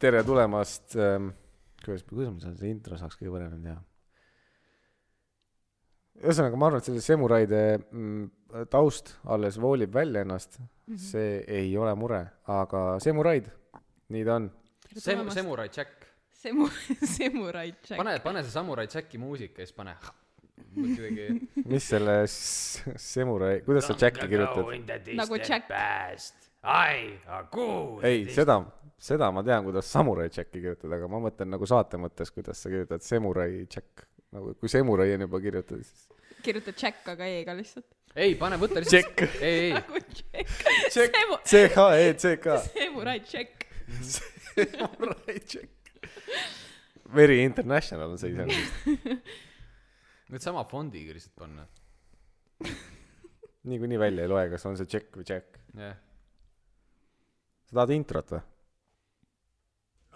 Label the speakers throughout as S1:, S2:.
S1: tere tulemast ähm, . kuidas , kuidas ma selle intro saaks kõige paremini teha ? ühesõnaga , ma arvan , et selle Semuraide mm, taust alles voolib välja ennast mm . -hmm. see ei ole mure , aga Semuraid , nii ta on .
S2: Sem- , Samurai Jack .
S3: Semu- , Samurai Jack .
S2: pane , pane see Samurai Jacki muusika ja siis pane . kuidagi .
S1: mis selle s- Semurai , kuidas sa Jacki kirjutad ?
S3: Nagu Jack.
S2: I are good .
S1: ei , seda , seda ma tean , kuidas Samurai Jacki kirjutada , aga ma mõtlen nagu saate mõttes , kuidas sa kirjutad Semurai Jack . nagu kui Semurai on juba kirjutatud , siis
S3: kirjuta Jack , aga E-ga lihtsalt .
S2: ei , pane , võta lihtsalt . ei , ei ,
S3: nagu Jack .
S1: Jack ,
S3: Semu- ,
S1: C-H-E-C-K .
S3: Samurai Jack .
S1: Samurai Jack . Very International on see iseenesest .
S2: nüüd sama fondiga lihtsalt panna .
S1: niikuinii välja ei loe , kas on see Jack või Jack .
S2: jah .
S1: sa tahad introt või ?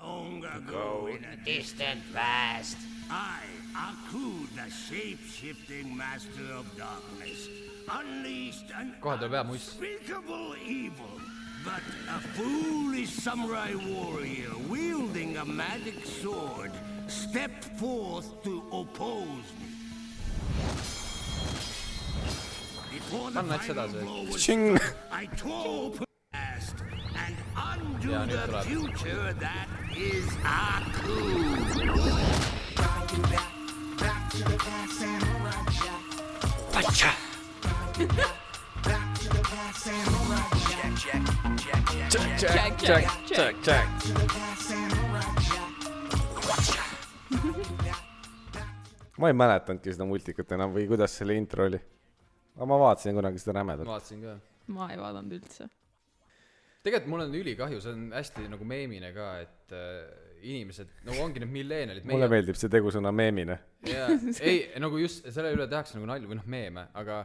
S4: Long ago in a distant past, I, Aku, the shape-shifting master of darkness, unleashed an
S2: Kohe tuleb hea muist.
S4: unspeakable evil. But a foolish samurai warrior wielding a magic sword stepped forth to oppose me. Before the
S2: Anna, et
S4: final
S2: sedasi.
S4: blow was
S1: Tšing.
S4: I tore open the past and undo
S2: Yeah, nüüd
S4: the
S2: tuleb.
S4: future that is Aku.
S3: Jack , Jack , Jack .
S1: ma ei mäletanudki seda multikat enam või kuidas selle intro oli . aga ma vaatasin kunagi seda rämedat .
S2: ma vaatasin ka .
S3: ma ei vaadanud üldse .
S2: tegelikult mul on ülikahju , see on hästi nagu meemine ka , et äh, inimesed , nagu ongi need milleenialid .
S1: mulle meeldib see tegusõna meemine .
S2: jaa , ei nagu just selle üle tehakse nagu nalju või noh , meeme , aga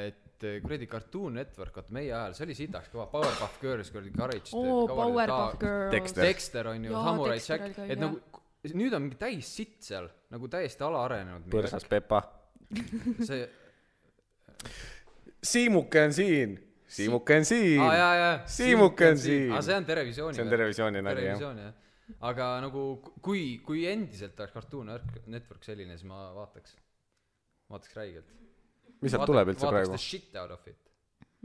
S2: et eh, kuradi Cartoon Network , vaata meie ajal , see oli sitaks kõva , Powerpuff Girls kuradi Courage .
S3: oo , Powerpuff . Girls .
S1: Dexter.
S2: Dexter on ju ,
S3: Jaa,
S2: Samurai
S3: Dexter oli
S2: Jack
S3: ka ,
S2: et
S3: hea.
S2: nagu k- nüüd on mingi täis sitt seal , nagu täiesti alaarenenud .
S1: põrsas Pepa .
S2: see ,
S1: Siimuke on siin . Siimuke on siin
S2: aa jaa , jaa .
S1: Siimuke on siin.
S2: aa , see on Terevisiooni .
S1: See on Terevisiooni nali, jah.
S2: Terevisioon jah . aga nagu ku- kui , kui endiselt oleks Cartoon Network- Network selline , siis ma vaataks , vaataks räigelt .
S1: mis sealt tuleb üldse
S2: vaataks
S1: praegu
S2: the ? shit out of it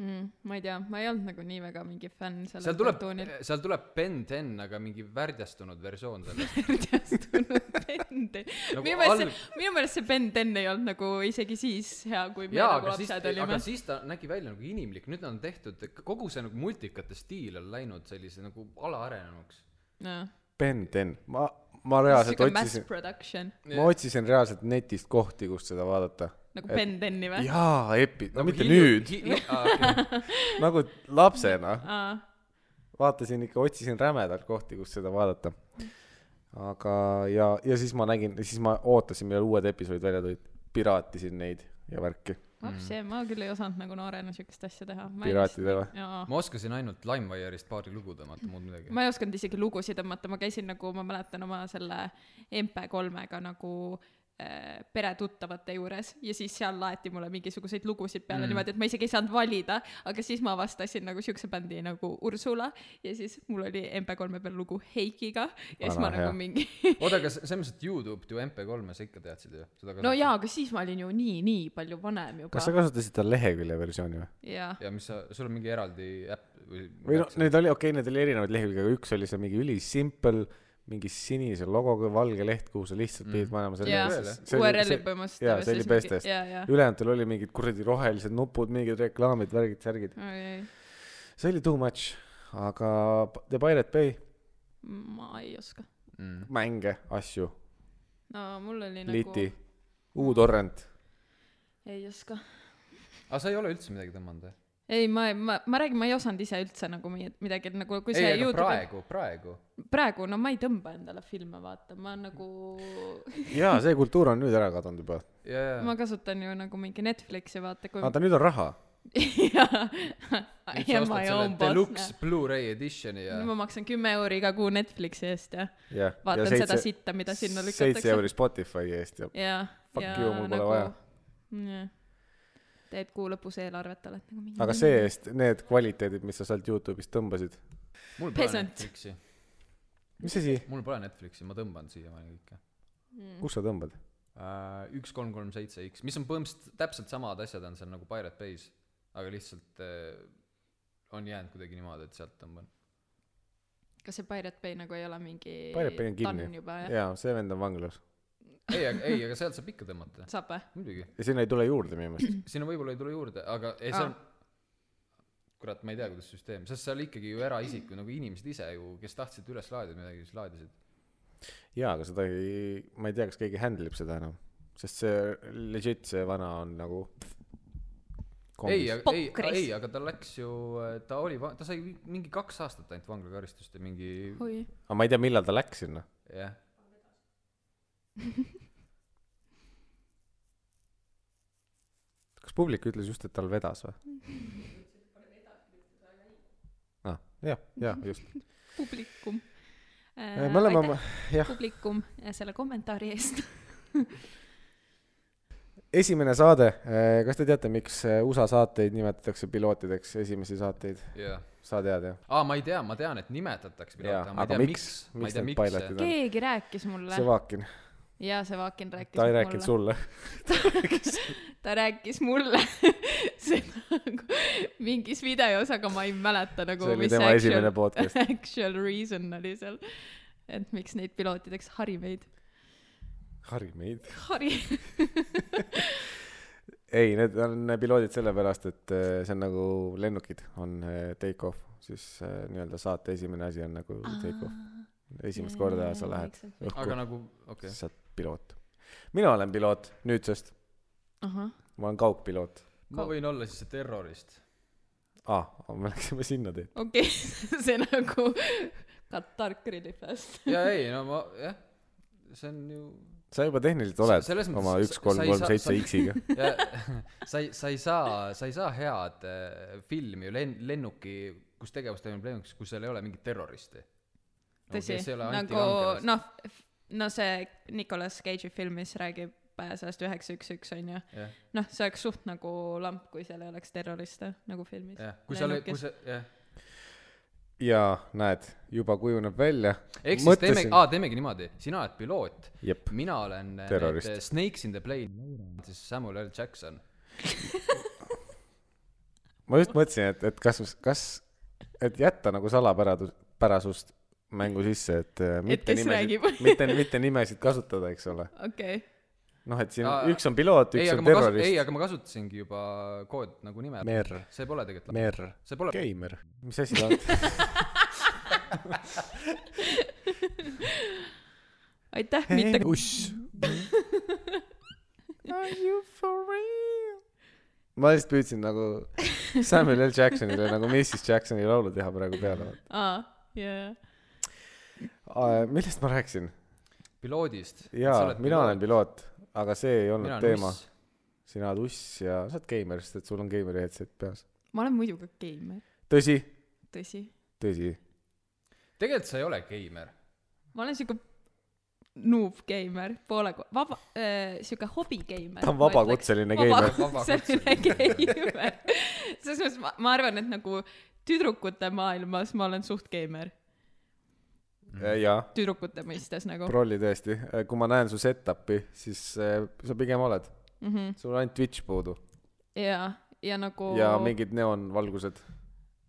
S3: Mm, ma ei tea , ma ei olnud nagu nii väga mingi fänn sellel
S2: seal tuleb
S3: kartoonil .
S2: seal tuleb Ben Ten , aga mingi värjastunud versioon sellest .
S3: tunneb Ben Ten .
S2: Nagu
S3: minu meelest
S2: alg-
S3: see , minu meelest see Ben Ten ei olnud nagu isegi siis hea , kui me
S2: jaa ,
S3: nagu
S2: aga siis ,
S3: lapsed
S2: aga
S3: olime .
S2: siis ta nägi välja nagu inimlik , nüüd on tehtud , kogu see nagu multikate stiil on läinud sellise nagu alaarenenuks .
S1: Ben Ten , ma , ma reaalselt
S3: sihuke mass
S1: otsisin ,
S3: production ,
S1: ma otsisin reaalselt netist kohti , kust seda vaadata .
S3: nagu Ben Teni või ?
S1: jaa , epi- ,
S2: Nagu
S1: no mitte nüüd , nagu lapsena vaatasin ikka , otsisin rämedalt kohti , kus seda vaadata . aga , ja , ja siis ma nägin , siis ma ootasin , millal uued episoodid välja tulid , piraatisin neid ja värki .
S3: vapsi , ma küll ei osanud nagu noorena siukest asja teha .
S1: Mm. Piraatide või?
S3: jaa .
S2: ma oskasin ainult LimeWire'ist paari lugu tõmmata , muud midagi .
S3: ma ei osanud isegi lugusid tõmmata , ma käisin nagu , ma mäletan oma selle MP3-ga nagu äh, peretuttavate juures ja siis seal laeti mulle mingisuguseid lugusid peale mm. niimoodi , et ma isegi ei saanud valida , aga siis ma avastasin nagu siukse bändi nagu Ursula ja siis mul oli MP3-e peal lugu Heikiga ja siis
S1: Vana
S3: ma
S1: hea.
S3: nagu mingi
S2: oota , aga see , selles mõttes , et Youtube'd ju MP3-e sa ikka teadsid ju ?
S3: no jaa , aga siis ma olin ju nii , nii palju vanem
S1: kas sa
S3: juba .
S1: kasutasid seda lehekülje versiooni või ?
S3: jaa ,
S2: ja mis sa , sul on mingi eraldi äpp või ?
S1: või noh , neid oli , okei okay, , neid oli erinevaid lehekülgi , aga üks oli see mingi ülisimple , mingi sinise logoga valge leht , kuhu sa lihtsalt pidid panema selle
S3: Jaa.
S1: see oli-
S3: URL-i
S1: see-
S3: põhimõtteliselt
S1: jaa ,
S3: ja
S1: see oli
S3: siis mingi-
S1: bestest .
S3: jaa, jaa.
S1: ülejäänutel oli mingid kuradi rohelised nupud , mingid reklaamid , värgid , särgid . see oli too much , aga The Pirate Bay ,
S3: ma ei oska .
S1: Mm. mänge , asju ,
S3: no mul oli nagu
S1: liti , U-torrent .
S3: ei oska
S2: aga sa ei ole üldse midagi tõmmanud või ?
S3: ei , ma , ma , ma räägin , ma ei osanud ise üldse nagu mi- midagi , et nagu kui see
S2: ei , aga
S3: Youtube'i praegu.
S2: praegu , praegu .
S3: praegu , no ma ei tõmba endale filme vaata , ma nagu ,
S1: jaa , see kultuur on nüüd ära kadunud juba .
S2: jaa , jaa .
S3: ma kasutan ju nagu mingi Netflixi vaata , kui
S1: vaata , nüüd on raha .
S3: ja,
S2: nüüd sa
S3: ja ma
S2: ostad
S3: ei
S2: selle
S3: omboss
S2: deluxe . Blu-ray edition'i ja
S3: nüüd ma maksan kümme euri iga kuu Netflixi eest ja
S1: jah .
S3: vaatan seda sitta , mida sinna
S1: seitse euri
S3: lükatakse .
S1: Spotify eest ja
S3: ja ,
S1: Fuck
S3: ja nagu
S1: you, mul pole vaja.
S3: jah , teed kuu lõpus eelarvet , oled nagu mingi
S1: aga see-eest need kvaliteedid , mis sa sealt Youtube'ist tõmbasid ,
S2: mul
S3: Peasant.
S2: Netflixi .
S1: mis asi ,
S2: mul pole Netflixi , ma tõmban siiamaani kõike
S1: kus sa tõmbad ?
S2: Äh, üks kolm kolm seitse X , mis on põhimõtteliselt täpselt samad asjad on seal nagu Pirate Bay's , aga lihtsalt äh, on jäänud kuidagi niimoodi , et sealt tõmban .
S3: kas see Pirate Bay nagu ei ole mingi
S1: Pirate Bay on kinni
S3: tann juba , jah ?
S1: jaa , see vend on vanglas .
S2: ei , ei , aga sealt saab ikka tõmmata ,
S3: saab või ?
S2: muidugi .
S1: ja sinna ei tule juurde minu meelest .
S2: sinna võib-olla ei tule juurde , aga ei see on , kurat , ma ei tea , kuidas süsteem , sest seal ikkagi ju eraisiku nagu inimesed ise ju , kes tahtsid üles laadida midagi , siis laadisid .
S1: jaa , aga seda ei , ma ei tea , kas keegi handle ib seda enam , sest see legit , see vana on nagu .
S2: ei , ei ,
S3: Pokris.
S2: ei , aga ta läks ju , ta oli , ta sai mingi kaks aastat ainult vanglakaristust ja mingi
S3: oi ,
S1: aga ma ei tea , millal ta läks sinna .
S2: jah .
S1: kas publik ütles just , et tal vedas või ? ah , jah , jah , just .
S3: publikum äh,
S1: me oleme oma , jah ,
S3: publikum äh, selle kommentaari eest .
S1: esimene saade , kas te teate , miks eh, USA saateid nimetatakse pilootideks , esimesi saateid ?
S2: jah .
S1: sa tead jah ?
S2: aa , ma ei tea , ma tean , et nimetatakse
S1: jaa ,
S2: piloote , ma ei
S1: aga
S2: tea ,
S1: miks
S2: miks, , ma ei
S1: miks
S2: tea ,
S1: need
S2: miks see
S1: pilotid on ?
S3: keegi rääkis mulle
S1: see Vaakin ,
S3: ja see Vaakin rääkis
S1: ta ei rääkinud
S3: mulle .
S1: sulle .
S3: ta rääkis mulle seda nagu mingis videos , aga ma ei mäleta nagu ,
S1: see oli
S3: mis
S1: tema esimene
S3: actual ,
S1: podcast .
S3: actual reason oli seal . et miks neid pilootideks hari meid ,
S1: hari meid .
S3: hari .
S1: ei , need on piloodid sellepärast , et eh, see on nagu lennukid on eh, take off , siis eh, nii-öelda saate esimene asi on nagu take off . esimest korda sa lähed
S2: aga
S3: noh,
S1: õhku ,
S2: nagu , okei okay.
S1: sa oled piloot . mina olen piloot nüüdsest ,
S3: ahah ,
S1: ma olen kaugpiloot .
S2: ma võin olla siis see terrorist .
S1: aa , me läksime sinna teed .
S3: okei okay. , see nagu Katar grillifest .
S2: ja ei , no ma , jah , see on ju ,
S1: sa juba tehniliselt oled
S2: selles mõttes
S1: oma
S2: sa-
S1: üks , kolm ,
S2: sa ei
S1: kolm ,
S2: saa-
S1: seitse
S2: sa-
S1: X-iga .
S2: sa ei , sa ei saa , sa ei saa head äh, filmi ju len- , lennuki , kus tegevus toimub lennukis , kui seal ei ole mingit terroristi .
S3: tõsi , nagu noh , no see Nicolas Cage'i film , mis räägib äh, sellest üheksa üks üks onju ,
S2: jah ,
S3: noh , see oleks suht nagu lamp , kui seal ei oleks terroriste nagu filmis .
S2: jah , kui seal , kui see , jah .
S1: jaa , näed , juba kujuneb välja .
S2: ehk siis teemegi , aa , teemegi niimoodi , sina oled piloot ,
S1: jep ,
S2: mina olen äh,
S1: Terrorist.
S2: need, äh, Snakes in the Plane , siis Samuel L Jackson .
S1: ma just mõtlesin , et , et kas , kas , et jätta nagu salapäradus , pärasust mängu sisse , et äh, mitte
S3: kes
S1: nimesid
S3: räägib. ,
S1: mitte , mitte nimesid kasutada , eks ole .
S3: okei okay. ,
S1: noh , et siin
S2: Aa,
S1: üks on piloot ,
S2: ei ,
S1: üks
S2: aga
S1: on
S2: ma kasu- ,
S1: terrorist
S2: ei ,. aga ma kasutasingi juba kood nagu nime .
S1: Mer ,
S2: see pole tegelikult ,
S1: Mer ,
S2: see pole ,
S1: Keimer , mis asi ta on ?
S3: aitäh , mitte .
S1: uss . Are you for real ? ma lihtsalt püüdsin nagu Samuel L Jacksonile nagu Mrs Jacksoni laulu teha praegu peale .
S3: aa , jaa ,
S1: millest ma rääkisin ?
S2: piloodist .
S1: jaa , mina olen piloot , aga see ei olnud teema .
S2: uss .
S1: sina oled uss ja sa oled geimer , sest et sul on geimeri headset peas .
S3: ma olen muidugi geimer ,
S1: tõsi ,
S3: tõsi .
S1: tõsi .
S2: tegelikult sa ei ole geimer .
S3: ma olen siuke noob geimer , poole , vaba äh, , siuke hobi geimer .
S1: ta on vabakutseline geimer .
S3: vabakutseline geimer . selles mõttes ma , ma arvan , et nagu tüdrukute maailmas ma olen suht geimer ,
S1: Äh, jaa ,
S3: tüdrukute mõistes nagu .
S1: prolli tõesti . kui ma näen su setup'i , siis äh, sa pigem oled . sul on ainult Twitch puudu
S3: jaa , ja nagu
S1: ja mingid neoonvalgused .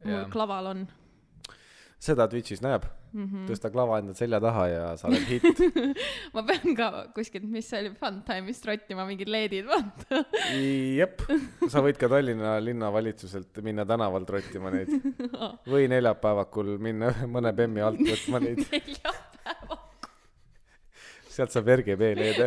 S3: mul klaval on .
S1: seda Twitch'is näeb mm . -hmm. tõsta klava enda selja taha ja sa oled hitt .
S3: ma pean ka kuskilt , mis see oli , Funtime'ist rottima mingid LED-id , vaata .
S1: jep , sa võid ka Tallinna linnavalitsuselt minna tänavalt rottima neid või neljapäevakul minna mõne bemmi alt võtma neid ,
S3: neljapäevaga .
S1: sealt saab RGB leede .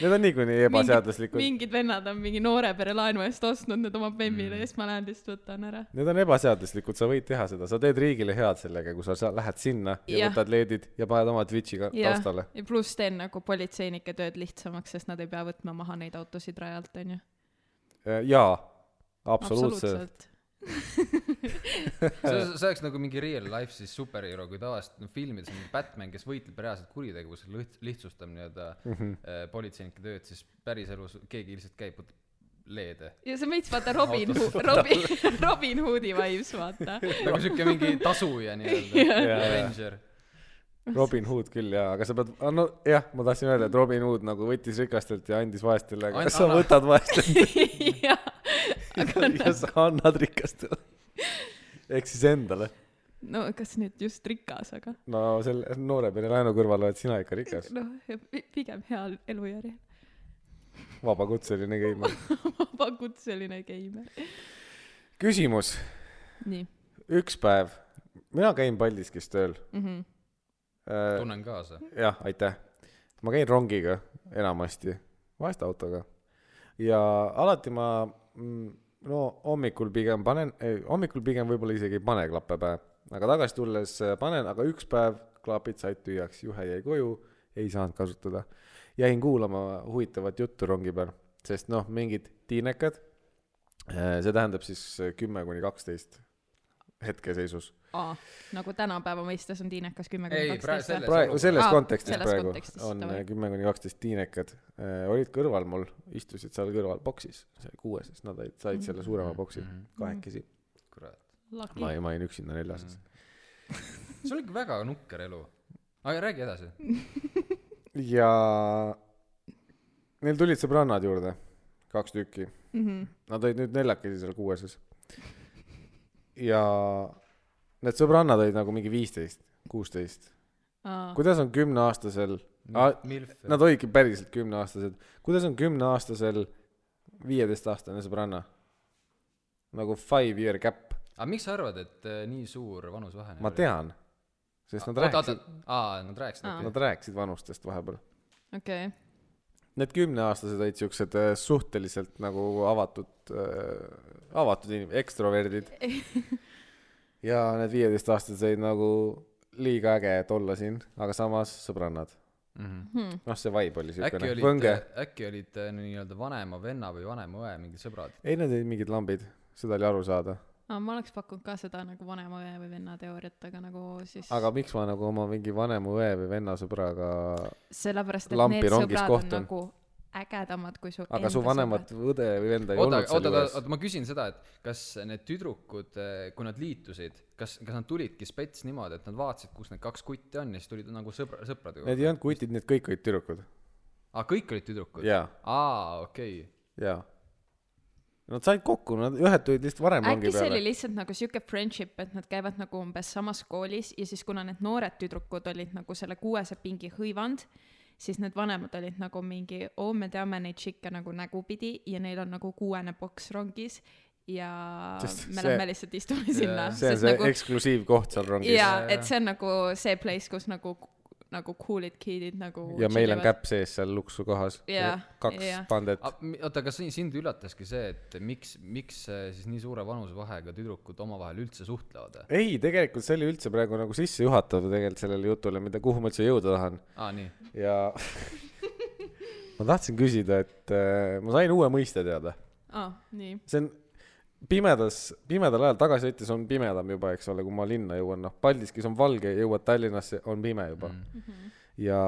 S1: Need on niikuinii ebaseaduslikud .
S3: mingid vennad on mingi noore pere laenu eest ostnud need oma bemmile ja siis ma lähen lihtsalt võtan ära .
S1: Need on ebaseaduslikud , sa võid teha seda , sa teed riigile head sellega , kui sa, sa lähed sinna ja, ja
S3: Jah.
S1: võtad leedid ja paned oma Twitch'i ka
S3: ja
S1: taustale .,
S3: ja pluss teen nagu politseinike tööd lihtsamaks , sest nad ei pea võtma maha neid autosid rajalt , onju .
S1: jaa , absoluutselt .
S2: see , see oleks nagu mingi real life siis superhero , kui tavaliselt no, filmides on mingi Batman , kes võitleb reaalselt kuritegevuse lõht- , lihtsustab nii-öelda mm
S1: Mhm.
S2: -hmm. politseinike tööd , siis päriselus keegi lihtsalt käib , võtab leede .
S3: ja see on veits vaata Robin Hood , Robin , Robin Hoodi vibes , vaata .
S2: nagu siuke mingi tasuja nii-öelda ,
S1: Jaa.
S2: Avenger .
S1: Robin Hood küll jaa , aga sa pead , no jah , ma tahtsin öelda , et Robin Hood nagu võttis rikastelt ja andis vaestele , aga
S2: An-
S1: sa
S2: anna-
S1: võtad vaestelt
S3: jah , aga
S1: ja sa annad rikastele . ehk siis endale .
S3: no kas nüüd just rikas , aga
S1: no selle noore pere laenu kõrval oled sina ikka rikas ,
S3: noh , pigem hea elujärje ,
S1: vabakutseline käima .
S3: vabakutseline geimer .
S1: küsimus ,
S3: nii
S1: üks päev , mina käin Paldiskis tööl
S3: mm . -hmm.
S1: äh, .
S2: tunnen kaasa .
S1: jah , aitäh . ma käin rongiga enamasti , vahest autoga . ja alati ma , no hommikul pigem panen , hommikul pigem võib-olla isegi ei pane klappe pähe , aga tagasi tulles äh, panen , aga üks päev klapid said tühjaks , juhe jäi koju , ei saanud kasutada . jäin kuulama huvitavat juttu rongi peal , sest noh , mingid tiinekad , see tähendab siis äh, kümme kuni kaksteist hetkeseisus .
S3: Aa, nagu tänapäeva mõistes on tiinekas kümme
S2: Ei,
S3: kuni
S2: praegu
S3: kaksteist .
S1: praegu
S2: Selles
S1: selles
S3: olukorras. Aa,
S1: kontekstis
S3: selles
S1: praegu
S3: kontekstis,
S1: on
S3: davai.
S1: kümme kuni kaksteist tiinekad äh, olid kõrval mul , istusid seal kõrval boksis , see oli kuues , siis nad olid- said selle suurema boksi
S2: Mhm.
S1: kahekesi .
S2: kurat .
S1: ma ei , ma olin üksinda neljases .
S2: sul Mm. on ikka väga nukker elu . aga räägi edasi .
S1: Mhm. ja neil tulid sõbrannad juurde , kaks tükki .
S3: Mhm.
S1: Nad olid nüüd neljakesi seal kuueses . ja need sõbrannad olid nagu mingi viisteist , kuusteist .
S3: Ah.
S1: kuidas on kümneaastasel Aa,
S2: Milf .
S1: Nad olidki päriselt kümneaastased . kuidas on kümneaastasel viieteistaastane sõbranna ? nagu five year gap ,
S2: aga miks sa arvad , et äh, nii suur vanusevahe ?
S1: ma tean , sest nad rääkisid ,.
S2: aa , nad rääkisid
S3: Aa.
S2: okei.
S1: nad rääkisid vanustest vahepeal .
S3: okei ,
S1: Need kümneaastased olid siuksed äh, suhteliselt nagu avatud , avatud inimesed , ekstroverdid . ja need viieteistaastased olid nagu liiga äge , et olla siin , aga samas sõbrannad .
S2: Mhm.
S3: Hmm.
S1: noh , see vibe oli
S2: äkki
S1: siukene ,
S2: olid
S1: võnge .,
S2: äkki olid äh, nii-öelda vanema venna või vanema õe mingid sõbrad .
S1: ei , need olid mingid lambid , seda oli aru saada
S3: ma oleks pakkunud ka seda nagu vanema õe või venna teooriat , aga nagu siis
S1: aga miks ma nagu oma mingi vanema õe või venna sõbraga ,
S3: sellepärast , et
S1: lampi
S3: need
S1: rongis
S3: sõbrad on
S1: kohtun.
S3: nagu ägedamad kui su
S1: aga su vanemat õde või venda ei
S2: oota ,
S1: olnud
S2: oota ,
S1: seal
S2: oota ,
S1: juures
S2: oota , ma küsin seda , et kas need tüdrukud , kui nad liitusid , kas , kas nad tulidki spets niimoodi , et nad vaatasid , kus need kaks kutti on ja siis tulid nagu sõbra , sõpradega
S1: Need
S2: kokku?
S1: ei olnud kutid , need kõik olid tüdrukud .
S2: aa , kõik olid tüdrukud ?
S1: jaa ,
S2: aa , okei okay. .
S1: jaa . Nad said kokku , nad ühed tulid lihtsalt varem
S3: äkki
S1: rongi
S3: see oli
S1: peale .
S3: lihtsalt nagu sihuke friendship , et nad käivad nagu umbes samas koolis ja siis kuna need noored tüdrukud olid nagu selle kuuese pingi hõivanud , siis need vanemad olid nagu mingi , oo , me teame neid tšikke nagu nägupidi ja neil on nagu kuuene boks rongis ja
S1: Sest
S3: me
S1: see-
S3: lähme lihtsalt istume sinna .
S1: see on see nagu... eksklusiivkoht seal rongis ja,
S3: jaa
S2: jaa. ,
S3: et see on nagu see place , kus nagu , nagu cool'id kid'id nagu
S1: ja meil on
S3: chillivad.
S1: käpp sees seal luksu kohas
S3: Jaa, .
S1: kaks
S3: jaa.
S1: pandet .
S2: oota , kas sind- sind üllataski see , et miks , miks äh, siis nii suure vanusevahega tüdrukud omavahel üldse suhtlevad ?
S1: ei , tegelikult see oli üldse praegu nagu sissejuhatav tegelikult sellele jutule , mida , kuhu ma üldse jõuda tahan .
S2: aa , nii .
S1: ja ma tahtsin küsida , et äh, ma sain uue mõiste teada
S3: aa , nii .
S1: see on pimedas , pimedal ajal tagasi sõites on pimedam juba , eks ole , kui ma linna jõuan , noh , Paldiskis on valge , jõuad Tallinnasse , on pime juba mm . -hmm. ja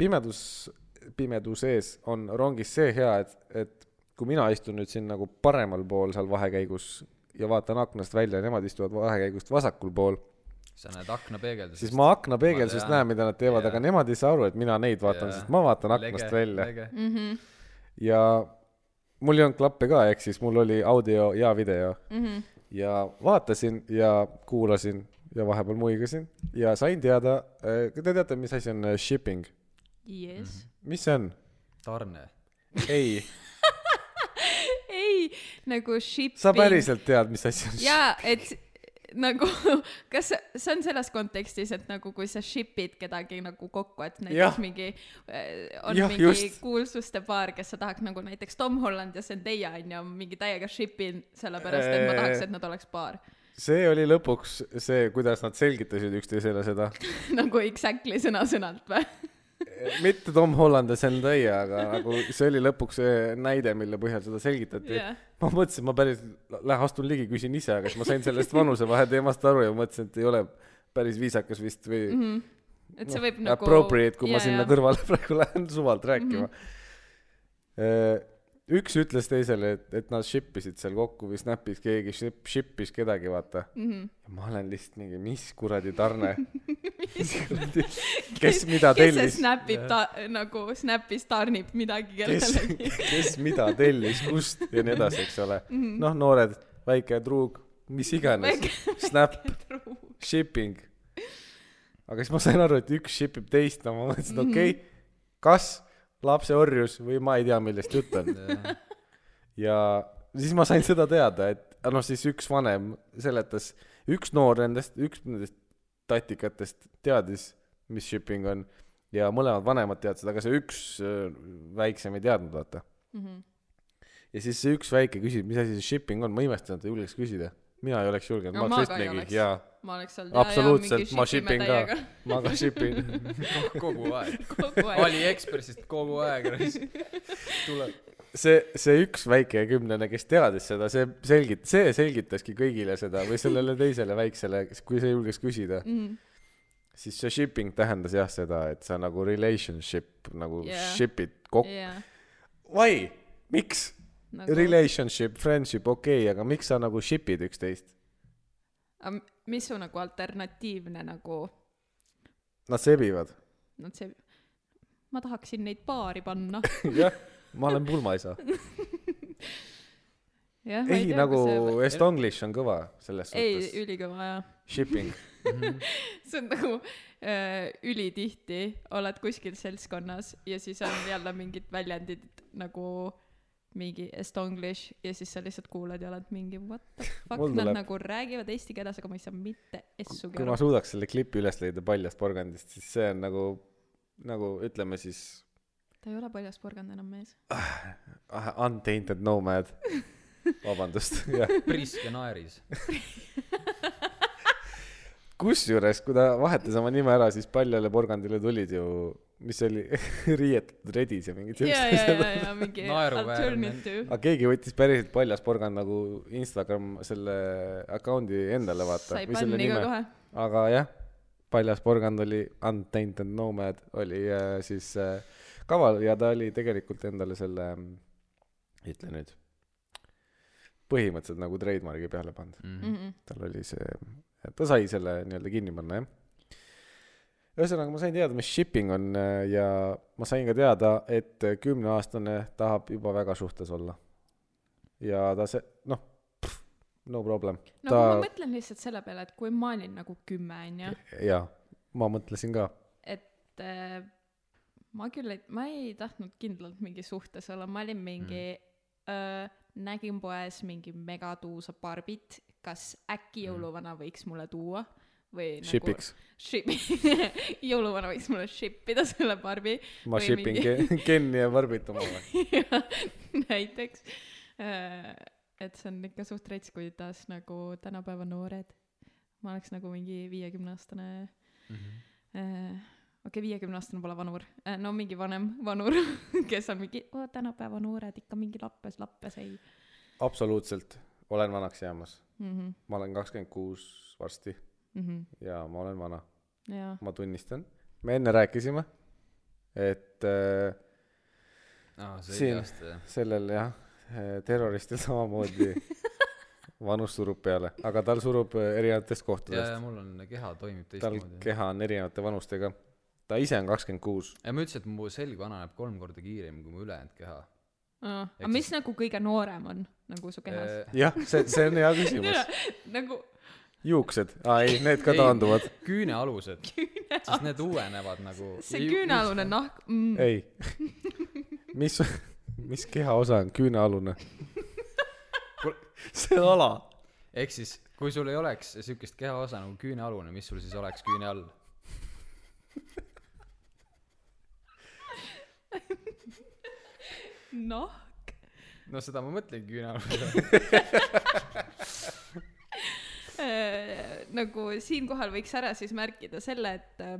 S1: pimedus , pimeduses on rongis see hea , et , et kui mina istun nüüd siin nagu paremal pool seal vahekäigus ja vaatan aknast välja , nemad istuvad vahekäigust vasakul pool ,
S2: sa näed aknapeegeldust .
S1: siis ma akna peegeldusest
S2: Ma tean.
S1: näen , mida nad teevad ,
S2: Jaa.
S1: aga nemad ei saa aru , et mina neid vaatan , sest ma vaatan aknast lege, välja lege. ja mul ei olnud klappe ka , ehk siis mul oli audio ja video
S3: Mm -hmm.
S1: ja vaatasin ja kuulasin ja vahepeal muigasin ja sain teada , te teate , mis asi on äh, shipping ?
S3: Yes .
S1: mis see on ?
S2: tarne .
S1: ei ,
S3: ei , nagu shipping .
S1: sa päriselt tead , mis asi on ?
S3: jaa , et nagu , kas see- see on selles kontekstis , et nagu kui sa ship'id kedagi nagu kokku , et näiteks ja.
S1: Jah.
S3: mingi äh, on ja,
S1: Jah,
S3: mingi just.
S1: just.
S3: kuulsuste paar , kes sa tahad nagu näiteks Tom Holland ja Zendaya onju , mingi täiega ship'in sellepärast ,
S1: Eh.
S3: et ma tahaks , et nad oleks paar .
S1: see oli lõpuks see , kuidas nad selgitasid üksteisele seda .
S3: nagu exactly sõna-sõnalt või ?
S1: mitte Tom Holland ja Zendaya , aga nagu see oli lõpuks see näide , mille põhjal seda selgitati
S3: Jah.
S1: ma mõtlesin , ma päris lähen astun ligi , küsin ise , aga siis ma sain sellest vanusevahe teemast aru ja mõtlesin , et ei ole päris viisakas vist või mm -hmm.
S3: et see
S1: Noh,
S3: võib Mhm, nagu . Mhm.
S1: appropriate , kui ma sinna . kõrvale praegu lähen suvalt rääkima mm . -hmm. üks ütles teisele , et , et nad ship isid seal kokku või Snapis keegi ship , ship is kedagi , vaata mm .
S3: Mhm.
S1: -hmm. ma olen lihtsalt mingi , mis kuradi tarne . kes mida
S3: kes see
S1: tellis ,
S3: snapib ta nagu snapis tarnib midagi
S1: kes
S3: kellelegi ,
S1: kes mida tellis , kust ja nii edasi , eks ole .
S3: Mhm.
S1: noh , noored , väike truug , mis iganes , Snap , shipping . aga siis ma sain aru , et üks ship ib teist , no ma mõtlesin ,
S3: Mhm.
S1: okei okay, , kas lapse orjus või ma ei tea , millest jutt on . ja siis ma sain seda teada , et aga noh , siis üks vanem seletas , üks noor nendest , üks nendest tatikatest teadis , mis shipping on ja mõlemad vanemad teadsid , aga see üks öö, väiksem ei teadnud , vaata mm .
S3: Mhm.
S1: -hmm. ja siis see üks väike küsib , mis asi see shipping on , ma imestan , et ta julgeks küsida . mina ei oleks julgenud ,
S3: No
S1: ma
S3: ma
S1: oleks
S3: ka
S1: lihtsalt
S3: ei
S1: mingi
S3: oleks.
S1: jaa ,
S3: ma oleks olnud
S1: absoluutselt , ma shipin ka , ma ka shipin .
S2: kogu aeg .
S3: kogu aeg
S2: Aliekspressist kogu aeg . tuleb .
S1: see , see üks väike kümnene , kes teadis seda , see selgit- , see selgitaski kõigile seda või sellele teisele väiksele , kui see julges küsida mm . -hmm. siis see shipping tähendas jah seda , et sa nagu relationship nagu yeah.
S3: Jah.
S1: ship'id kokku yeah. .
S3: jaa
S1: Why ? miks nagu... ?
S3: nagu
S1: Relationship , friendship , okei okay, , aga miks sa nagu ship'id üksteist ?
S3: aga mis su nagu alternatiivne nagu
S1: Nad sebivad .
S3: noh see ma tahaksin neid paari panna
S1: jah , ma olen pulmaisa .
S3: jah ma ei,
S1: ei ,
S3: tea
S1: nagu
S3: kas see...
S1: Estonglish on kõva selles
S3: ei
S1: suhtes .
S3: ülikõva jaa
S1: Shipping .
S3: see on nagu öö, ülitihti oled kuskil seltskonnas ja siis on jälle mingid väljendid nagu mingi estonglish ja siis sa lihtsalt kuulad ja oled mingi what the fuck
S1: Mul
S3: nad
S1: tuleb-
S3: nagu räägivad eesti keeles aga ma ei saa mitte essugi
S1: kui ma
S3: aru
S1: suudaks selle klipi üles leida paljast porgandist , siis see on nagu , nagu ütleme siis
S3: ta ei ole paljas porgand enam mees
S1: ah, untainted nomad . vabandust , jah .
S2: priske naeris .
S1: kusjuures , kui ta vahetas oma nime ära , siis paljale porgandile tulid ju , mis see oli , riietatud redis ja mingid
S3: jaa
S1: siuksed
S3: jaa
S1: asjad .
S3: jaa jaa mingi
S2: Naeruväärne.
S3: alternative
S1: aga keegi võttis päriselt paljas porgand nagu Instagram selle account'i endale vaata .
S3: sai panni ka kohe
S1: aga jah , paljas porgand oli Untainted Nomad oli äh, siis äh, kaval ja ta oli tegelikult endale selle , ütle nüüd , põhimõtteliselt nagu trademark'i peale pannud mm .
S2: Mhm.
S3: Mhm.
S1: -hmm. tal oli see , ta sai selle nii-öelda kinni panna jah . ühesõnaga , ma sain teada , mis shipping on äh, ja ma sain ka teada , et kümneaastane tahab juba väga suhtes olla . ja ta see , noh , no problem .
S3: no aga ma mõtlen lihtsalt selle peale et kui ma olin nagu kümme onju
S1: jaa , ma mõtlesin ka .
S3: et äh, ma küll ei , ma ei tahtnud kindlalt mingi suhtes olla , ma olin mingi
S1: Mhm.
S3: mm. , öö, nägin poes mingi megatuusa Barbit , kas äkki jõuluvana võiks mulle tuua või
S1: Mhm. Shipiks.
S3: nagu ship , jõuluvana võiks mulle ship ida selle Barbi .
S1: ma shipin mingi... Kenni ja Barbit omale .
S3: näiteks , et see on ikka suht rets , kuidas nagu tänapäeva noored , ma oleks nagu mingi viiekümneaastane mm -hmm. , okei , viiekümneaastane pole vanur , no mingi vanem vanur , kes on mingi , tänapäeva noored ikka mingi lappes , lappes ei
S1: absoluutselt , olen vanaks jäämas .
S3: mm . -hmm.
S1: ma olen kakskümmend kuus varsti
S3: Mm -hmm.
S1: ja ma olen vana ,
S3: jaa ,
S1: ma tunnistan . me enne rääkisime , et äh,
S2: aa , see
S1: Siin.
S2: oli aasta jah .
S1: sellel jah , terroristil samamoodi vanus surub peale , aga tal surub äh, erinevatest
S2: ja ,
S1: kohtadest
S2: ja . mul on , keha toimib
S1: tal
S2: teistmoodi .
S1: keha on erinevate vanustega . ta ise on kakskümmend kuus .
S2: ja ma ütlesin , et mu selg vananeb kolm korda kiiremini kui mu ülejäänud keha .
S3: aga
S2: Ehk Äh,
S3: mis nagu kõige noorem on nagu su kehas ?
S1: jah , see , see on hea küsimus .
S3: nagu
S1: juuksed , aa ei , need ka taanduvad ..
S2: küünealused . siis need uuenevad nagu .
S3: see küünalune nahk mm, ,
S1: ei . mis , mis kehaosa on küünealune ? see ala .
S2: ehk siis , kui sul ei oleks siukest kehaosa nagu küünealune , mis sul siis oleks küüne all ?
S3: nahk ,
S2: no seda ma mõtlengi küünealune .
S3: nagu siinkohal võiks ära siis märkida selle , et äh,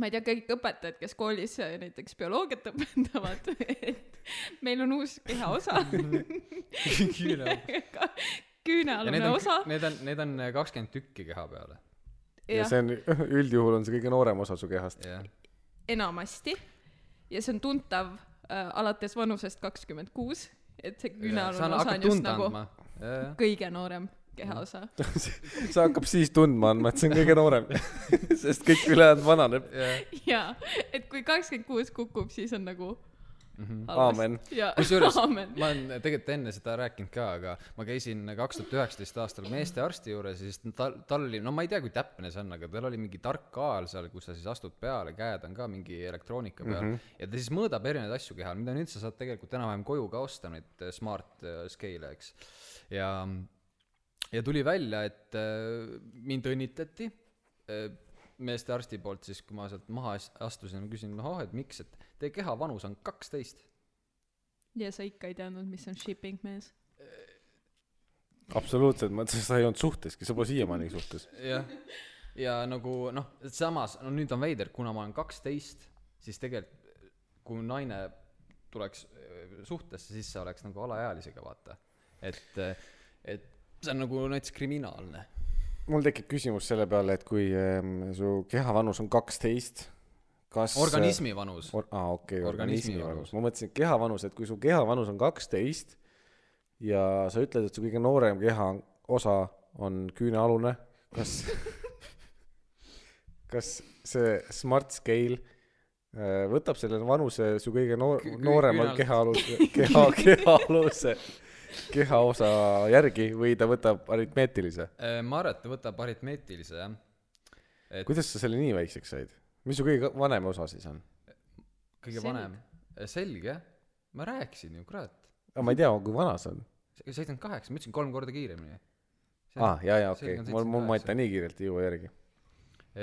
S3: ma ei tea , kõik õpetajad , kes koolis äh, näiteks bioloogiat õpetavad , et meil on uus kehaosa ,
S2: küünealune . ja need
S3: küünealune osa
S2: on , need on , need on kakskümmend tükki keha peale .
S1: ja
S3: jah ,
S1: see on , üldjuhul on see kõige noorem osa su kehast .
S2: jah .
S3: enamasti ja see on tuntav äh, alates vanusest kakskümmend kuus et see
S2: sa
S3: küünalune osa
S2: hakkad
S3: on just
S2: tunda
S3: nagu
S2: andma .
S3: kõige noorem kehaosa .
S2: Mm.
S1: see hakkab siis tundma andma , et see on kõige noorem . sest kõik ülejäänud vananeb .
S3: jaa , et kui kakskümmend kuus kukub , siis on nagu
S1: Aamen. .
S3: jaa ,
S2: Mhm. kusjuures
S3: aamen .
S2: ma olen tegelikult enne seda rääkinud ka , aga ma käisin kaks tuhat üheksateist aastal meestearsti juures ja siis tal , tal oli , no ma ei tea , kui täpne see on , aga tal oli mingi tark kaal seal , kus sa siis astud peale , käed on ka mingi elektroonika peal mm . -hmm. ja ta siis mõõdab erinevaid asju kehal , mida nüüd sa saad tegelikult enam-vähem koju ka osta , neid äh, smart äh, scale'e , eks . ja , ja tuli välja , et äh, mind õnnitleti äh, meestearsti poolt siis , kui ma sealt maha as- astusin , ma küsin , noh , et miks , et teie keha vanus on kaksteist
S3: ja sa ikka ei teadnud , mis on shipping mees .
S1: absoluutselt , ma ütlesin , sa ei olnud suhteski , sa pole siiamaani suhtes .
S2: jah , ja nagu noh , samas no nüüd on veider , kuna ma olen kaksteist , siis tegelikult kui naine tuleks öö, suhtesse , siis sa oleks nagu alaealisega , vaata . et , et see on nagu näiteks kriminaalne .
S1: mul tekib küsimus selle peale , et kui ähm, su keha vanus on kaksteist , kas .
S2: organismi vanus
S1: Or- , aa , okei , organismi
S2: Organismi
S1: vanus
S2: vanus. .
S1: ma mõtlesin , et keha vanus , et kui su keha vanus on kaksteist ja sa ütled , et su kõige noorem keha on- osa on küünealune , kas , kas see smart scale äh, võtab selle vanuse su kõige noor-
S2: Kü- , kü-
S1: noorema
S2: küünalt.
S1: kehaaluse , keha , kehaaluse , kehaosa järgi või ta võtab aritmeetilise ?
S2: Äh, ma arvan , et ta võtab aritmeetilise jah .
S1: kuidas sa selle nii väikseks said ? mis su kõige vanem osa siis on ?
S2: kõige
S3: Selg.
S2: Selg. vanem . selge , ma rääkisin ju , kurat .
S1: ma ei tea , kui vana see on .
S2: seitsekümmend kaheksa , ma ütlesin kolm korda kiiremini .
S1: aa , jaa , jaa , okei
S2: selg on ,
S1: mul , mul
S2: 78.
S1: maita nii kiirelt ei jõua järgi .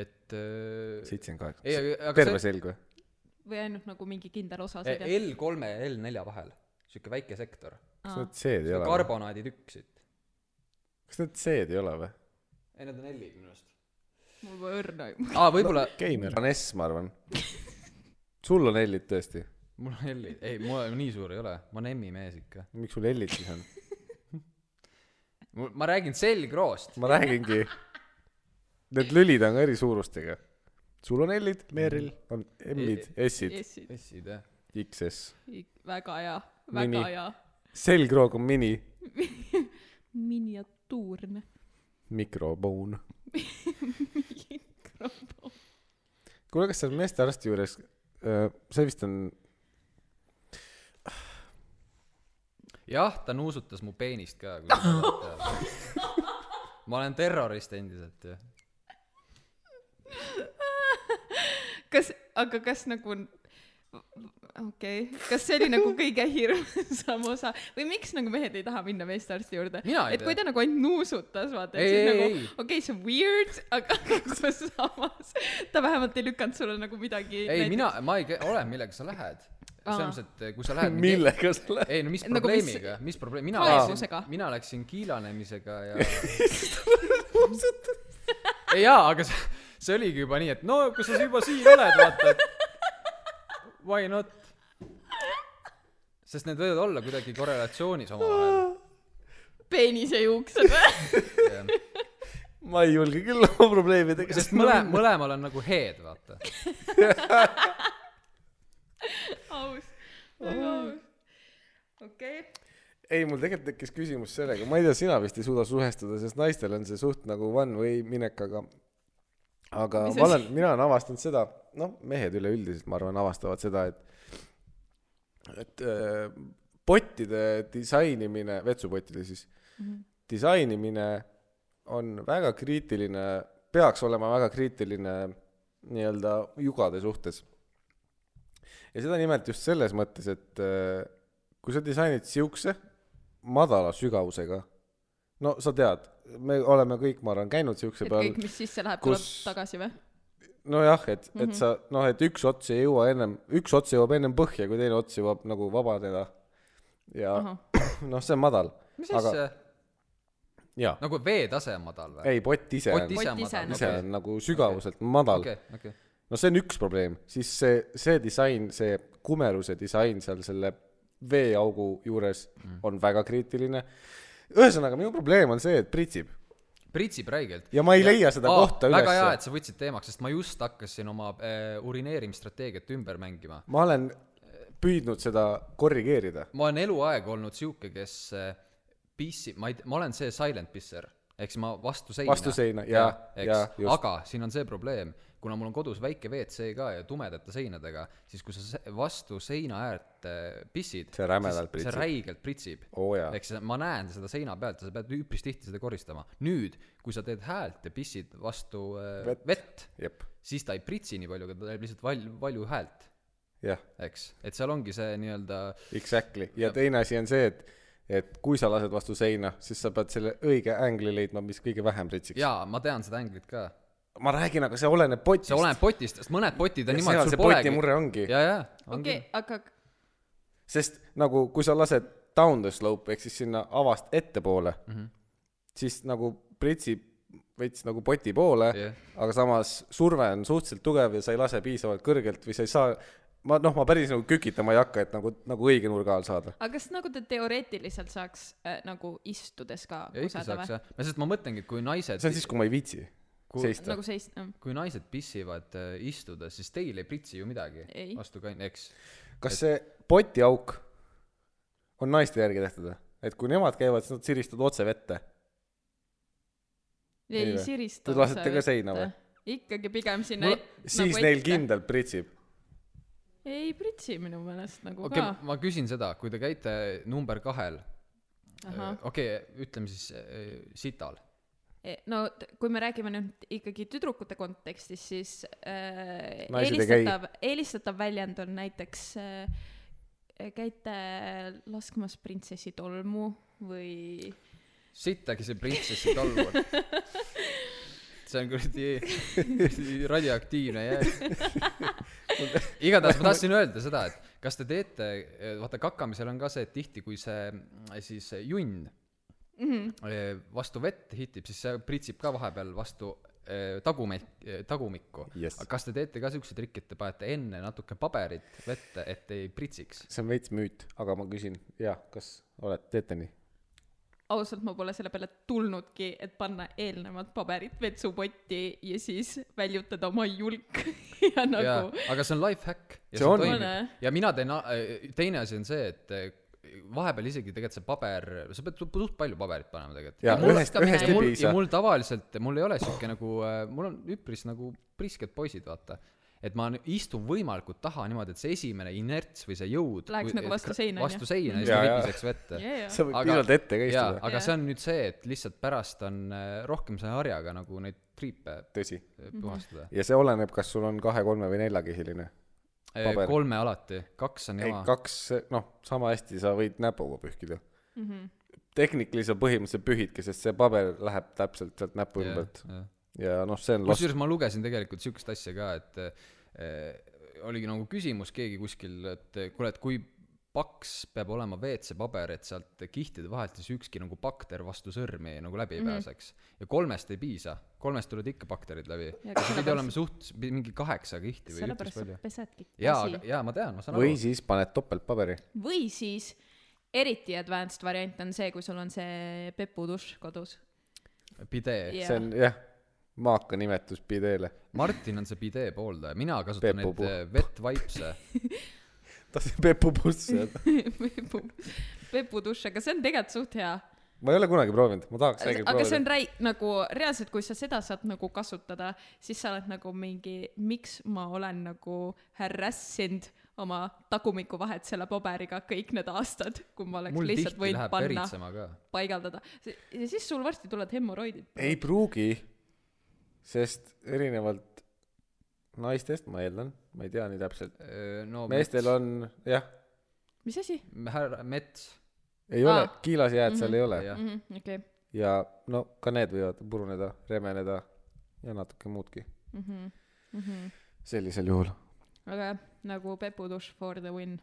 S2: et öö,
S1: seitsekümmend
S2: ei ,
S1: kaheksa .
S2: aga , aga
S1: terve
S2: see
S1: selg või ?
S3: või ainult nagu mingi kindel osa
S2: E,
S3: sa tead .
S2: L3-e ja L4 vahel , sihuke väike sektor
S1: kas need C-d ei ole või ?
S2: karbonaaditükk siit .
S1: kas need C-d ei ole või ?
S2: ei , need on L-id minu arust .
S3: mul pole õrna aimu .
S2: aa , võib-olla
S1: Keimer . on S , ma arvan . sul on L-id tõesti .
S2: mul on L-id , ei , ma nii suur ei ole , ma olen M-i mees ikka .
S1: miks sul L-id siis on ?
S2: mul , ma räägin selgroost .
S1: ma räägingi . Need lülid on ka eri suurustega . sul on L-id , Meril on M-id , S-id ,
S3: Yes,
S2: S-id jah .
S1: XS .
S3: väga hea ,
S1: Nimi.
S3: väga hea .
S1: selgroog on mini ,
S3: miniatuurne
S1: mikroboon .
S3: mikrofon .
S1: kuule , kas seal meestearsti juures , see vist on ,
S2: jah , ta nuusutas mu peenist ka , kui te tahate . ma olen terrorist endiselt ju .
S3: kas , aga kas nagu , okei okay. , kas see oli nagu kõige hirmsam osa või miks nagu mehed ei taha minna meestearsti juurde ?
S2: Mina ei
S3: et kui
S2: tea.
S3: ta nagu ainult nuusutas , vaata , et
S2: Ei,
S3: siis
S2: ei,
S3: nagu
S2: ei.
S3: okei okay, , see on weird , aga nagu samas ta vähemalt ei lükanud sulle nagu midagi .
S2: ei , mina , ma ei ke- ole , millega sa lähed .
S3: Aa.
S2: selles mõttes , et eh, kui sa lähed .
S1: millega sa lähed ?
S2: ei no mis
S3: Nagu mis-
S2: probleemiga , mis probleem , mina
S3: Kaebusega.
S2: läksin , mina läksin kiilanemisega ja . jaa , aga see , see oligi juba nii , et no kui sa juba siin oled , vaata , et why not . sest need võivad olla kuidagi korrelatsioonis omavahel .
S3: peenise juuksed või ?
S1: ma ei julge küll oma probleemidega .
S2: sest mõle- ,. mõlemal on nagu head , vaata .
S3: aus , väga aus . okei okay. ,
S1: ei , mul tegelikult tekkis küsimus sellega , ma ei tea , sina vist ei suuda suhestuda , sest naistel on see suht nagu one way minek , aga aga
S3: Mis
S1: ma
S3: asi?
S1: olen , mina olen avastanud seda , noh , mehed üleüldiselt , ma arvan , avastavad seda , et et äh, pottide disainimine , vetsupottide siis mm ,
S3: Mhm.
S1: -hmm. disainimine on väga kriitiline , peaks olema väga kriitiline nii-öelda jugade suhtes ja seda nimelt just selles mõttes , et äh, kui sa disainid siukse madala sügavusega , no sa tead , me oleme kõik , ma arvan , käinud siukse
S3: et
S1: peal
S3: kõik ,, mis sisse läheb ,
S1: kus-
S3: tuleb tagasi või ?
S1: nojah , et ,
S3: Mhm.
S1: et sa noh , et üks ots ei jõua ennem , üks ots jõuab ennem põhja , kui teine ots jõuab nagu vabaneda . ja noh , see on madal ,
S2: mis
S1: Aga-
S2: asja ,
S1: jaa .
S2: nagu veetase on madal või ?
S1: ei , pott ise
S2: pott
S1: on ,
S2: ise on
S3: Pott ise on
S2: madal ,
S1: ise
S2: okei
S1: on , nagu sügavuselt madal
S2: okei , okei .
S1: no see on üks probleem , siis see , see disain , see kumeruse disain seal selle veeaugu juures mm. on väga kriitiline . ühesõnaga , minu probleem on see , et pritsib
S2: pritsib räigelt .
S1: ja ma ei leia seda kohta
S2: Ah, väga hea ,
S1: ülesse .
S2: et sa võtsid teemaks , sest ma just hakkasin oma äh, urineerimisstrateegiat ümber mängima .
S1: ma olen püüdnud seda korrigeerida .
S2: ma olen eluaeg olnud sihuke , kes äh, pissib , ma ei tea , ma olen see silent pisser , ehk siis ma vastu seina .
S1: Vastu seina, jaa, jaa,
S2: eks ,
S1: just.
S2: aga siin on see probleem , kuna mul on kodus väike WC ka ja tumedate seinadega , siis kui sa se- vastu seina äärt äh, pissid ,
S1: See rämedalt
S2: see
S1: pritsib.
S2: räigelt pritsib
S1: oo Oh jaa .
S2: ehk siis ma näen seda seina pealt ja sa pead üpris tihti seda koristama . nüüd , kui sa teed häält ja pissid vastu äh,
S1: Vett.
S2: vett, vett ,
S1: jep ,
S2: siis ta ei pritsi nii palju , aga ta teeb lihtsalt val- , valju häält ,
S1: jah ,
S2: eks . et seal ongi see nii-öelda
S1: exactly . ja teine asi on see , et , et kui sa lased vastu seina , siis sa pead selle õige ängli leidma , mis kõige vähem pritsiks .
S2: jaa , ma tean seda änglit ka .
S1: ma räägin , aga see oleneb potist .
S2: see oleneb potist , sest mõned potid on
S1: Ja
S2: niimoodi ,
S1: seal
S2: et
S1: see
S2: sul
S1: poti
S2: polegi .
S1: mure ongi.
S2: jaa , jaa , ongi
S3: okei . aga
S1: sest nagu , kui sa lased down the slope ehk siis sinna avast ettepoole mm , -hmm. siis nagu pritsib veits nagu poti poole
S2: Jah.
S1: aga samas surve on suhteliselt tugev ja sa ei lase piisavalt kõrgelt või sa ei saa , ma noh , ma päris nagu kükitama ei hakka , et nagu , nagu õige nurga all saada .
S3: aga kas nagu ta teoreetiliselt saaks äh, nagu istudes ka
S2: ja ikka saaks jah , no sest ma mõtlengi , et kui naised
S1: see on , siis , kui ma ei viitsi
S2: Kui-
S1: seista
S3: nagu seis- mm.
S2: kui naised pissivad äh, istudes , siis teil ei pritsi ju midagi
S3: Ei.
S2: vastu kain- , eks .
S1: kas see potiauk on naiste järgi tehtud või ? et kui nemad käivad , siis nad siristavad otse vette . Ei
S3: ei
S1: või?
S3: sirista
S1: Te lasete ka seina või?
S3: ikkagi pigem sinna
S1: Mul,
S3: et-
S1: siis
S3: nagu
S1: neil
S3: ette.
S1: kindlalt pritsib .
S3: ei pritsi minu meelest nagu
S2: okei
S3: okay. ,
S2: ma küsin seda , kui te käite number kahel ,
S3: ka ahah
S2: okei , ütleme siis äh, sital .
S3: E- no t- kui me räägime nüüd ikkagi tüdrukute kontekstis , siis äh,
S1: Naised ei käi.
S3: eelistatav , eelistatav väljend on näiteks äh, käite laskmas printsessi tolmu või
S2: sittagi see printsessi tolm on . see on kuradi kuradi radioaktiivne jää . igatahes ma tahtsin öelda seda , et kas te teete , vaata kakamisel on ka see , et tihti kui see mm, siis see junn eh, vastu vett hitib , siis see pritsib ka vahepeal vastu eh, tagumik , tagumikku
S1: Yes.
S2: aga kas te teete ka siukse trikki , et te panete enne natuke paberit vette , et ei pritsiks ?
S1: see on veits müüt , aga ma küsin , jah , kas olete , teete nii ?
S3: ausalt , ma pole selle peale tulnudki , et panna eelnevad paberid vetsupotti ja siis väljutada oma julk ja
S2: jaa
S3: nagu ,,
S2: aga see on life hack ja
S1: See
S2: see,
S1: on.
S2: see
S3: On,
S2: toimib . ja mina teen , teine asi on see , et eh, vahepeal isegi tegelikult see paber , sa pead su- suht palju paberit panema tegelikult .
S1: jaa ,
S3: mul
S1: ühest ,
S3: hakkamine-
S1: ühest
S2: ja
S1: ei
S2: mul , ja
S1: piisa .
S2: mul tavaliselt , mul ei ole sihuke nagu , mul on üpris nagu prisked poisid , vaata . et ma nüüd istun võimalikult taha niimoodi , et see esimene inerts või see jõud
S3: Läheks
S2: kui-
S3: nagu
S2: et
S3: vastu
S2: kra-
S3: seina, on ju.
S2: vastu seina ja siis
S1: Jaa,
S2: ta
S1: jaa.
S2: ripiseks vette
S3: jajah .
S1: sa võid piisavalt ette ka
S2: jaa ,
S1: istuda .
S2: aga
S3: Jaa.
S2: see on nüüd see , et lihtsalt pärast on eh, rohkem see harjaga nagu neid triipe eh,
S1: tõsi .
S3: Mhm.
S2: puhastada .
S1: ja see oleneb , kas sul on kahe , kolme või neljakihiline . Paber.
S2: kolme alati , kaks on
S1: ei
S2: jama ,.
S1: kaks , noh , sama hästi sa võid näpuga pühkida mm .
S3: Mhm.
S1: -hmm. Tehnikli sa põhimõtteliselt pühidki , sest see paber läheb täpselt sealt näpu ümbert ja noh , see on loss .
S2: kusjuures ma lugesin tegelikult sihukest asja ka , et eh, oligi nagu küsimus keegi kuskil , et eh, kuule , et kui paks peab olema WC-paber , et sealt kihtide vahelt siis ükski nagu bakter vastu sõrmi nagu
S3: Mhm.
S2: läbi ei mm -hmm. pääseks . ja kolmest ei piisa , kolmest tulevad ikka bakterid läbi .
S3: Ja
S2: see pidi
S3: sellepärast-
S2: olema suht , mingi kaheksa kihti või üpris
S3: sellepärast sa
S2: palju .
S3: pesedki
S2: jaa ,
S3: käsi
S2: jaa , ma tean , ma saan
S1: või
S2: aru .
S1: siis paned topeltpaberi .
S3: või siis eriti advanced variant on see , kui sul on see pepudušš kodus .
S2: pidee
S3: Jaa.
S1: see on jah , maaka nimetus pideele .
S2: Martin on see pidee pooldaja , mina kasutan
S1: Pepu
S2: neid
S1: puh-
S2: eh, vettvaipse .
S1: tahtsin Pepu Pussi öelda .
S3: pepu , pepudušš , aga see on tegelikult suht hea .
S1: ma ei ole kunagi proovinud , ma tahaks tegelikult
S3: aga see on
S1: proovida .
S3: räi- , nagu reaalselt , kui sa seda saad nagu kasutada , siis sa oled nagu mingi , miks ma olen nagu harassinud oma tagumiku vahet selle paberiga kõik need aastad , kui ma oleks
S2: mul
S3: lihtsalt
S2: tihti
S3: võinud
S2: läheb
S3: panna ,
S2: veritsema ka .
S3: paigaldada . ja siis sul varsti tulevad hemoroidid .
S1: ei pruugi , sest erinevalt naistest , ma eeldan , ma ei tea nii täpselt ,
S2: no
S1: meestel on jah ,
S3: mis asi ?
S2: härra Mets ,
S1: ei ole
S3: Aa. ,
S1: kiilasjääd seal ei ole
S2: jah .
S3: Mhm. okei .
S1: ja no ka need võivad puruneda , remeneda ja natuke muudki mm . -hmm. sellisel juhul .
S3: väga hea , nagu pepudušš for the win .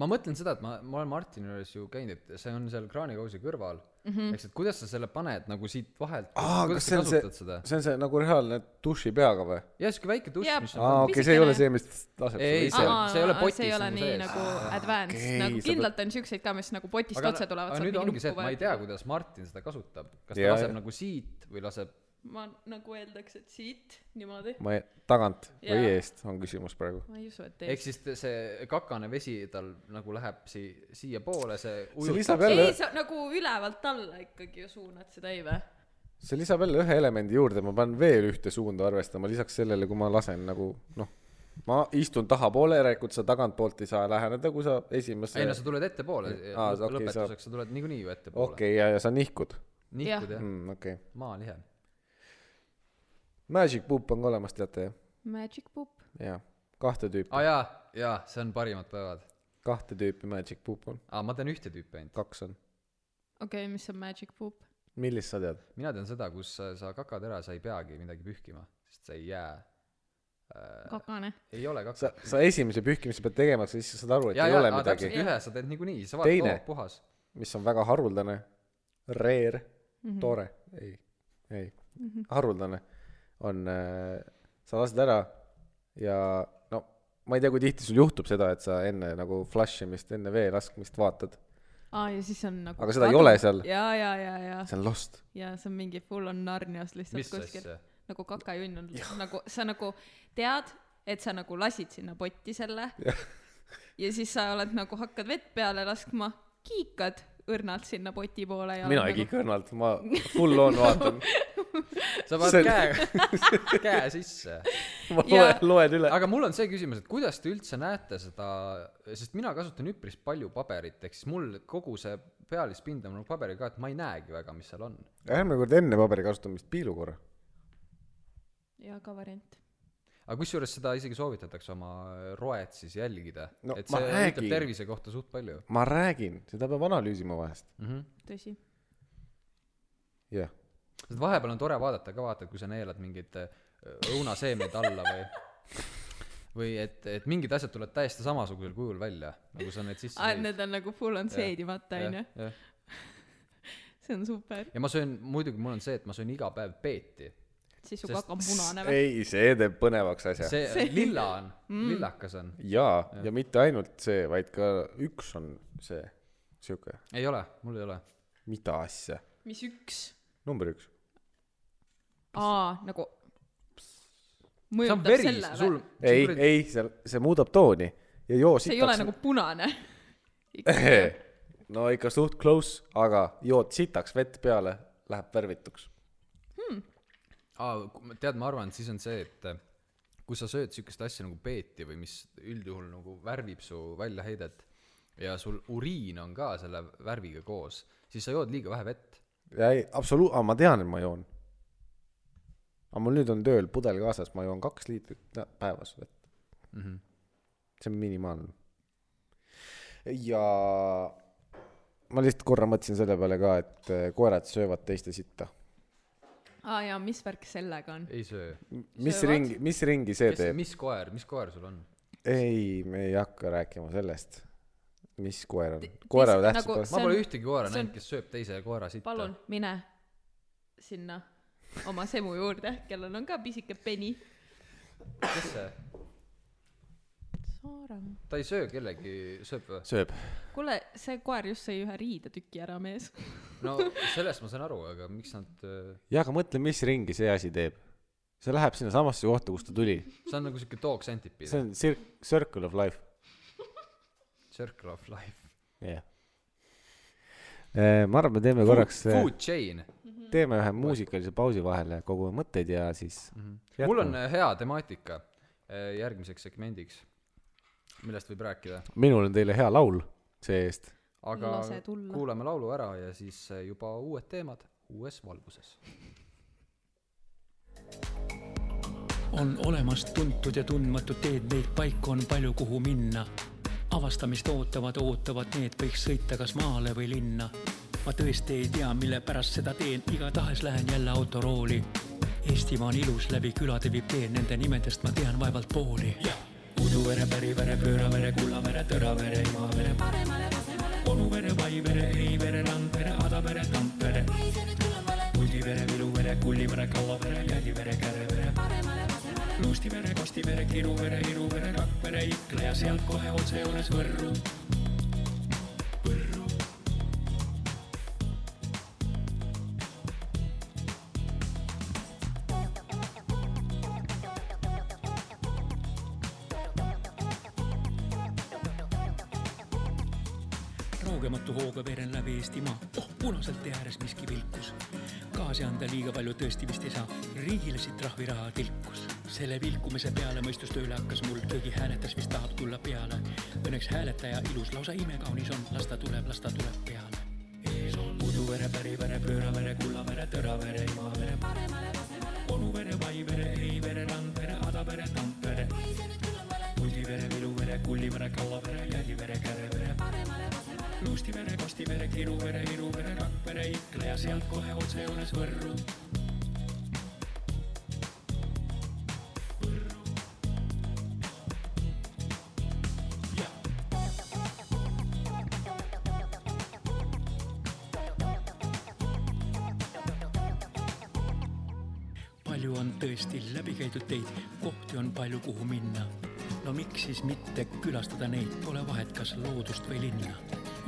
S2: ma mõtlen seda , et ma , ma olen Martini juures ju käinud , et see on seal kraanikausi kõrval mm
S3: Mhm.
S2: -hmm. , eks , et kuidas sa selle paned nagu siit vahelt ,
S1: aa ,
S2: kuidas
S1: kas see
S2: sa
S1: on see
S2: kasutad , seda ?
S1: see on see nagu reaalne duši peaga või ?
S2: jah , siuke väike dušš
S3: Jaa. ,
S2: mis on nagu-
S1: aa , okei , see ei ole see , mis laseb sulle
S2: Ei,
S1: ise
S2: Aa, . see ei ole
S3: see ei
S2: potis
S3: ole
S2: nagu
S3: nii
S2: sees.
S3: nagu advanced
S1: okei,
S3: okay, , nagu
S1: sa
S3: kindlalt on siukseid ka , mis nagu potist otse tulevad .
S2: aga nüüd ongi see , et ma ei tea , kuidas Martin seda kasutab , kas ta
S1: Jaa,
S2: laseb
S1: jaa.
S2: nagu siit või laseb
S3: ma nagu eeldaks , et siit niimoodi .
S1: ma ei , tagant või
S3: Jaa.
S1: eest on küsimus praegu .
S3: ma ei usu , et
S2: ehk
S3: teeks .
S2: siis t- see kakane vesi tal nagu läheb sii- , siiapoole , see
S1: lisab
S2: ujutab .
S1: jälle-
S3: ei , sa nagu ülevalt alla ikkagi ju suunad seda , ei vä ?
S1: see lisab jälle ühe elemendi juurde , ma pean veel ühte suunda arvestama , lisaks sellele , kui ma lasen nagu noh , ma istun tahapoole , järelikult sa tagantpoolt ei saa läheneda , kui sa esimesse .
S2: ei no sa tuled ettepoole
S1: Aa,
S2: ah, ,
S1: sa- okei, saab.
S2: lõpetuseks sa tuled niikuinii ju ettepoole okay. .
S1: okei , ja , ja sa nihkud .
S2: nihkud jah ,
S1: okei .
S2: maalihe .
S1: Magic Poop on ka olemas , teate jah ?
S3: Magic poop .
S1: jaa , kahte tüüpi ,
S2: aa ah, jaa , jaa , see on parimad päevad .
S1: kahte tüüpi Magic Poop on ,
S2: aa , ma tean ühte tüüpi ainult .
S1: kaks on .
S3: okei okay, , mis on magic poop ?
S1: millist sa tead ?
S2: mina tean seda , kus sa, sa kakad ära , sa ei peagi midagi pühkima , sest sa ei jää äh, .
S3: kakane .
S2: ei ole kaka
S1: sa ., sa esimese pühkimise pead tegema , siis sa saad aru , et
S2: jaa ,
S1: ja, ei
S2: jaa
S1: ja, ole ,
S2: aa
S1: midagi
S2: täpselt , ühe sa teed niikuinii , sa vaatad ,
S1: Teine.
S2: oo , puhas .
S1: mis on väga haruldane , rare mm ,
S3: Mhm.
S1: -hmm. tore , ei , ei mm , -hmm. haruldane on äh, , sa lased ära ja no ma ei tea , kui tihti sul juhtub seda , et sa enne nagu flash imist , enne vee laskmist vaatad ,
S3: aa , ja siis on nagu .
S1: Aga seda ei ole seal.
S3: ja , ja , ja , ja ,
S1: see on lost .
S3: ja see on mingi full on Narnias lihtsalt
S2: mis
S3: kuskil .
S2: asja ?
S3: nagu kakajunn on nagu , sa nagu tead , et sa nagu lasid sinna potti selle ja, ja siis sa oled nagu , hakkad vett peale laskma , kiikad õrnalt sinna poti poole ja
S1: mina ei
S3: nagu,
S1: kiika õrnalt , ma full on vaatan , See-
S2: sa paned käe , käe sisse .
S1: ma
S3: Ja-
S1: loen , loen üle .
S2: aga mul on see küsimus , et kuidas te üldse näete seda , sest mina kasutan üpris palju paberit , ehk siis mul kogu see pealispind on nagu paberi ka , et ma ei näegi väga , mis seal on .
S1: järgmine kord enne paberi kasutamist piilu korra .
S3: jaa , ka variant .
S2: aga kusjuures seda isegi soovitatakse oma roet siis jälgida
S1: No
S2: no, , et
S1: ma
S2: see
S1: räägin.
S2: ütleb tervise kohta suht palju
S1: ma räägin , seda peab analüüsima vahest .
S2: mm . -hmm.
S3: tõsi .
S1: jah ,
S2: sest vahepeal on tore vaadata ka , vaata , kui sa neelad mingeid äh, õunaseemneid alla või või et , et mingid asjad tulevad täiesti samasugusel kujul välja , nagu sa need sisse
S3: aa , et need on nagu full on
S2: Jah,
S3: seedimata , onju .
S2: ja,
S3: see on super .
S2: ja ma söön , muidugi mul on see , et ma söön iga päev peeti .
S3: siis su
S2: Sest-
S3: kaka on punane või ?
S1: ei , see teeb põnevaks asja .
S2: see, see lilla on mm. , lillakas on .
S1: jaa , ja mitte ainult see , vaid ka üks on see , sihuke ,
S2: ei ole , mul ei ole .
S1: mida asja ,
S3: mis üks ?
S1: number üks .
S3: aa , nagu .
S2: see on
S3: mõjutab
S2: veri
S3: selle ,
S2: sul
S3: või ?,
S1: ei , ei , see , see muudab tooni ja joo
S3: see ei ole
S1: sitaks .
S3: nagu punane .
S1: no ikka suht close , aga jood sitaks vett peale , läheb värvituks .
S2: aa , tead , ma arvan , et siis on see , et äh, kui sa sööd sihukest asja nagu peeti või mis üldjuhul nagu värvib su väljaheidet ja sul uriin on ka selle värviga koos , siis sa jood liiga vähe vett .
S1: ja ei , absoluut , aga ma tean , et ma joon . aga mul nüüd on tööl pudel kaasas , ma joon kaks liitrit nä- päevas vett mm . -hmm. see on minimaalne . ja ma lihtsalt korra mõtlesin selle peale ka , et eh, koerad söövad teiste sitta .
S3: aa jaa , mis värk sellega on ?
S2: ei söö .
S1: mis
S3: Söövad?
S1: ringi , mis ringi see
S2: kes ,
S1: teeb ?
S2: mis koer , mis koer sul on ?
S1: ei , me ei hakka rääkima sellest , mis koer on . koera
S3: mis-
S1: tähtsus
S3: nagu-
S1: nagu...
S2: ma
S3: See
S2: pole
S3: on-
S2: ühtegi koera
S3: see on-
S2: näinud , kes sööb teise koera sitta .
S3: palun , mine sinna oma semu juurde , kellel on ka pisike peni .
S2: kes see ? ta ei söö kellegi , sööb või ?
S1: sööb .
S3: kuule , see koer just sõi ühe riidetüki ära , mees .
S2: no sellest ma saan aru , aga miks nad , äh,
S1: jaa , aga mõtle , mis ringi see asi teeb . see läheb sinnasamasse kohta , kust ta tuli .
S2: see on nagu siuke dog
S1: see
S2: centipede ,
S1: on cir- , circle of life .
S2: circle of life .
S1: jah . Äh, ma arvan , me teeme korraks ,
S2: Food chain .
S1: teeme ühe muusikalise pausi vahele , kogume mõtteid ja siis
S2: mul on . hea temaatika eh, järgmiseks segmendiks , millest võib rääkida ,
S1: minul on teile hea laul see-eest .
S2: aga
S3: Lase tulla.
S2: kuulame laulu ära ja siis eh, juba uued teemad uues valguses .
S5: on olemas tuntud ja tundmatud teed , neid paiku on palju , kuhu minna . avastamist ootavad , ootavad need , võiks sõita kas maale või linna . ma tõesti ei tea , mille pärast seda teen , igatahes lähen jälle autorooli . Eestimaa on ilus , läbi külade viib tee , nende nimedest ma tean vaevalt pooli . uduvere , pärivere , pööravere , kullavere , tõravere , emavere , paremale , vasemale , onuvere , vaivere , heivere , randvere , adavere , tampere , pudivere , viluvere , kullivere , kallavere , jälivere , kärevere , Luustivere , Kostivere , Kiruvere , Iruvere , Rakvere , Ikla ja sealt kohe otse juures Võrru . Võrru . laugematu hooga veeren läbi Eestimaa . oh , punaselt tee ääres miski vilkus . gaasi anda liiga palju tõesti vist ei saa , riigile siit trahviraha tilkus . selle vilkumise peale mõistus tööle hakkas mul , keegi hääletas , mis tahab tulla peale . Õnneks hääletaja ilus , lausa imekaunis on , las ta tuleb , las ta tuleb peale . ees on uduvere , pärivere , pööravere , kullavere , tõravere , emavere , paremale vasemale , onuvere , vaivere , heivere , randvere , adavere , tampere Kuldivere , Viluvere , Kullivere , Kallavere , Jälivere , Kärevere , Luustivere , Kostivere , Kiruvere , Iruvere , Rakvere , Ikle ja sealt kohe otsejoones Võrru . palju on tõesti läbi käidud teid , kohti on palju , kuhu minna . no miks siis mitte külastada neid , pole vahet , kas loodust või linna .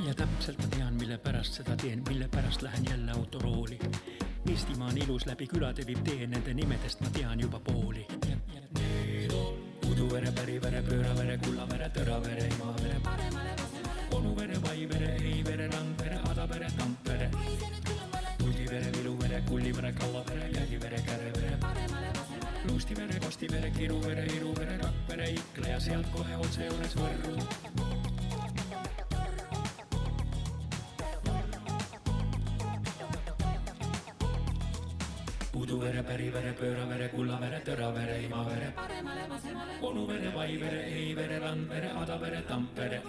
S5: ja täpselt ma tean , mille pärast seda teen , mille pärast lähen jälle autorooli . Eestimaa on ilus , läbi külade viib tee , nende nimedest ma tean juba pooli . uduvere , pärivere , pööravere , kullavere , tõravere , emavere , onuvere , vaivere , heivere , randvere , adavere , tampere Kuldivere , Viluvere , Kullivere , Kallavere , Jälivere , Kärevere , Luustivere , Kostivere , Kiruvere , Iruvere , Rakvere , Ikle ja sealt kohe otsejoones Võrru . uduvere , pärivere , pööravere , kullavere , tõravere , imavere , onuvere , vaivere , heivere , randvere , adavere , tampere ,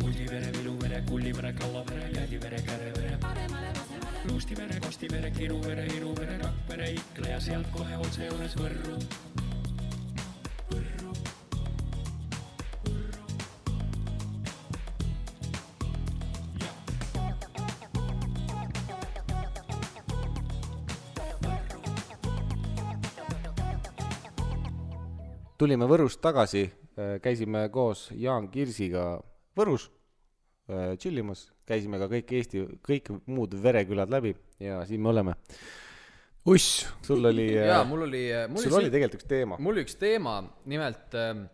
S5: Kuldivere , Viluvere , Kullivere , Kallavere , Jälivere , Kärevere , Luustivere , Kostivere , Kiruvere , Iruvere , Rakvere , Ikle ja sealt kohe otsejoones Võrru .
S1: tulime Võrust tagasi , käisime koos Jaan Kirsiga Võrus äh, tšillimas , käisime ka kõik Eesti , kõik muud verekülad läbi ja siin me oleme . uss , sul oli ,
S2: jaa , mul oli , mul
S1: sul oli tegelikult üks teema .
S2: mul üks teema , nimelt ähm,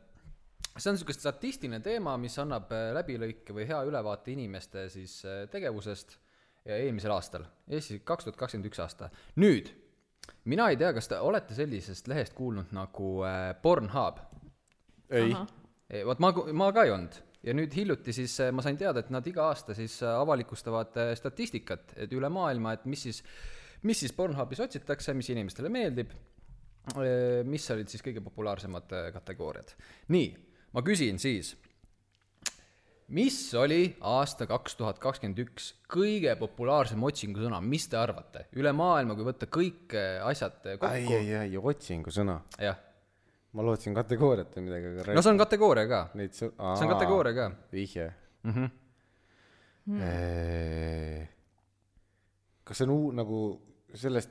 S2: see on niisugune statistiline teema , mis annab äh, läbilõike või hea ülevaate inimeste siis äh, tegevusest ja eelmisel aastal , Eestis kaks tuhat kakskümmend üks aasta . nüüd , mina ei tea , kas te olete sellisest lehest kuulnud nagu äh, Pornhub ?
S1: ei ,
S2: Ei, Eh, vot ma , ma ka ei olnud ja nüüd hiljuti siis äh, ma sain teada , et nad iga aasta siis äh, avalikustavad äh, statistikat , et üle maailma , et mis siis , mis siis Pornhubis otsitakse , mis inimestele meeldib , mis olid siis kõige populaarsemad äh, kategooriad . nii , ma küsin siis , mis oli aasta kaks tuhat kakskümmend üks kõige populaarsem otsingusõna , mis te arvate , üle maailma , kui võtta kõik äh, asjad äh,
S1: ai ,
S2: kokku ,
S1: ai , ai , otsingusõna .
S2: jah ,
S1: ma lootsin kategooriat või midagi , aga
S2: no see on kategooria ka ,
S1: Neid sõn- ,
S2: see on kategooria ka . Mhm.
S1: vihje mm . -hmm. kas see on uu- nagu sellest ,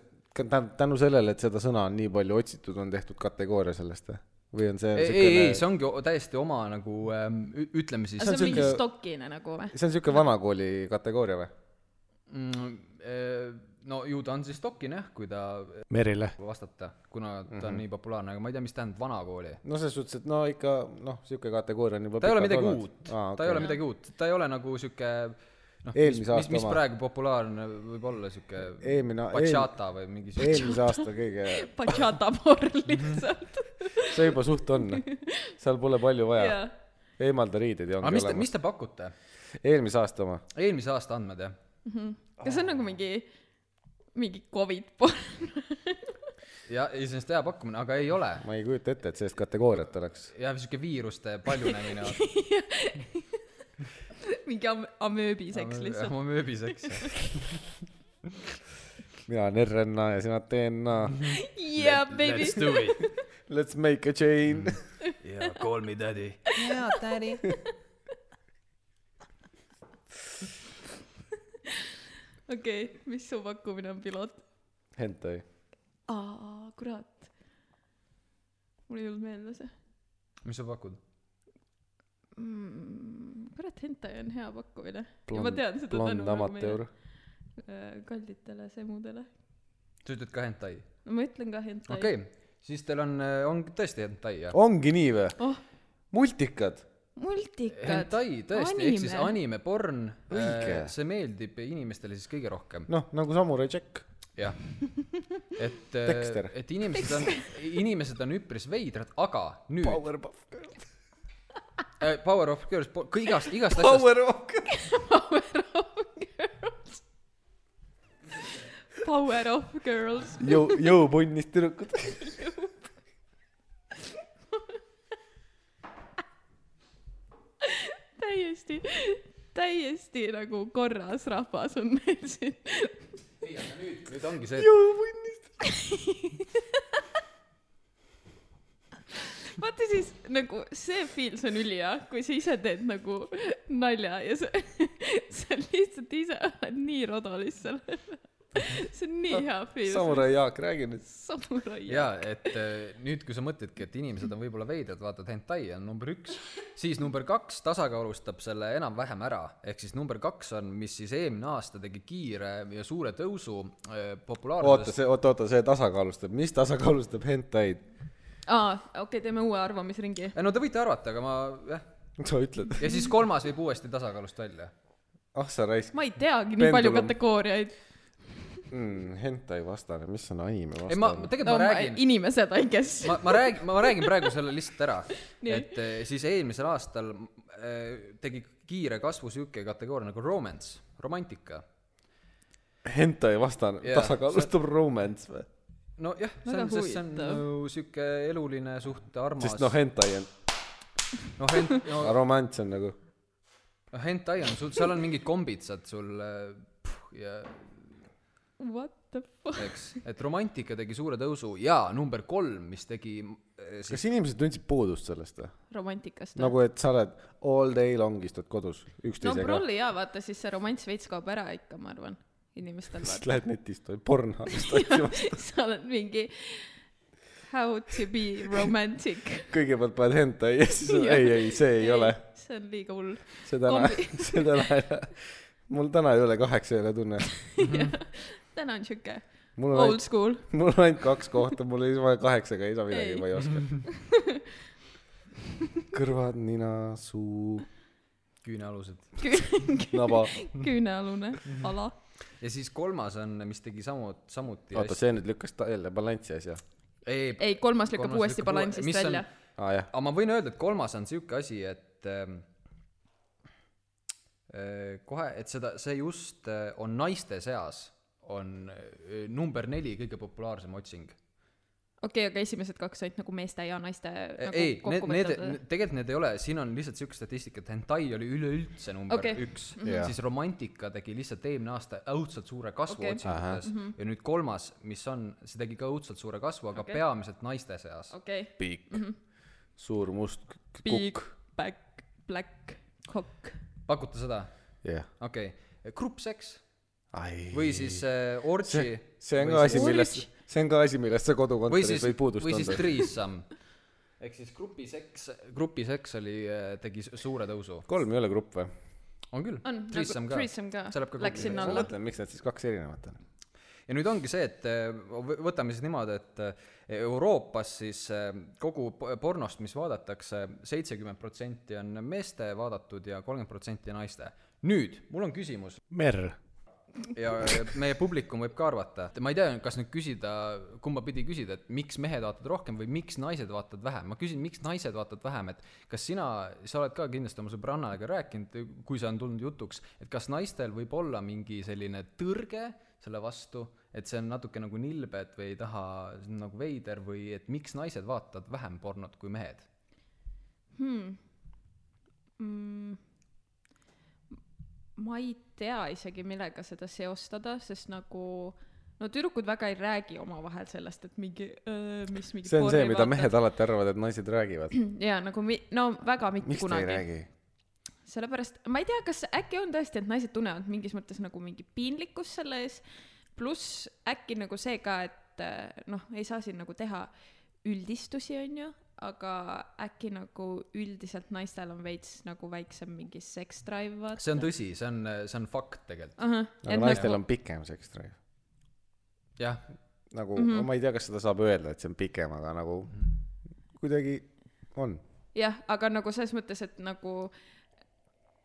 S1: tänu sellele , et seda sõna on nii palju otsitud , on tehtud kategooria sellest või ? või on see
S2: ei , ei , ei , see ongi o- täiesti oma nagu ähm, ü- ütleme siis
S3: see on mingi
S1: sihuke-
S3: stokine nagu või ?
S1: see on siuke vanakooli kategooria või ?
S2: mm, , no ju ta on siis dokine jah , kui ta äh,
S1: Merile .
S2: vastata , kuna ta
S1: Mhm.
S2: mm -hmm. on nii populaarne , aga ma ei tea , mis tähendab vanakooli .
S1: no selles suhtes , et no ikka noh , siuke kategooria on juba
S2: ta ei ole
S1: pikalt
S2: midagi
S1: olnud.
S2: uut , ta ei ole midagi uut , ta ei ole nagu sihuke noh , mis,
S1: Eelmise
S2: mis,
S1: aasta
S2: mis
S1: oma.
S2: praegu populaarne võib olla sihuke
S1: Eelmine- eel-
S2: bachata või mingi sihuke
S1: eelmise aasta kõige ,
S3: Bachata porn lihtsalt .
S1: see juba suht on , seal pole palju vaja ,
S3: jah .
S1: eemalda riideid ja
S2: aga
S1: ongi
S2: mis te ,
S1: olemas .
S2: mis te pakute ?
S1: eelmise aasta oma ,
S2: eelmise aasta andmed jah ?
S3: kas see on nagu mingi , mingi Covid porn ?
S2: ja , ja see on hea pakkumine , aga ei ole .
S1: ma ei kujuta ette , et sellist kategooriat oleks .
S2: jah , sihuke viiruste paljunemine .
S3: mingi am- , amööbiseks lihtsalt .
S2: ma mööbiseks .
S1: mina olen RNA ja sina DNA .
S3: Yeah , baby .
S2: Let's do it .
S1: Let's make a chain .
S2: yeah , call me daddy .
S3: okei okay, , mis su pakkumine on , piloot ?
S1: Hentai .
S3: aa , kurat . mul ei tulnud meelde see
S2: mis sa pakud ?
S3: mm, . kurat , hentai on hea pakkumine . ja ma
S1: blond
S3: tean , seda
S1: blond amatöör .
S3: äh, kallitele semudele .
S2: sa ütled ka hentai ?
S3: no ma ütlen ka hentai
S2: okei okay. , siis teil on , on tõesti eh, hentai jah ?
S1: ongi nii või
S3: Oh. ?
S1: multikad ,
S3: multikad .
S2: Hentai , tõesti , ehk siis anime , porn ,
S1: Õige.
S2: see meeldib inimestele siis kõige rohkem ,
S1: noh , nagu Samurai Jack .
S2: jah . et ,
S1: Dexter.
S2: et inimesed on , inimesed on üpris veidrad , aga nüüd Power,
S1: Powerpuff Girl .
S2: Power of Girls , igast , igast asjast ,
S1: Powerpuff Girl .
S3: Power of girls . Power of girls .
S1: jõu , jõupunnist tüdrukud .
S3: täiesti , täiesti nagu korras rahvas on meil siin .
S2: nüüd ongi see ,
S1: jõupunnist .
S3: vaata siis nagu see feels on ülihea , kui sa ise teed nagu nalja ja sa , sa lihtsalt ise oled nii rodolis seal . see on nii hea feel .
S1: Samurai Jaak , räägi nüüd .
S3: samurai .
S2: jaa , et eh, nüüd , kui sa mõtledki , et inimesed on võib-olla veidrad , vaatad hentai on number üks , siis number kaks tasakaalustab selle enam-vähem ära , ehk siis number kaks on , mis siis eelmine aasta tegi kiire ja suure tõusu eh,
S1: oota ,
S2: populaarsuses .
S1: see , oota , oota , see tasakaalustab , mis tasakaalustab hentaid ?
S3: aa , Ah, okei okay, , teeme uue arvamisringi .
S2: no te võite arvata , aga ma jah ,
S1: sa ütled ,
S2: ja siis kolmas viib uuesti tasakaalust välja .
S1: ah sa raisk
S3: ma ei teagi nii palju
S1: Pendulum.
S3: kategooriaid .
S1: mm, . hentai vastane , mis on anime
S2: ei ma ,
S1: vastane ?
S3: no
S2: tegelikult no, ma
S3: ma
S2: räägin ,
S3: inimesed , I guess ..
S2: ma , ma räägin , ma räägin praegu selle lihtsalt ära
S3: Nii.
S2: et eh, siis eelmisel aastal eh, tegi kiire kasvu sihuke kategooria nagu romance , romantika .
S1: hentai vastane
S2: Jaa,
S1: yeah, , tasakaalustab sa... romance või ?
S2: nojah , see
S3: Väga
S2: on , sest see on
S3: huvitav.
S2: ju sihuke eluline suht armas .
S1: sest noh , hentai on ,
S2: noh , hent- , no
S1: romance on nagu ,
S2: noh, hentai on sul , seal on mingid kombitsad sul eh, puh, ja
S3: What the fuck ?
S2: eks , et romantika tegi suure tõusu ja number kolm , mis tegi eh, siis
S1: kas inimesed tundsid puudust sellest või ?
S3: romantikast või ?
S1: nagu , et sa oled all day long istud kodus
S3: no
S1: üksteisega no, ,
S3: prolli jaa , vaata siis see romanss veits kaob ära ikka , ma arvan , inimestel
S1: siis
S3: vaata .
S1: lähed netist või pornhubist otsima ,
S3: sa oled mingi how to be romantic .
S1: kõigepealt paned hentai ja siis on, ei , ei , see ei ole ,.
S3: see on liiga hull .
S1: seda täna
S3: Kombi- ,
S1: seda täna , mul täna ei ole kaheksa ei ole tunne , Mhm.
S3: täna on siuke
S1: mul on
S3: old
S1: ainult ,
S3: school .
S1: mul on ainult kaks kohta , mul ei saa kaheksaga ei saa midagi
S3: Ei. ,
S1: ma ei oska . kõrvad , nina , suu ,
S2: küünealused .
S1: naba ,
S3: küünealune ala .
S2: ja siis kolmas on , mis tegi samu , samuti
S1: oota , see nüüd lükkas ta jälle balanssi asja ,
S2: ei,
S3: ei , kolmas lükkab
S2: Kolmas
S3: uuesti
S2: lükkab uue- mis
S3: balansist
S2: on-
S3: välja .
S1: aa Ah, jah ,
S2: aga ma võin öelda , et kolmas on sihuke asi , et ähm, äh, kohe , et seda , see just äh, on naiste seas , on äh, number neli kõige populaarsem otsing .
S3: okei , aga esimesed kaks said nagu meeste ja naiste nagu
S2: ei , need ,
S3: kokku
S2: need ,
S3: võetud .
S2: tegelikult need ei ole , siin on lihtsalt sihuke statistika , et hentai oli üleüldse number
S3: Okei.
S2: okay. üks
S1: Mhm. Jaa.
S2: yeah. , siis romantika tegi lihtsalt eelmine aasta õudselt suure kasvu
S3: Okei. Mhm.
S2: okay. otsingutes mm -hmm. ja nüüd kolmas , mis on , see tegi ka õudselt suure kasvu , aga
S3: Okei.
S2: okay. peamiselt naiste seas okay. .
S3: okei .
S1: piik , suur must k- k-
S3: Big
S1: kukk ,
S3: back , black cock .
S2: pakute seda ?
S1: jah ,
S2: okei okay. , gruppseks
S1: ai .
S2: või siis äh, orgi
S1: see , see on ka asi , millest
S3: Orange. ,
S1: see on ka asi , millest sa
S2: või
S1: kodukontoris
S2: siis ,
S1: võid puudust
S2: või siis
S1: tunda .
S2: threesome . ehk siis grupiseks , grupiseks oli , tegi su- suure tõusu .
S1: kolm ei ole grupp või ?
S2: on küll
S3: on ,,
S2: threesome
S3: nagu
S2: ka .
S3: threesome ka
S2: See läheb ka .
S3: Läks
S2: kokku.
S3: sinna
S1: ma
S3: alla .
S1: mõtlen , miks nad siis kaks erinevat on .
S2: ja nüüd ongi see , et äh, võ- võtame siis niimoodi , et äh, Euroopas siis äh, kogu po- pornost , mis vaadatakse , seitsekümmend protsenti on meeste vaadatud ja kolmkümmend protsenti naiste . nüüd , mul on küsimus
S1: merr .
S2: ja meie publikum võib ka arvata , ma ei tea , kas nüüd küsida , kumba pidi küsida , et miks mehed vaatavad rohkem või miks naised vaatavad vähem , ma küsin , miks naised vaatavad vähem , et kas sina , sa oled ka kindlasti oma sõbrannaga rääkinud , kui see on tulnud jutuks , et kas naistel võib olla mingi selline tõrge selle vastu , et see on natuke nagu nilbed või ei taha , see on nagu veider või et miks naised vaatavad vähem pornot kui mehed ?
S3: hmm. . Mm. ma ei tea isegi , millega seda seostada , sest nagu no tüdrukud väga ei räägi omavahel sellest , et mingi , mis mingi
S1: see on see , mida mehed alati arvavad , et naised räägivad .
S3: jaa , nagu mi- , no väga mitte
S1: miks te ei
S3: kunagi .
S1: räägi ?
S3: sellepärast , ma ei tea , kas äkki on tõesti , et naised tunnevad mingis mõttes nagu mingi piinlikkust selle ees , pluss äkki nagu see ka , et äh, noh , ei saa siin nagu teha üldistusi , on ju , aga äkki nagu üldiselt naistel on veits nagu väiksem mingi sex drive , vaata .
S2: see on tõsi , see on , see on fakt tegelikult ,
S3: ahah , nagu-
S1: aga Nagu naistel on pikem sex drive .
S2: jah . Mhm.
S1: nagu mm , -hmm. ma ei tea , kas seda saab öelda , et see on pikem , aga nagu kuidagi on .
S3: jah , aga nagu selles mõttes , et nagu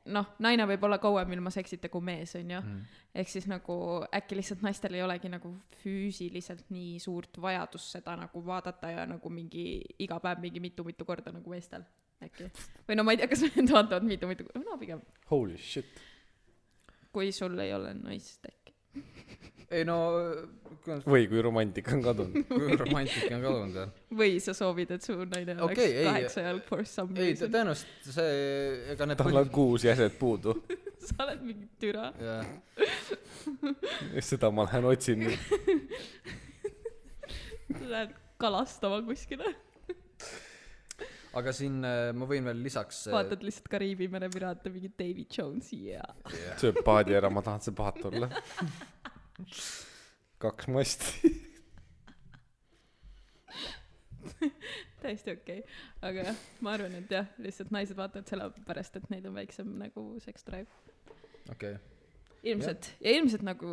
S3: noh , naine võib olla kauem ilma seksita kui mees , onju mm. . ehk siis nagu äkki lihtsalt naistel ei olegi nagu füüsiliselt nii suurt vajadust seda nagu vaadata ja nagu mingi iga päev mingi mitu-mitu korda nagu meestel äkki . või no ma ei tea , kas need vaatavad mitu-mitu , no pigem ,
S1: Holy shit .
S3: kui sul ei ole naist äkki .
S2: ei no ,
S1: või kui romantika on kadunud .
S2: kui romantika on kadunud jah .
S3: või sa soovid , et su naine oleks
S2: Okei,
S3: okay,
S2: ei,
S3: kaheksa jalg for some
S2: ei ,
S3: reason .
S2: tõenäoliselt see , ega need
S1: tal on kuus jäset puudu .
S3: sa oled mingi türa .
S2: jah ,
S1: seda ma lähen otsin nüüd .
S3: Lähed kalastama kuskile ,
S2: aga siin äh, ma võin veel lisaks .
S3: vaatad lihtsalt Kariibi mere piraate , mingi Davy Jones , jaa .
S1: sööb paadi ära , ma tahan see paat olla . kaks masti .
S3: täiesti okei okay. , aga jah , ma arvan , et jah , lihtsalt naised vaatavad sellepärast , et neil on väiksem nagu sex drive .
S2: okei okay. ,
S3: ilmselt , ja ilmselt nagu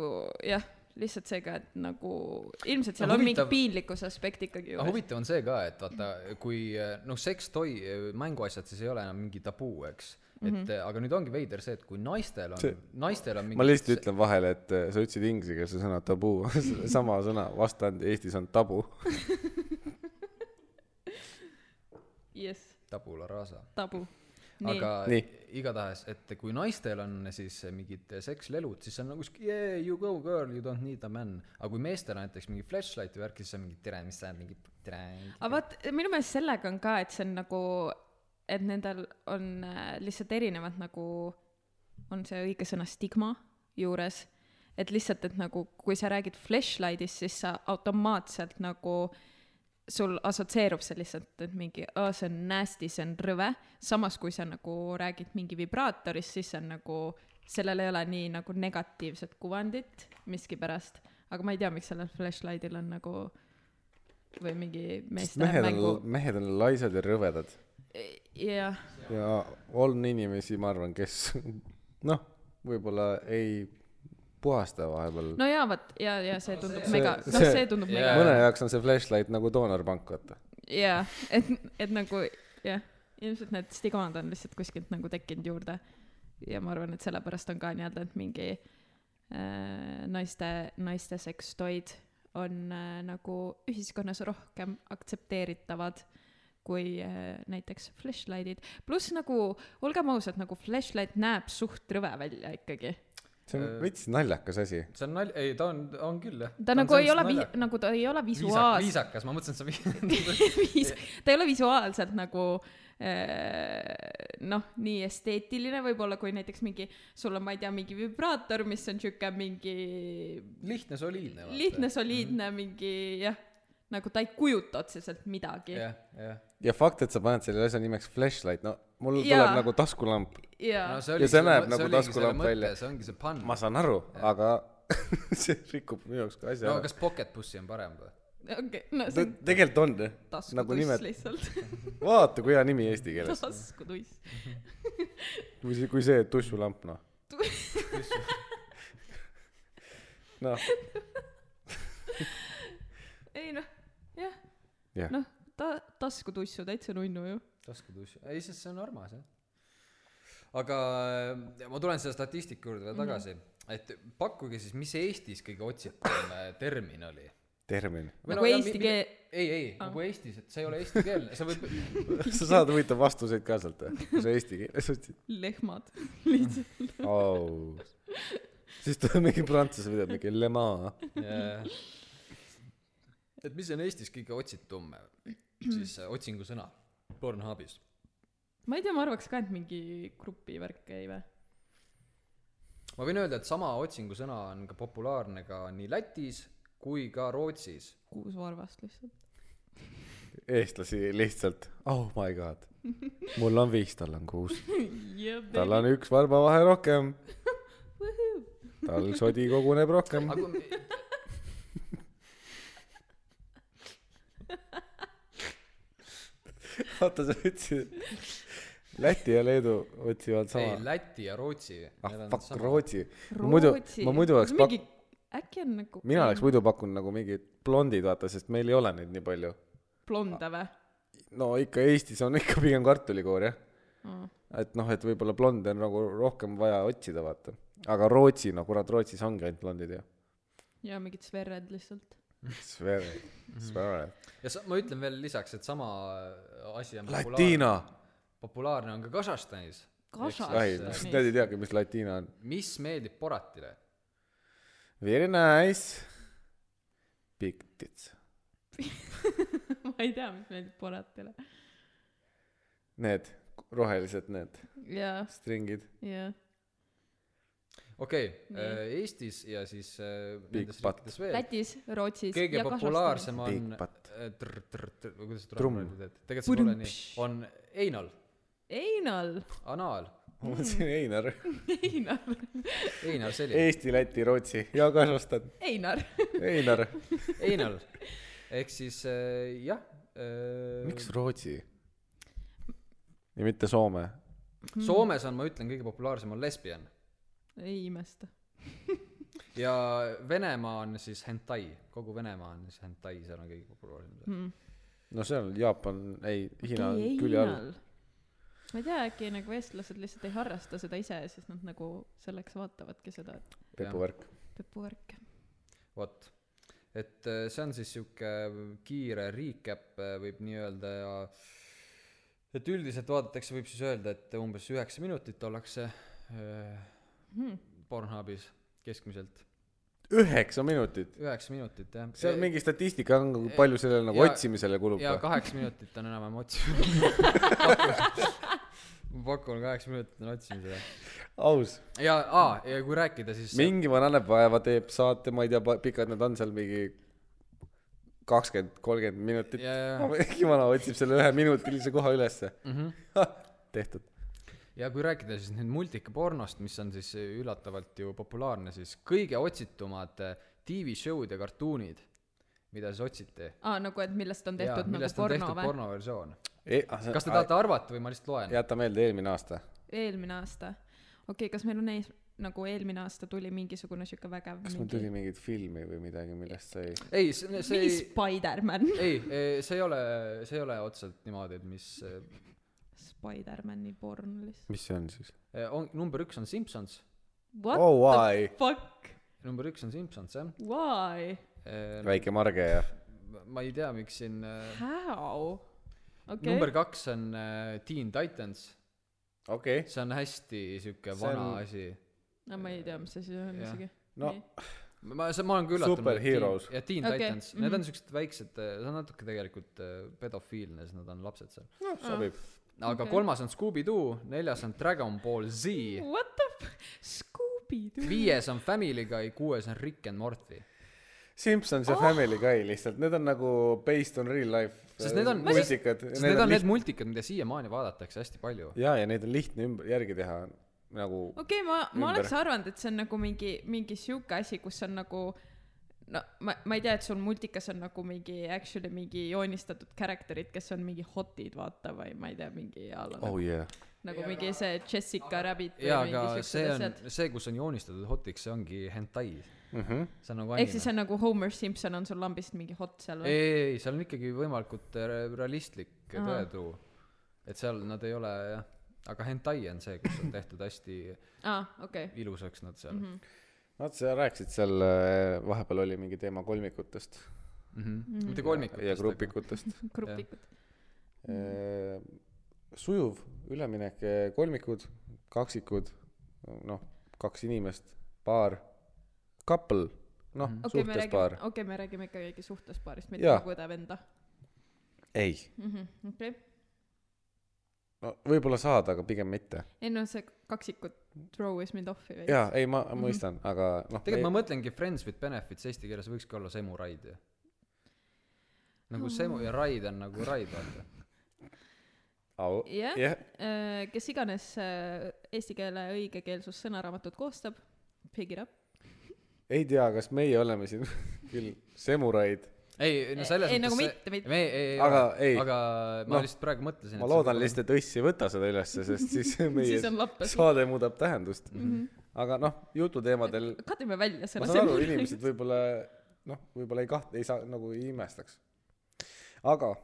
S3: jah , lihtsalt see ka , et nagu ilmselt seal
S2: Aga
S3: on mingi
S2: huvitav-
S3: piinlikkuse aspekt ikkagi
S2: aga
S3: juures .
S2: huvitav on see ka , et vaata , kui äh, noh , sekstoi , mänguasjad siis ei ole enam mingi tabuu , eks . et
S3: Mhm.
S2: mm -hmm. aga nüüd ongi veider see , et kui naistel on
S1: See- ,
S2: naistel on mingi .
S1: ma lihtsalt ütlen vahele , et äh, sa ütlesid inglise keeles sõna tabu , sama sõna , vastand Eestis on tabu .
S3: jess ,
S2: tabula rasa .
S3: tabu . nii
S2: aga
S3: aga... ,
S1: Nii.
S2: igatahes , et kui naistel on siis äh, mingid sekslelud , siis on nagu siuke yeah, you go girl , you don't need a man . aga kui meestel on näiteks mingi flashlight või värk , siis on mingi tere , mis sa mingi tere .
S3: aga vaat minu meelest sellega on ka , et see on nagu , et nendel on äh, lihtsalt erinevad nagu , on see õige sõna stigma juures et lihtsalt , et nagu kui sa räägid flashlight'ist , siis sa automaatselt nagu sul assotsieerub see lihtsalt , et mingi "Aa, see on nasty , see on rõve , samas kui sa nagu räägid mingi vibraatorist , siis see on nagu , sellel ei ole nii nagu negatiivset kuvandit miskipärast , aga ma ei tea , miks sellel flashlight'il on nagu või mingi meeste
S1: mehed
S3: mängu
S1: on , mehed on laisad ja rõvedad
S3: jah ,
S1: ja on inimesi , ma arvan , kes noh , võib-olla ei puhasta vahepeal
S3: no jaa , vot ja , ja see tundub
S1: See-
S3: mega , noh ,
S1: see-
S3: see tundub
S2: jaa.
S3: mega
S1: mõne jaoks on see flashlight nagu doonorpank , vaata .
S3: jaa , et , et nagu jah , ilmselt need stigmad on lihtsalt kuskilt nagu tekkinud juurde . ja ma arvan , et sellepärast on ka nii-öelda , et mingi äh, naiste , naiste sekstoid on äh, nagu ühiskonnas rohkem aktsepteeritavad kui äh, näiteks flashlight'id . pluss nagu , olgem ausad , nagu flashlight näeb suht rõve välja ikkagi .
S1: see on
S2: Äh,
S1: veits naljakas asi .
S2: see on nalja , ei ta on , on küll jah .
S3: ta on nagu ei ole vi- , nagu ta ei ole visuaalselt .
S2: viisakas , ma mõtlesin , et sa vihjad .
S3: viis , ta ei ole visuaalselt nagu eh, noh , nii esteetiline võib-olla , kui näiteks mingi , sul on , ma ei tea , mingi vibraator , mis on sihuke mingi
S2: lihtne , soliidne .
S3: lihtne ,
S1: Mhm.
S3: soliidne mingi jah , nagu ta ei kujuta otseselt midagi
S2: jah , jah .
S1: ja fakt , et sa paned selle asja nimeks flashlight , no mul tuleb
S3: Jaa.
S1: nagu taskulamp .
S3: ja no,
S1: Ja see näeb nagu taskulamp välja.
S2: see ongi see pann .
S1: ma saan aru , aga see rikub minu jaoks ka asja
S2: no
S1: ära .
S2: kas pocket pussy on parem või ?
S3: okei okay, , no see on
S1: tegelikult on jah.
S3: taskutuss
S1: nagu nimed ,
S3: lihtsalt ,
S1: vaata kui hea nimi eesti keeles ,
S3: taskutuss .
S1: kui see , kui see tussulamp noh . noh ,
S3: ei noh , jah
S1: Jah.
S3: noh , ta , taskutussu täitsa nunnu ju .
S2: taskutuss , ei siis see on armas jah . aga äh, ma tulen selle statistika juurde
S3: Mhm.
S2: veel tagasi mm , -hmm. et pakkuge siis , mis Eestis kõige otsitum äh, termin oli ?
S1: termin .
S3: Nagu eesti keel- . Ah.
S2: ei , ei , nagu Eestis , et see ei ole eestikeelne , sa võid ,
S1: sa saad huvitav vastuseid ka sealt või ? kui sa eesti keeles otsid .
S3: lehmad lihtsalt .
S1: au . siis tuleb mingi prantsuse video , mingi Le Mans .
S2: et mis on Eestis kõige otsitum äh, siis äh, otsingusõna Pornhubis ?
S3: ma ei tea , ma arvaks ka , et mingi grupi värk ei või ?
S2: ma võin öelda , et sama otsingusõna on ka populaarne ka nii Lätis kui ka Rootsis .
S3: kuus varvast lihtsalt .
S1: eestlasi lihtsalt , oh my god . mul on viis , tal on kuus .
S3: jah ,
S1: tal on üks varbavahe rohkem . tal sodi koguneb rohkem .
S2: aga kui me-
S1: vaata , sa ütlesid , Läti ja Leedu otsivad
S2: ei ,
S1: sama .
S2: Läti ja Rootsi .
S1: ah fuck , Rootsi . muidu , ma muidu oleks
S3: mingi...
S1: pak- ,
S3: äkki on nagu
S1: mina oleks muidu pakkunud nagu mingid blondid , vaata , sest meil ei ole neid nii palju .
S3: blonde või ?
S1: no ikka Eestis on ikka pigem kartulikoor jah
S3: Mm.
S1: et noh et võibolla blonde on nagu rohkem vaja otsida vaata aga Rootsi no kurat Rootsis ongi ainult blondid ju
S3: ja mingid Sverred lihtsalt .
S1: Sver- Sver-
S2: ja sa, ma ütlen veel lisaks , et sama äh, asi on populaarne,
S1: latiina
S2: populaarne on ka Kasahstanis .
S3: Ah,
S1: ai
S3: Kasahstanis.
S1: nad ei teagi mis latiina on
S2: mis meeldib Boratile ?
S1: very nice big tits
S3: ma ei tea , mis meeldib Boratile .
S1: need rohelised need
S3: ja ,
S1: stringid
S3: ja ,
S2: okei okay,
S3: Nii. ,
S2: Eestis ja siis äh,
S1: Big
S2: nendes
S1: butt.
S2: riikides veel .
S3: Lätis , Rootsis
S2: kõige
S3: ja Kasahstanis .
S2: populaarsem
S1: Big
S2: on
S1: butt.
S2: äh, tr- tr- tr- või kuidas see
S1: Trumm.
S2: trumm teeb , tegelikult see pole nii , on einal ,
S3: Einal ,
S2: anal ,
S1: ma mõtlesin Einar
S3: Einar ,
S2: einal selja ,
S1: Eesti Läti Rootsi ja Kasahstan
S3: Einar .
S1: Einar
S2: einal . ehk siis äh, jah äh, .
S1: miks Rootsi ja mitte Soome
S2: Soomes on , ma ütlen , kõige populaarsem on lesbian
S3: ei imesta .
S2: ja Venemaa on siis hentai , kogu Venemaa on siis hentai , seal on kõige populaarsem
S3: Hmm.
S2: mm. .
S1: no seal Jaapan ei Hiina on
S3: ei ,
S1: külje all
S3: Einal . ma ei tea , äkki nagu eestlased lihtsalt ei harrasta seda ise , siis nad nagu selleks vaatavadki seda , et
S1: pepuvärk
S3: pepuvärk .
S2: vot , et äh, see on siis sihuke kiire recap äh, võib nii öelda ja et üldiselt vaadatakse , võib siis öelda , et umbes üheksa minutit ollakse äh, Pornhubis keskmiselt ,
S1: üheksa minutit
S2: üheksa minutit jah .
S1: seal mingi statistika on kui palju sellele nagu
S2: ja-
S1: otsimisele kulub
S2: ja
S1: või
S2: kaheksa minutit on enam-vähem otsimine ma pakun kaheksa minutit on otsimisele
S1: aus
S2: ja aa ja kui rääkida siis
S1: mingi vana näeb vaeva teeb saate ma ei tea pa- pikad nad on seal mingi kakskümmend kolmkümmend minutit
S2: ja ja
S1: mingi vana otsib selle üheminutilise koha ülesse
S2: mhmh
S1: tehtud
S2: ja kui rääkida siis nüüd multikapornost , mis on siis üllatavalt ju populaarne , siis kõige otsitumad eh, TV-show'd ja kartuunid , mida siis otsiti .
S3: aa , nagu , et millest on tehtud nagu
S2: millest on
S3: porno
S2: tehtud
S3: või ?
S2: pornoversioon .
S1: E- ah, see-
S2: kas te tahate arvata või ma lihtsalt
S1: ai-
S2: loen ?
S1: jäta meelde eelmine aasta
S3: eelmine aasta . okei okay, , kas meil on ees , nagu eelmine aasta tuli mingisugune sihuke vägev
S1: kas mul tuli mingit filmi või midagi millest sai
S2: ei , see , see
S3: mingi
S2: ei ,
S3: Spider-man .
S2: ei , see ei ole , see ei ole otseselt niimoodi , et mis eh,
S3: Spider-mani porn lihtsalt .
S1: mis see on siis
S2: eh, on , number üks on Simpsons ,
S3: What
S1: Oh,
S3: the
S1: why?
S3: fuck ,
S2: number üks on Simpsons jah .
S3: why ,
S1: väike marge ja
S2: ma ei tea , miks siin eh,
S3: how ? okei
S2: number , kaks on eh, Teen Titans ,
S1: okei okay.
S2: see on hästi sihuke
S1: See on-
S2: vana asi
S3: no ma ei tea , mis asi see on
S2: Jah.
S3: isegi .
S1: no
S3: Nii.
S2: ma , see , ma olen ka üllatunud .
S1: Superheroes.
S2: ja Teen
S3: Okei,
S2: okay. Titans mm , -hmm. need
S3: mhm.
S2: on siuksed väiksed , see on natuke tegelikult eh, pedofiilne , sest nad on lapsed seal .
S1: noh sobib
S2: aga
S3: Okei.
S2: okay. kolmas on Scooby-Doo , neljas on Dragon Ball Z ,
S3: What the f- , Scooby-Doo .
S2: viies on Family Guy , kuues on Rick and Morty .
S1: Simpsons
S3: Ah.
S1: ja oh. Family Guy lihtsalt need on nagu based on real life äh,
S2: sest need on , sest
S1: muusikad
S2: need on need multikad , mida siiamaani vaadatakse hästi palju .
S1: jaa ja neid on lihtne ümber järgi teha nagu
S3: okei okay, , ma , ma
S1: Ümber.
S3: oleks arvanud , et see on nagu mingi , mingi sihuke asi , kus on nagu no ma , ma ei tea , et sul multikas on nagu mingi actually mingi joonistatud character'id , kes on mingi hot'id , vaata , või ma ei tea , mingi a la
S1: oh
S3: nagu,
S1: yeah
S3: nagu mingi see Jessica Rabbit või
S2: jaa , aga
S3: mingi
S2: see
S3: siuksed
S2: on
S3: asjad .,
S2: see , kus on joonistatud hotiks , see ongi hentai .
S1: mm -hmm.
S2: see on nagu
S3: ehk siis
S2: anime .
S3: on nagu Homer Simpson on sul lambist mingi hot seal
S2: ei ,
S3: või ?
S2: ei , ei , seal on ikkagi võimalikult eh, realistlik
S3: Aa.
S2: tõetruu . et seal nad ei ole jah , aga hentai on see , kus on tehtud hästi
S3: aa , okei .
S2: ilusaks nad seal
S3: Mhm.
S2: mm .
S1: vaat sa rääkisid seal äh, vahepeal oli mingi teema kolmikutest
S2: -hmm. Mm
S3: Mhm.
S2: -hmm. mitte
S1: Mhm. ja, ja
S2: kolmikutest .
S1: grupikutest
S3: grupikud .
S1: Eh, sujuv üleminek eh, kolmikud kaksikud noh kaks inimest paar couple noh mm -hmm.
S3: Mhm. okei , me
S1: suhtes paar
S3: räägime , okei , me räägime ikka keegi suhtespaarist , mitte
S1: Jaa.
S3: nagu õde-venda .
S1: ei
S3: Mhm, okei .
S1: no võibolla saad aga pigem mitte
S3: ei no see kaksikud throw'is mind off'i veidi .
S1: jaa ei ma ma
S3: Mhm.
S1: mõistan mm -hmm. aga noh
S2: tegelikult ma mõtlengi Friends with Benefits eesti keeles võikski olla Semu Raid ju . nagu
S3: Hmm.
S2: Semu ja Raid on nagu Raid vaata .
S1: au
S3: jah
S1: jah
S3: Äh, kes iganes äh, eesti keele õigekeelsus sõnaraamatut koostab , pick it up .
S1: ei tea kas meie oleme siin küll semuraid
S2: ei , no selles
S3: Ei, nagu
S2: mõttes
S3: mitte, mitte.
S2: me ei , ei ,
S1: Aga ei.
S2: aga ma
S1: Noh,
S2: no, lihtsalt praegu mõtlesin .
S1: ma loodan lihtsalt et õss ei võta seda ülesse sest siis meie
S3: siis on lappes .
S1: saade muudab tähendust mm -hmm. aga noh jututeemadel
S3: kadime välja selle
S1: ma saan aru , inimesed võib-olla noh , võib-olla ei kaht- , ei saa nagu ei imestaks . aga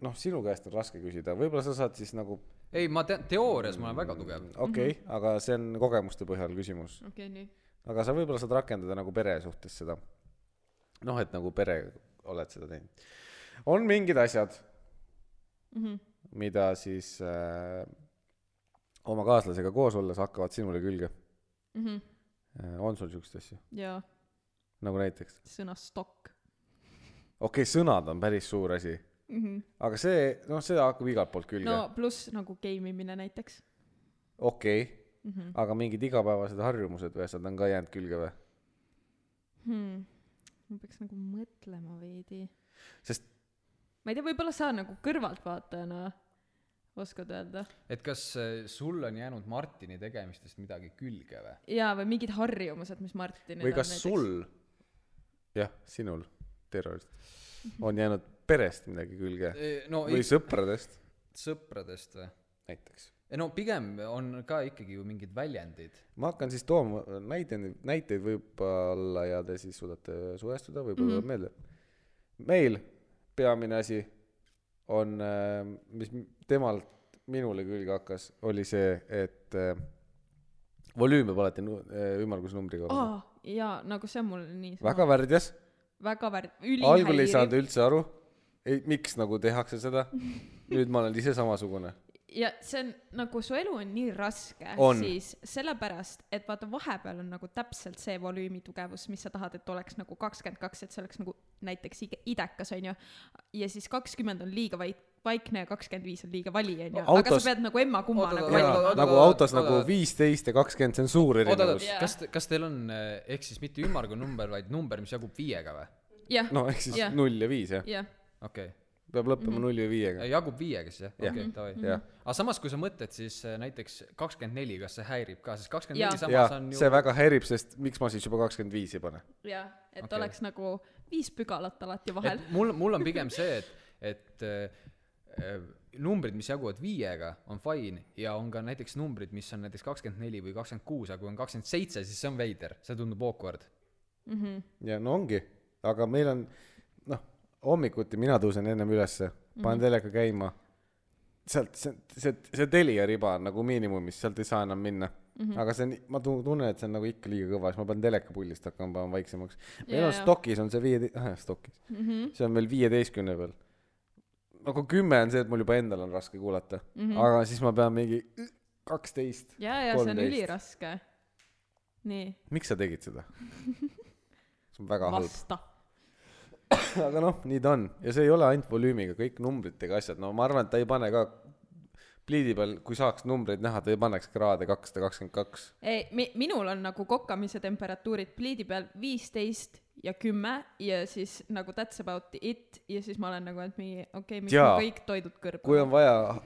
S1: noh , sinu käest on raske küsida , võib-olla sa saad siis nagu ,
S2: ei , ma tean , teoorias ma olen väga tugev .
S1: okei okay, , aga see on kogemuste põhjal küsimus .
S3: okei , nii .
S1: aga sa võib-olla saad rakendada nagu pere suhtes seda . noh , et nagu pere oled seda teinud . on mingid asjad mm ,
S3: Mhm,
S1: -hmm. mida siis äh, oma kaaslasega koos olles hakkavad sinule külge mm . -hmm. on sul siukseid asju ,
S3: mhm. jaa ,
S1: nagu näiteks ?
S3: sõna stokk .
S1: okei okay, , sõnad on päris suur asi mm . -hmm. aga see , noh , see hakkab igalt poolt külge
S3: Mhm. no
S1: no. .
S3: pluss nagu game imine näiteks .
S1: okei okay. mm , -hmm. aga mingid igapäevased harjumused või asjad on ka jäänud külge või ?
S3: Hmm. ma peaks nagu mõtlema veidi .
S1: sest
S3: ma ei tea , võib-olla sa nagu kõrvaltvaatajana oskad öelda .
S2: et kas äh, sul on jäänud Martini tegemistest midagi külge või ?
S3: jaa , või mingid harjumused , mis Martinil
S1: või kas sul , jah , sinul , terrorist , on jäänud perest midagi külge
S2: Eh, no
S1: või
S2: ei-
S1: sõpradest
S2: sõpradest või ?
S1: näiteks ?
S2: no pigem on ka ikkagi ju mingid väljendid .
S1: ma hakkan siis tooma näiteid , näiteid võib-olla ja te siis suudate suhestuda , võib-olla tuleb mm -hmm. meelde . meil peamine asi on , mis m- temalt minule külge hakkas , oli see , et äh, volüüm peab alati nu- äh, ümmargusnumbriga olema oh, .
S3: aa , jaa , nagu see on mul nii .
S1: väga värdjas
S3: väga värv , üli
S1: algul ei saanud . üldse aru , ei , miks nagu tehakse seda . nüüd ma olen ise samasugune .
S3: ja see on nagu su elu on nii raske ,
S1: On.
S3: siis sellepärast , et vaata , vahepeal on nagu täpselt see volüümi tugevus , mis sa tahad , et oleks nagu kakskümmend kaks , et see oleks nagu näiteks ide- idekas , onju . ja siis kakskümmend on liiga vaid , vaikne ja kakskümmend viis on liiga vali , onju . aga
S1: autos-
S3: sa pead nagu emma kumma
S2: Oot, oot,
S3: nagu
S2: oot, oot,
S3: valima .
S2: oot,
S1: nagu
S2: oot,
S1: autos
S2: oot,
S1: nagu
S2: oot.
S1: viisteist ja kakskümmend , see on suur
S2: oot-oot
S1: erinevus .,
S2: kas , kas teil on äh, ehk siis mitte ümmargunumber , vaid number , mis jagub viiega või ?
S3: jah ,
S1: no ehk siis
S3: Jah.
S1: null ja viis jah ,
S3: jah ,
S2: okei okay. ,
S1: peab lõppema nulli ja viiega .
S2: jagub viiega siis jah ? okei
S1: Jah.
S2: okay, , davai .
S1: jah ,
S2: aga samas , kui sa mõtled , siis äh, näiteks kakskümmend neli , kas see häirib ka , sest kakskümmend
S3: Jaa.
S2: neli
S1: ja
S2: samas on ju
S1: see väga häirib , sest miks ma siis juba kakskümmend viis ei pane .
S3: jah , et
S2: Okei.
S3: okay. oleks nagu viis pügalat alati vahel
S2: et . mul , mul on pigem see , et , et äh, numbrid , mis jaguvad viiega , on fine ja on ka näiteks numbrid , mis on näiteks kakskümmend neli või kakskümmend kuus , aga kui on kakskümmend seitse , siis see on veider , see tundub awkward .
S1: ja no ongi , aga meil on , noh , hommikuti mina tõusen ennem ülesse , panen teleka käima . sealt , see , see , see Telia riba on nagu miinimumis , sealt ei saa enam minna mm . -hmm. aga see on , ma tu- tunnen , et see on nagu ikka liiga kõva , siis ma panen teleka pullist hakkama , panen vaiksemaks . meil
S3: Jaa,
S1: on
S3: jaa.
S1: stokis on see viie , stokis mm ,
S3: Mhm.
S1: -hmm. see on meil viieteistkümne peal nagu kümme on see , et mul juba endal on raske kuulata mm , -hmm. aga siis ma pean mingi kaksteist ,
S3: ja , ja see on
S1: kolmteist.
S3: üliraske . nii ,
S1: miks sa tegid seda ? see on väga halb .
S3: vasta .
S1: aga noh , nii ta on ja see ei ole ainult volüümiga , kõik numbritega asjad , no ma arvan , et ta ei pane ka pliidi peal , kui saaks numbreid näha , ta ei paneks kraade kakssada kakskümmend kaks .
S3: ei , mi- , minul on nagu kokkamise temperatuurid pliidi peal viisteist ja kümme ja siis nagu that's about it ja siis ma olen nagu , et mingi okei okay, , miks
S1: Jaa.
S3: ma kõik toidud kõrba
S1: kui on vaja ,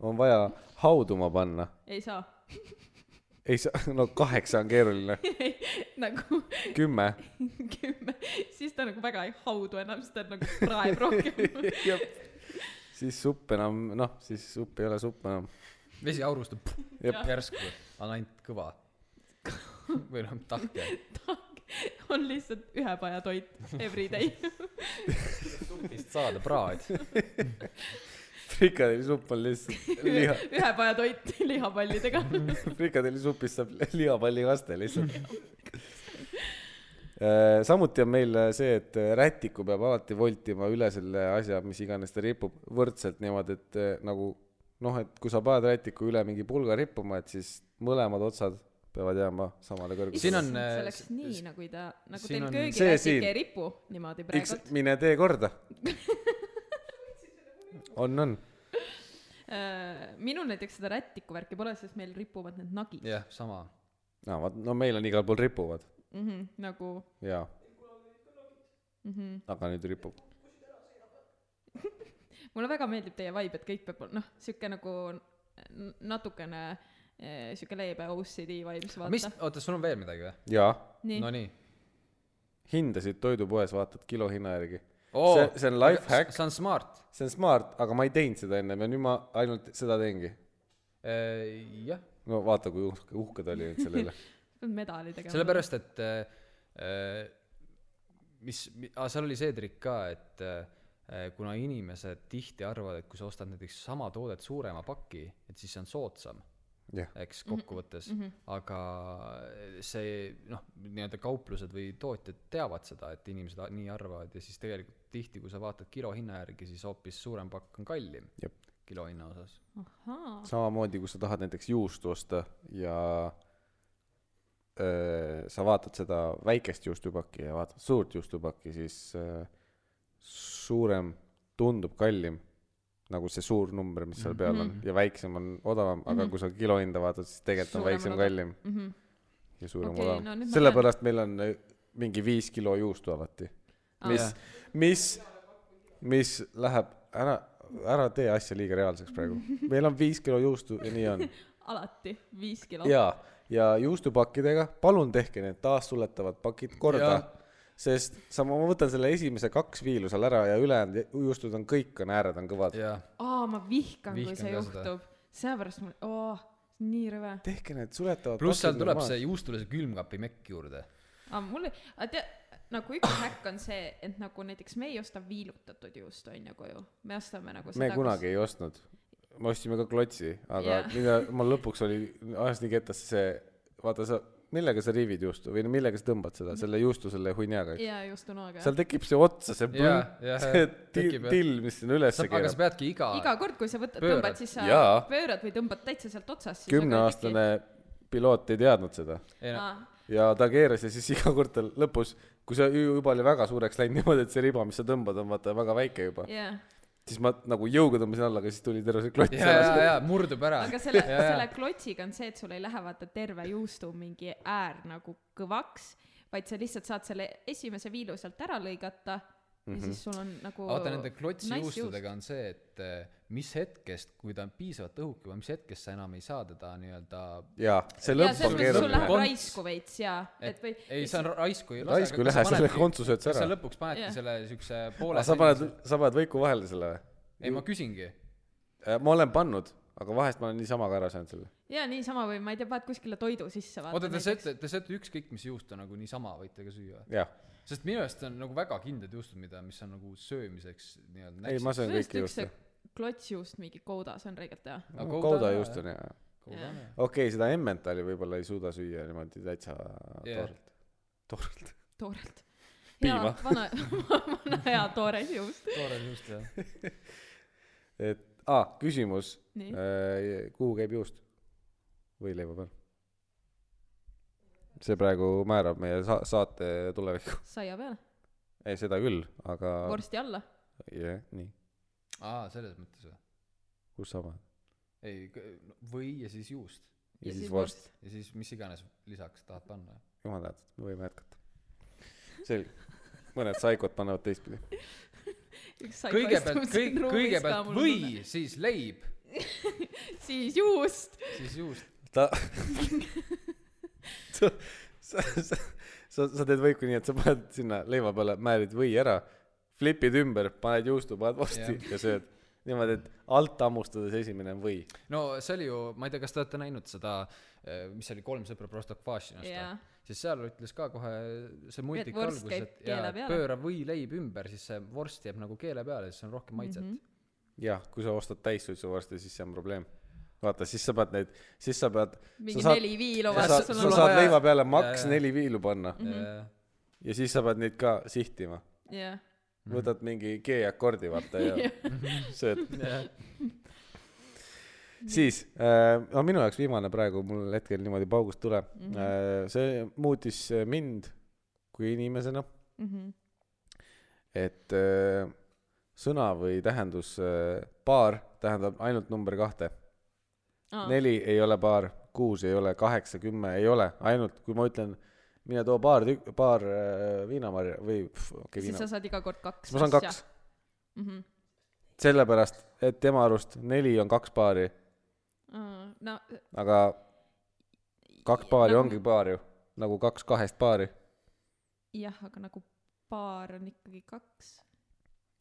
S1: on vaja hauduma panna ,
S3: ei saa
S1: ei saa , no kaheksa on keeruline ,
S3: nagu
S1: kümme .
S3: kümme , siis ta nagu väga ei haudu enam , siis ta nagu praeb rohkem .
S1: siis supp enam , noh , siis supp ei ole supp enam .
S2: vesi aurustab
S1: Jep.
S2: järsku , on ainult kõva või noh , tahke .
S3: on lihtsalt ühe paja toit every day .
S2: vist saada praad .
S1: frikadellisupp on lihtsalt liha ,
S3: ühe paja toit lihapallidega .
S1: frikadellisupist saab lihapallikaste lihtsalt . samuti on meil äh, see , et rätiku peab alati voltima üle selle asja , mis iganes ta ripub , võrdselt niimoodi , et eh, nagu noh , et kui sa paned rätiku üle mingi pulga rippuma , et siis mõlemad otsad peavad jääma samale
S2: Siin
S1: kõrgusele .
S2: on, äh,
S3: see oleks
S2: s-
S3: nii
S2: s-
S3: nagu ei ta , nagu
S2: siin
S3: teil
S2: on-
S1: see siin.
S3: köögirätik ei ripu niimoodi
S1: eks
S3: praegu .
S1: mine tee korda . on , on .
S3: Äh, minul näiteks seda rätiku värki pole , sest meil ripuvad need nagid
S2: jah , sama .
S1: no vot , no meil on igal pool ripuvad
S3: mm -hmm, nagu mhm.
S1: jaa . aga nüüd ripub .
S3: mulle väga meeldib teie vibe , et kõik peab ol- noh , sihuke nagu n- natukene eh, sihuke leebe OCD vibes
S2: mis
S3: vaata .,
S2: oota , sul on veel midagi või ?
S1: jaa
S3: nii no, ,
S2: Nonii .
S1: hindasid toidupoes vaatad kilohinna järgi . see , see on life hack ,
S2: see on smart .
S1: see on smart , aga ma ei teinud seda ennem ja nüüd ma ainult seda teengi .
S2: Äh, jah ,
S1: no vaata , kui uhke , uhke ta oli nüüd selle üle .
S3: pead medali tegema .
S2: sellepärast , et äh, äh, mis , aa , seal oli see trikk ka , et äh, kuna inimesed tihti arvavad , et kui sa ostad näiteks sama toodet suurema paki , et siis see on soodsam ,
S1: jah ,
S2: eks kokkuvõttes
S3: Mhm,
S2: mm , -hmm. aga see noh , nii-öelda kauplused või tootjad teavad seda , et inimesed a- nii arvavad ja siis tegelikult tihti , kui sa vaatad kilo hinna järgi , siis hoopis suurem pakk on kallim
S1: jah .
S2: kilo hinna osas .
S3: ahaa ,
S1: samamoodi , kui sa tahad näiteks juustu osta ja öö, sa vaatad seda väikest juustupakki ja vaatad suurt juustupakki , siis öö, suurem tundub kallim , nagu see suur number , mis seal peal on
S3: Mhm.
S1: mm , -hmm. ja väiksem on odavam , aga mm -hmm. kui sa kilo hinda vaatad , siis tegelikult on
S3: Suurem on
S1: väiksem
S3: odav-
S1: kallim mm
S3: mhm.
S1: ja suurem
S3: Okei,
S1: okay, odavam
S3: no
S1: no,
S3: nüüd . ma
S1: sellepärast meil on öö, mingi viis kilo juustu alati , mis , mis , mis läheb ära , ära tee asja liiga reaalseks praegu . meil on viis kilo juustu ja nii on
S3: alati viis kilo .
S1: jaa , ja juustupakkidega , palun tehke need taassuletavad pakid korda
S2: Jaa. ,
S1: sest sa , ma võtan selle esimese kaks viilu seal ära ja ülejäänud juustud on kõik on ääred on kõvad .
S2: jah ,
S3: aa , ma vihkan , kui
S2: Vihkan
S3: see
S2: ka seda.
S3: juhtub . sellepärast mul , oo , nii rõve .
S1: tehke need suletavad
S2: pluss seal tuleb see juustule see külmkapi mekk juurde .
S3: aga mul , aga tea- , nagu üks häkk on see , et nagu näiteks me ei osta viilutatud juustu , on ju , koju . me ostame nagu
S1: me kunagi ei ostnud , me ostsime ka klotsi , aga
S3: Jaa.
S1: mida mul lõpuks oli , ajas nii ketasse see , vaata sa , millega sa riivid juustu või no millega sa tõmbad seda , selle juustu selle hunniaga , eks .
S3: jaa , juustunoaga .
S1: seal tekib see otsa , see
S2: Jaa,
S1: põng-
S2: jah,
S1: see
S2: jah,
S1: til-
S2: tekib, jah.
S1: till , mis sinna ülesse
S2: aga sa
S1: keerab .
S2: peadki iga,
S3: iga kord , kui sa võtad ,
S2: Pöörad.
S3: tõmbad , siis sa
S1: Jaa.
S3: pöörad või tõmbad täitsa sealt otsast .
S1: kümneaastane piloot ei teadnud seda
S2: ei, no,
S1: ja ta keeras ja siis iga kord tal lõpus , kui see ju- juba oli väga suureks läinud niimoodi , et see riba , mis sa tõmbad , on vaata väga väike juba ,
S3: jah ,
S1: siis ma nagu jõuga tõmbasin alla , aga siis tuli terve see klott
S2: ja , ja
S1: ära . ,
S2: ja murdub ära .
S3: aga selle ,
S2: Jaa, jaa.
S3: selle klotsiga on see , et sul ei lähe vaata terve juustu mingi äär nagu kõvaks , vaid sa lihtsalt saad selle esimese viilu sealt ära lõigata
S1: Mhm.
S3: ja siis sul on nagu
S2: vaata nende klotsijuustudega on see , et eh, mis hetkest , kui ta on piisavalt õhuke või mis hetkest sa enam ei saa teda nii-öelda
S1: jaa , see
S3: jaa ,
S1: lõpp
S3: selles
S1: on
S3: mõttes , et sul
S1: keeruline .
S3: läheb
S2: Konts-
S3: raisku veits jaa , et või
S2: ei , see on ra- raisku ei
S1: Raisku ei lähe, selle kontsu sööd sa
S2: sa
S1: ära.
S2: lõpuks panedki
S3: Jah.
S2: yeah. selle siukse poole
S1: aga sa paned , sa paned võiku vahele selle või ?
S2: ei , ma küsingi .
S1: ma olen pannud , aga vahest ma olen niisama ka ära söönud selle .
S3: jaa , niisama või ma ei tea , paned kuskile toidu sisse vaata
S2: oota , te
S3: näiteks.
S2: sööte , te sööte ükskõik mis juustu nagu niisama võite ka süüa .
S1: jah ,
S2: sest minu arust on nagu väga kindlad juustud , mida , mis on nagu söömiseks nii-öelda
S1: ei ma
S2: näkseks .
S1: söön
S3: minu arust
S1: kõiki
S3: üks
S1: juuste
S3: see . klotsjuust mingi koudas on reegelt hea
S2: aga kouda
S1: kouda
S2: on-
S1: juust on hea .
S3: Jaa.
S1: okei okay, , seda emmentali võib-olla ei suuda süüa niimoodi täitsa
S2: Jah.
S1: toorelt . toorelt .
S3: toorelt
S1: Piima.
S3: hea vana vana hea toore juust
S2: toore juust jah .
S1: et aa , küsimus ,
S3: Nii.
S1: kuhu käib juust või leiva peal ? see praegu määrab meie sa- saate tulevikku .
S3: saia peale
S1: ei , seda küll , aga
S3: vorsti alla
S1: jah , nii ,
S2: aa , selles mõttes või ?
S1: kus sa paned .
S2: ei , või ja siis juust
S1: ja siis vorst ..
S2: ja siis mis iganes lisaks tahad panna .
S1: jumal tänatud , me võime jätkata . selge , mõned saikod panevad teistpidi .
S2: kõigepealt , kõik , kõigepealt või , siis leib ,
S3: siis juust
S2: siis juust .
S1: ta sa , sa , sa , sa , sa teed võiku nii , et sa paned sinna leiva peale , määrid või ära , flipid ümber , paned juustu , paned vorsti
S2: Jah.
S1: ja sööd . niimoodi , et alt hammustades esimene on või .
S2: no see oli ju , ma ei tea , kas te olete näinud seda , mis see oli , Kolm sõpra Prostokvašinast või
S3: Jaa. ?
S2: siis seal ütles ka kohe see multik
S3: vorst
S2: alguses ,
S3: käib
S2: et jaa
S3: keele ,
S2: et
S3: peale.
S2: pööra või leib ümber , siis see vorst jääb nagu keele peale , siis on rohkem maitset mm .
S3: Mhm,
S2: -hmm.
S1: jah , kui sa ostad täissuitsuvorsti , siis see on probleem . vaata , siis sa pead neid , siis sa pead .
S3: mingi
S1: sa
S3: neli viilu
S1: sa
S3: vaata
S1: saad ,
S3: sul
S1: sa
S3: on
S2: vaja-
S1: saad leiva peale maks
S2: Jaa, jaa.
S1: neli viilu panna
S3: mhm.
S2: Mm -hmm.
S1: ja siis sa pead neid ka sihtima .
S3: jah
S2: Mhm.
S1: võtad mingi G-akordi , vaata ja sööd . siis äh, , no minu jaoks viimane praegu mul hetkel niimoodi paugust tuleb mm ,
S3: Mhm.
S1: -hmm. äh, see muutis äh, mind kui inimesena ,
S3: mhmh
S1: et äh, sõna või tähendus äh, paar tähendab ainult number kahte
S3: Aa.
S1: ah. . neli ei ole paar , kuus ei ole , kaheksa , kümme ei ole , ainult kui ma ütlen , mine too paar tükk , paar äh, viinamarja või pff, okei okay,
S3: siis sa
S1: viina ,
S3: saad iga kord kaks Mhm.
S1: siis ma saan kaks .
S3: mhmh
S1: sellepärast , et tema arust neli on kaks paari ,
S3: no
S1: aga kaks paari
S3: nagu-
S1: ongi paar ju , nagu kaks kahest paari .
S3: jah aga nagu paar on ikkagi kaks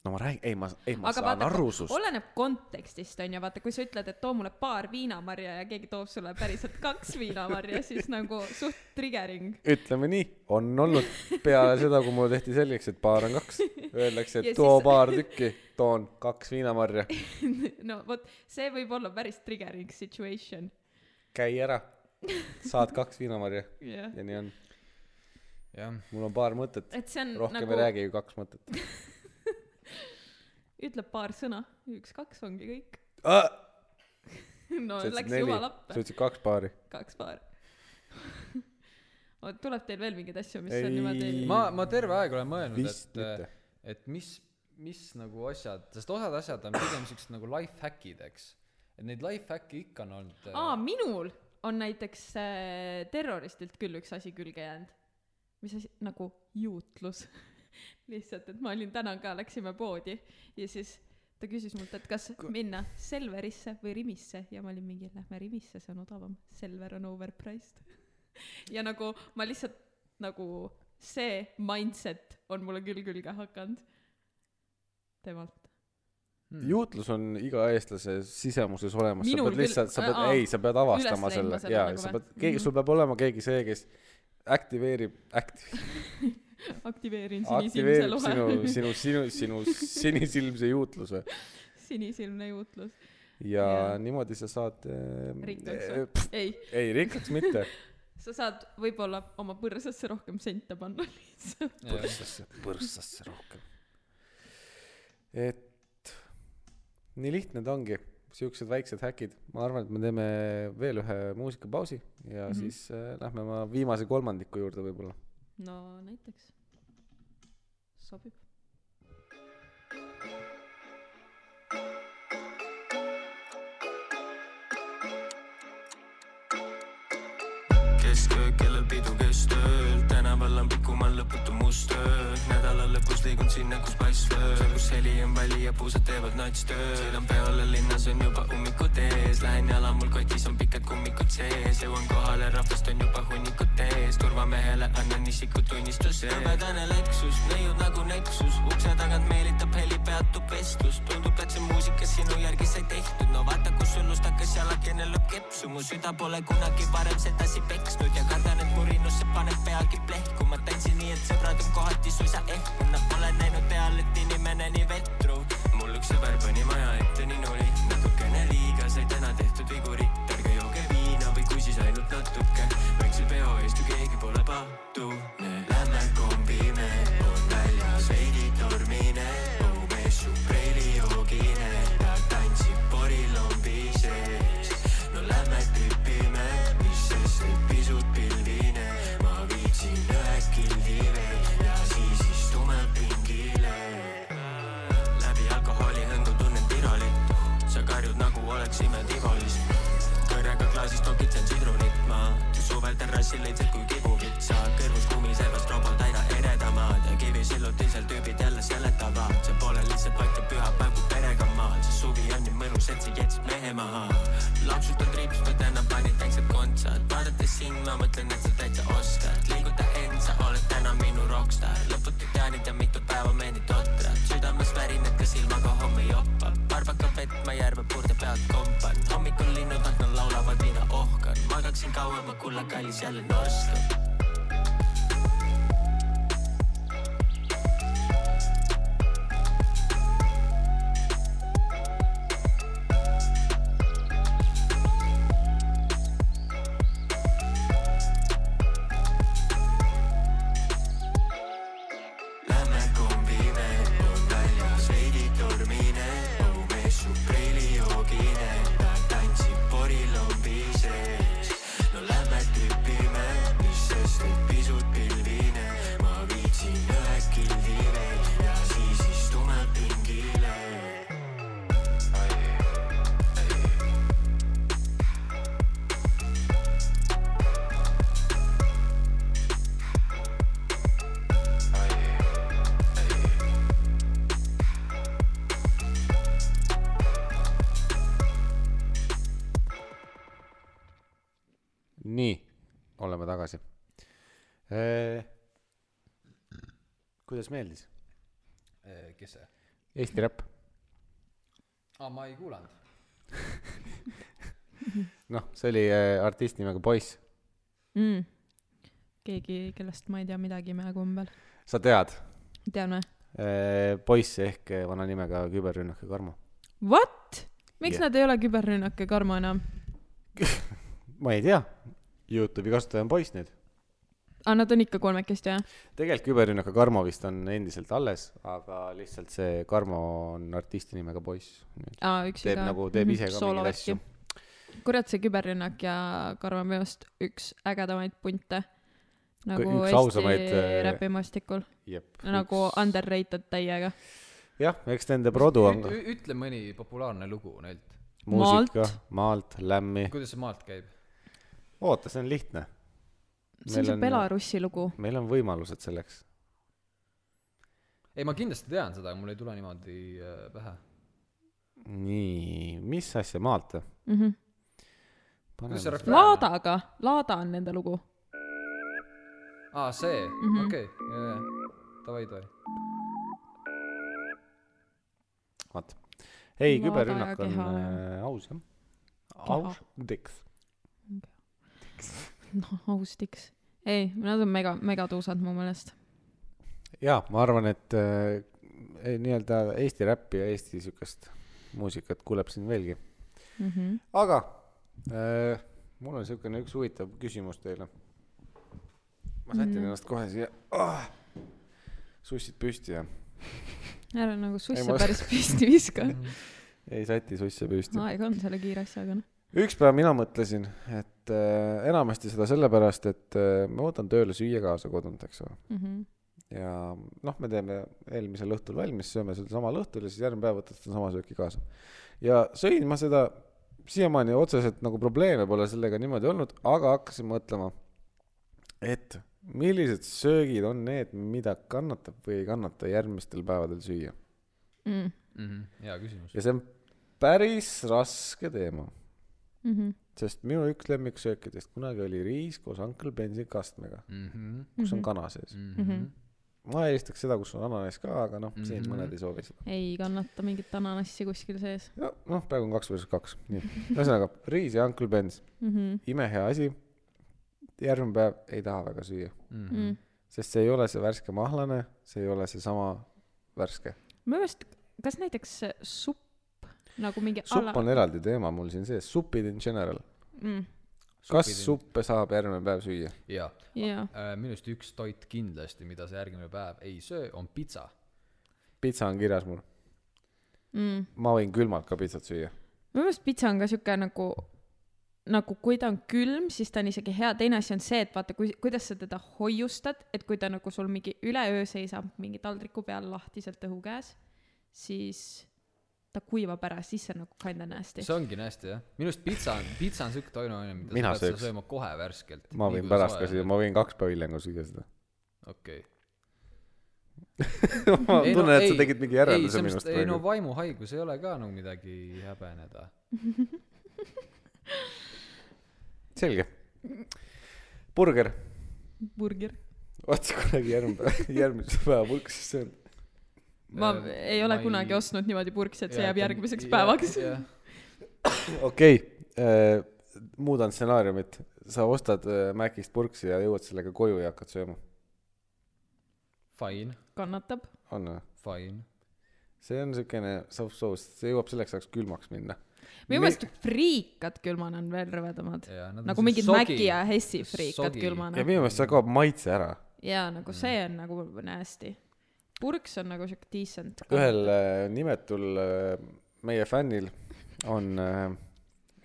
S1: no ma räägin , ei ma , ei ma
S3: aga
S1: aga saan
S3: vaata
S1: aru , sust .
S3: oleneb kontekstist , onju , vaata , kui sa ütled , et too mulle paar viinamarja ja keegi toob sulle päriselt kaks viinamarja , siis nagu suht triggering .
S1: ütleme nii , on olnud peale seda , kui mulle tehti selgeks , et paar on kaks , öeldakse ,
S3: Ja
S1: et too
S3: siis-
S1: paar tükki , toon kaks viinamarja ,
S3: no vot , see võib olla päris triggering situation .
S1: käi ära , saad kaks viinamarja
S3: jah .
S1: ja nii on .
S2: jah ,
S1: mul on paar mõtet ,
S3: et see on
S1: rohkem nagu...
S3: nagu
S1: ei , räägi ju kaks mõtet
S3: ütleb paar sõna , üks-kaks ongi kõik .
S1: ah, .
S3: no
S1: sa ütlesid
S3: läks
S1: neli ,
S3: jumala
S1: sa
S3: appi ,
S1: ütlesid kaks paari .
S3: kaks paar . tuleb teil veel mingeid asju , mis
S1: Ei.
S3: on niimoodi
S1: Ei.
S2: ma , ma terve aeg olen mõelnud ,
S1: vist
S2: et eh,
S1: mitte ..
S2: et mis , mis nagu asjad , sest osad asjad on pigem siuksed nagu life hack'id , eks . et neid life hack'e ikka on olnud . eh,
S3: aa ,
S1: Äh.
S3: minul on näiteks äh, terroristilt küll üks asi külge jäänud . mis asi , nagu juutlus . lihtsalt , et ma olin täna ka , läksime poodi ja siis ta küsis mult , et kas K minna Selverisse või Rimisse ja ma olin mingi , lähme Rimisse , see on odavam . Selver on overpriced . ja nagu ma lihtsalt nagu see mindset on mulle küll külge hakanud temalt .
S1: juutlus on iga eestlase sisemuses olemas , sa
S3: Mm. Minul
S1: pead
S3: küll-
S1: lihtsalt , sa pead
S3: aa, ,
S1: ei , sa pead avastama
S3: üles leidma
S1: selle
S3: selle
S1: ja
S3: nagu
S1: sa
S3: või?
S1: pead , keegi , sul peab olema keegi see , kes aktiveerib , aktiveerib ,
S3: aktiveerin sinisilmse
S1: aktiveerib
S3: lohe
S1: sinu , sinu , sinu , sinu sinisilmse juutluse
S3: sinisilmne juutlus .
S1: ja
S3: Jaa.
S1: niimoodi sa saad äh,
S3: Rikkaks
S1: äh,
S3: või?
S1: pff,
S3: ei ,
S1: ei , rikkaks mitte .
S3: sa saad võib-olla oma põrsasse rohkem sente panna lihtsalt .
S2: eh,
S1: põrssasse , põrssasse rohkem . et nii lihtne ta ongi , siuksed väiksed häkid , ma arvan , et me teeme veel ühe muusikapausi ja mm -hmm. siis äh, lähme oma viimase kolmandiku juurde võib-olla .
S3: no näiteks . sobib .
S6: kesköö , kellel pidu kes tööl , tänaval on pikumaal lõputu must öö , nädala lõpus liigun sinna , kus paist lööb , seal kus heli on väli ja puusad teevad natstööd , sõidan peale linnas on juba ummikud ees , lähen jala , mul kotis on pikad kummikud sees , jõuan kohale , rahvast on juba hunnikud ees , turvamehele annan isikutunnistuse , rõvedane leksus , neiud nagu neksus , ukse tagant meelitab heli , peatub vestlus , tundub , et see muusika sinu järgi sai tehtud , no vaata , kus sul lustakas jalakene lööb kepsu , mu süda pole kunagi varem sedasi peksnud ja kardan , et mu rinnusse paneb peagi plehku , ma tantsin nii , et sõbrad on kohati suisa ehkunud , nad pole näinud peal , et inimene nii vetru . mul üks sõber pani maja ette nii noli , natukene liiga sai täna tehtud viguri , ärge jooge viina või kui siis ainult natuke , väikse peo eest ju keegi pole patune . Lähme kombime , on väljas veidi tormine , õues ju preilijoogine , ta tantsib porilombi sees . no lähme tripime , mis sest , et pisut pildine , ma viitsin ühe kildi veel ja siis istume pingile . läbi alkoholihõngu tunnen tirolit , sa karjud nagu oleksime Tivolis . kõrjaga klaasis tokitsen sidrunit ma , suvel terrassil leidsid kui kibukitsa , kõrvus kumisevast robot aina eredamad ja kivis hiljutisel tüübid jälle seletavad , see pole lihtsalt vaid ka pühapäev , kui perega maad , see suvi on nii mõnus , et see jätsib mehe maha . lapsutan triips , ma täna panin täitsa kontsad , vaadates sind ma mõtlen , et sa täitsa oskad , liiguta end , sa oled täna minu rokkstaar , lõputud jaanid ja mitu päeva meeldid totrad , südames värinad , kas ilmaga homme joppab , varbaka vett ma järve purde pealt kompan , hommikul linnud aknal laulavad , mina ohkan , magaksin kauem , ma kulla kallis jälle norskan . Lähme kombime , on väljas veidi tormine , õues su preilijoogine , ta tantsib porilombi sees . no lähme tripime , mis sest , et pisut pilvine , ma viitsin ühe kildi veel ja siis istume pingile .
S1: nii , oleme tagasi . kuidas meeldis ?
S2: eh, kes see ?
S1: Eesti räpp .
S2: aa , ma ei kuulanud .
S1: noh , see oli äh, artist nimega Poiss .
S3: mm. . keegi , kellest ma ei tea midagi imekombel .
S1: sa tead
S3: tean või ?
S1: äh, , Poiss ehk äh, vana nimega küberrünnake Karmo .
S3: What ? miks
S1: Jah.
S3: yeah. nad ei ole küberrünnake Karmo enam ?
S1: ma ei tea , Youtube'i kasutaja on Poiss nüüd .
S3: aa , Ah, nad on ikka kolmekesti või ?
S1: tegelikult küberrünnake Karmo vist on endiselt alles , aga lihtsalt see Karmo on artisti nimega Poiss nüüd .
S3: aa , üksi
S1: teeb
S3: ka .
S1: nagu , teeb ise ka mingeid asju .
S3: Mhm, kurat , see küberrünnak ja Karmo on minu arust üks ägedamaid punte nagu
S1: üks ausamaid,
S3: Eesti
S1: äh,
S3: räpimaastikul ,
S1: jep .
S3: nagu . underrated täiega .
S1: jah , eks nende produ on ka
S2: ütle mõni populaarne lugu neilt .
S1: muusika , maalt , lämmi .
S2: kuidas see maalt käib ?
S1: oota , see on lihtne .
S3: see on see Belarusi lugu .
S1: meil on võimalused selleks .
S2: ei , ma kindlasti tean seda , aga mul ei tule niimoodi äh, pähe .
S1: nii , mis asja maalt või ?
S3: Mm -hmm.
S2: kuidas see ?
S3: Laadaga , Laada on nende lugu .
S2: aa , Ah, see ,
S3: Mhm.
S2: okei , davai , davai .
S1: vaat . ei ,
S3: Laada
S1: küberrünnak
S3: ja
S1: on
S3: keha
S1: äh, aus jah . aus , tiks .
S3: noh , austiks . ei , nad on mega , megatuusad mu meelest .
S1: jaa , ma arvan , et äh, ei, nii-öelda Eesti räppi ja Eesti siukest muusikat kuuleb siin veelgi .
S3: Mm -hmm.
S1: aga äh, mul on siukene üks huvitav küsimus teile . ma sätin mm. ennast kohe siia ah! . sussid püsti ja ?
S3: ära nagu susse
S1: ma-
S3: päris püsti viska .
S2: Mhm.
S1: ei säti susse püsti .
S3: aeg on selle kiire asjaga , noh .
S1: üks päev mina mõtlesin , et äh, enamasti seda sellepärast , et äh, ma võtan tööle süüa kaasa kodunt , eks ole .
S3: Mhm.
S1: ja noh , me teeme eelmisel õhtul valmis , sööme seda samal õhtul ja siis järgmine päev võtad sedasama sööki kaasa . ja sõin ma seda , siiamaani otseselt nagu probleeme pole sellega niimoodi olnud , aga hakkasin mõtlema , et millised söögid on need , mida kannatab või ei kannata järgmistel päevadel süüa .
S3: Mm.
S2: Mhm. hea küsimus .
S1: ja see on päris raske teema
S3: Mhm.
S1: sest minu üks lemmiksöökidest kunagi oli riis koos Uncle Bensi kastmega ,
S2: Mhm,
S1: kus
S3: Mhm.
S1: on kana sees . ma eelistaks seda , kus on ananass ka , aga noh , siin mm -hmm. mõned ei soovi seda .
S3: ei kannata mingit ananassi kuskil sees
S1: ja noh , praegu on kaks versus kaks , nii . ühesõnaga , riis ja Uncle Ben's ,
S3: mm . -hmm.
S1: imehea asi . järgmine päev ei taha väga süüa ,
S2: Mhm.
S3: Mm.
S1: sest see ei ole see värske mahlane , see ei ole seesama värske .
S3: minu meelest , kas näiteks supp nagu mingi
S1: supp on eraldi teema mul siin sees , supid in general .
S3: mm.
S1: kas suppe saab järgmine päev süüa ?
S2: jaa ,
S3: jaa ,
S2: minu arust üks toit kindlasti , mida sa järgmine päev ei söö , on pitsa .
S1: pitsa on kirjas mul ,
S3: mm.
S1: ma võin külmalt ka pitsat süüa .
S3: minu meelest pitsa on ka siuke nagu , nagu kui ta on külm , siis ta on isegi hea , teine asi on see , et vaata , kui , kuidas sa teda hoiustad , et kui ta nagu sul mingi üleöö seisab mingi taldriku peal lahtiselt õhu käes , siis ta kuivab ära , siis see on nagu kinda nasty .
S2: see ongi nii hästi jah , minu arust pitsa on , pitsa on siuke toiduaine , mida
S1: Mina
S2: sa pead
S1: sööks.
S2: seda sööma kohe värskelt .
S1: ma võin pärast ka süüa , ma võin kaks päeva hiljem ka süüa seda .
S2: okei .
S1: ma ei, tunnen no, , et sa tegid mingi järelduse minust nagu.
S2: ei no
S1: praegu .
S2: vaimuhaigus ei ole ka nagu midagi häbeneda .
S1: selge . burger ,
S3: burger .
S1: vaata kunagi järgmine päev , järgmise päeva purksis söön .
S3: ma
S2: Ähm,
S3: ei ole
S2: ma ei-
S3: kunagi ostnud niimoodi purksi , et see jääb järgmiseks päevaks .
S1: okei okay, , muudan stsenaariumit , sa ostad äh, Macist purksi ja jõuad sellega koju ja hakkad sööma ,
S2: Fine ,
S3: kannatab .
S1: on või ?
S2: fine .
S1: see on siukene soft-soos , see jõuab selleks ajaks külmaks minna .
S3: minu meelest friikad külmana on veel rõvedamad . nagu mingid Maci ja Hessi friikad .
S1: ja
S3: külmana .
S1: minu meelest see kaob maitse ära .
S3: jaa ,
S1: Mm.
S3: nagu see on nagu nasty . purks on nagu siuke decent .
S1: ühel äh, nimetul äh, meie fännil on äh,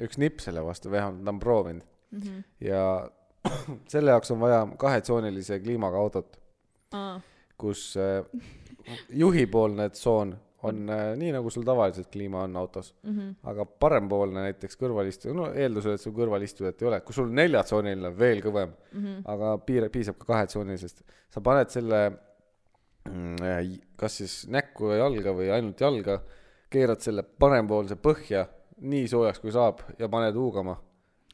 S1: üks nipp selle vastu , vähemalt ta on proovinud .
S3: Mhm.
S1: ja selle jaoks on vaja kahetsoonilise kliimaga autot ,
S3: aa ,
S1: kus äh, juhipoolne tsoon on äh, nii , nagu sul tavaliselt kliima on autos mm ,
S3: mhm.
S1: -hmm. aga parempoolne näiteks kõrvalistuja , no eeldusel , et sul kõrvalistujat ei ole , kui sul neljatsooniline on veel kõvem mm ,
S3: Mhm.
S1: -hmm. aga piir , piisab ka kahetsoonilisest , sa paned selle mm, äh, j- kas siis näkku ja jalga või ainult jalga , keerad selle parempoolse põhja nii soojaks , kui saab ja paned huugama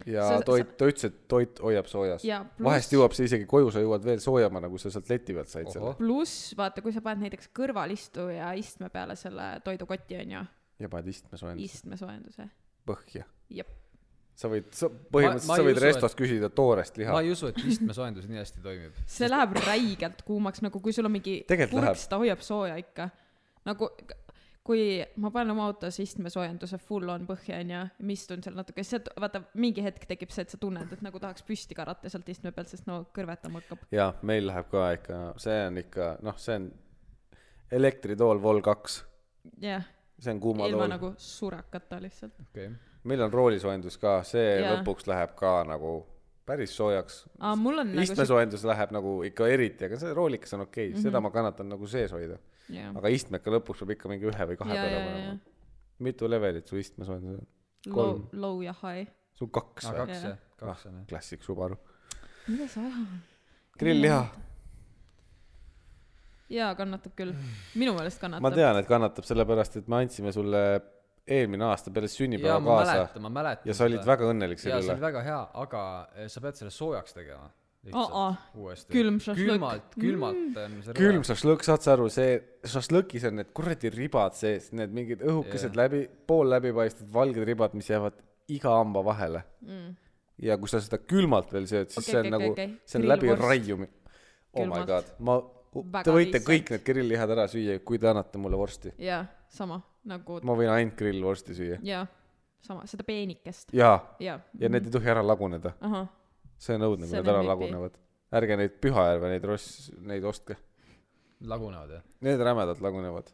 S1: ja
S3: Sa- sa-
S1: toit , ta ütles , et toit hoiab soojas .
S3: ja pluss
S1: vahest , jõuab see isegi koju , sa jõuad veel soojemana , kui sa sealt leti pealt said selle
S2: Ohoh.
S3: pluss vaata , kui sa paned näiteks kõrvalistuja istme peale selle toidukoti onju ,
S1: ja paned istmesoojenduse
S3: istmesoojenduse .
S1: põhja .
S3: jep ,
S1: sa võid , sa põhimõtteliselt
S2: ma
S1: ma, ma sa
S2: ei
S1: võid
S2: usu, et-
S1: restost küsida toorest liha
S2: ma . ei usu , et istmesoojendus nii hästi toimib .
S3: see läheb räigelt kuumaks , nagu kui sul on mingi
S1: Tegelikult
S3: purks , ta hoiab sooja ikka . nagu kui ma panen oma autos istmesoojenduse full on põhja onju , ma istun seal natuke , siis sealt vaata mingi hetk tekib see , et sa tunned , et nagu tahaks püsti karata sealt istme pealt , sest no kõrvetama hakkab .
S1: jaa , meil läheb ka ikka , see on ikka , noh , see on elektritool Vol kaks ,
S3: jah ,
S1: see on kuuma
S3: ilma
S1: tool nagu... .
S3: nagu surakata lihtsalt .
S2: okei okay. .
S1: meil on roolisoojendus ka , see
S3: Jaa.
S1: ja. lõpuks läheb ka nagu päris soojaks .
S3: aa , mul on nagu see ,
S1: istmesoojendus see... läheb nagu ikka eriti , aga see roolikas on okei okay. mm , -hmm. seda ma kannatan nagu sees hoida .
S3: jah ,
S1: aga istmeka lõpuks peab ikka mingi ühe või kahe
S3: ja ,
S1: peale
S3: ja , ja
S1: panema ., mitu levelit su istmesoojendus on ?
S3: low
S1: kolm. ,
S3: low ja high .
S1: sul kaks
S2: aga
S1: või ?
S2: kaks
S3: Jah.
S2: jah , kaks on jah .
S1: klassik Subaru .
S3: mida sa ajad ?
S1: grillliha ,
S3: jaa , kannatab küll . minu meelest kannatab .
S1: ma tean , et kannatab sellepärast , et me andsime sulle eelmine aasta peale
S2: jaa ,
S1: sünnipäeva
S2: ma
S1: kaasa
S2: mäletan , ma mäletan .
S1: ja sa olid väga õnnelik
S2: hea ,
S1: selle
S2: see oli
S1: üle .
S2: väga hea , aga eh, sa pead selle soojaks tegema .
S3: Aa,
S2: uuesti .
S3: külm šašlõkk. Mm.
S2: külmalt , külmalt eh, on see
S1: külm . šašlõkk , saad sa aru , see šašlõkis on need kuradi ribad sees , need mingid õhukesed
S2: Jah.
S1: läbi , pool läbipaistvad valged ribad , mis jäävad iga hamba vahele mm. . ja kui sa seda külmalt veel sööd , siis
S3: Okei,
S1: okay, see on okay,
S3: okei,
S1: nagu
S3: okei,
S1: okay.
S3: okei. ,
S1: see on läbi
S3: Grillvorst.
S1: raiumine . Oh my
S3: Külmalt.
S1: god , ma ,
S3: Väga
S1: te võite
S3: lihtsalt.
S1: kõik need grilllihad ära süüa , kui te annate mulle vorsti .
S3: jaa , sama nagu ,
S1: ma võin ainult grillvorsti süüa .
S3: jaa , sama , seda peenikest ,
S1: jaa ,
S3: jaa .
S1: ja need ei tohi ära laguneda .
S3: ahah
S1: see on õudne , kui
S3: See
S1: nad
S3: on
S1: ära
S3: MVP.
S1: lagunevad . ärge neid Pühajärve , neid ross , neid ostke .
S2: lagunevad jah ?
S1: Need rämedalt lagunevad .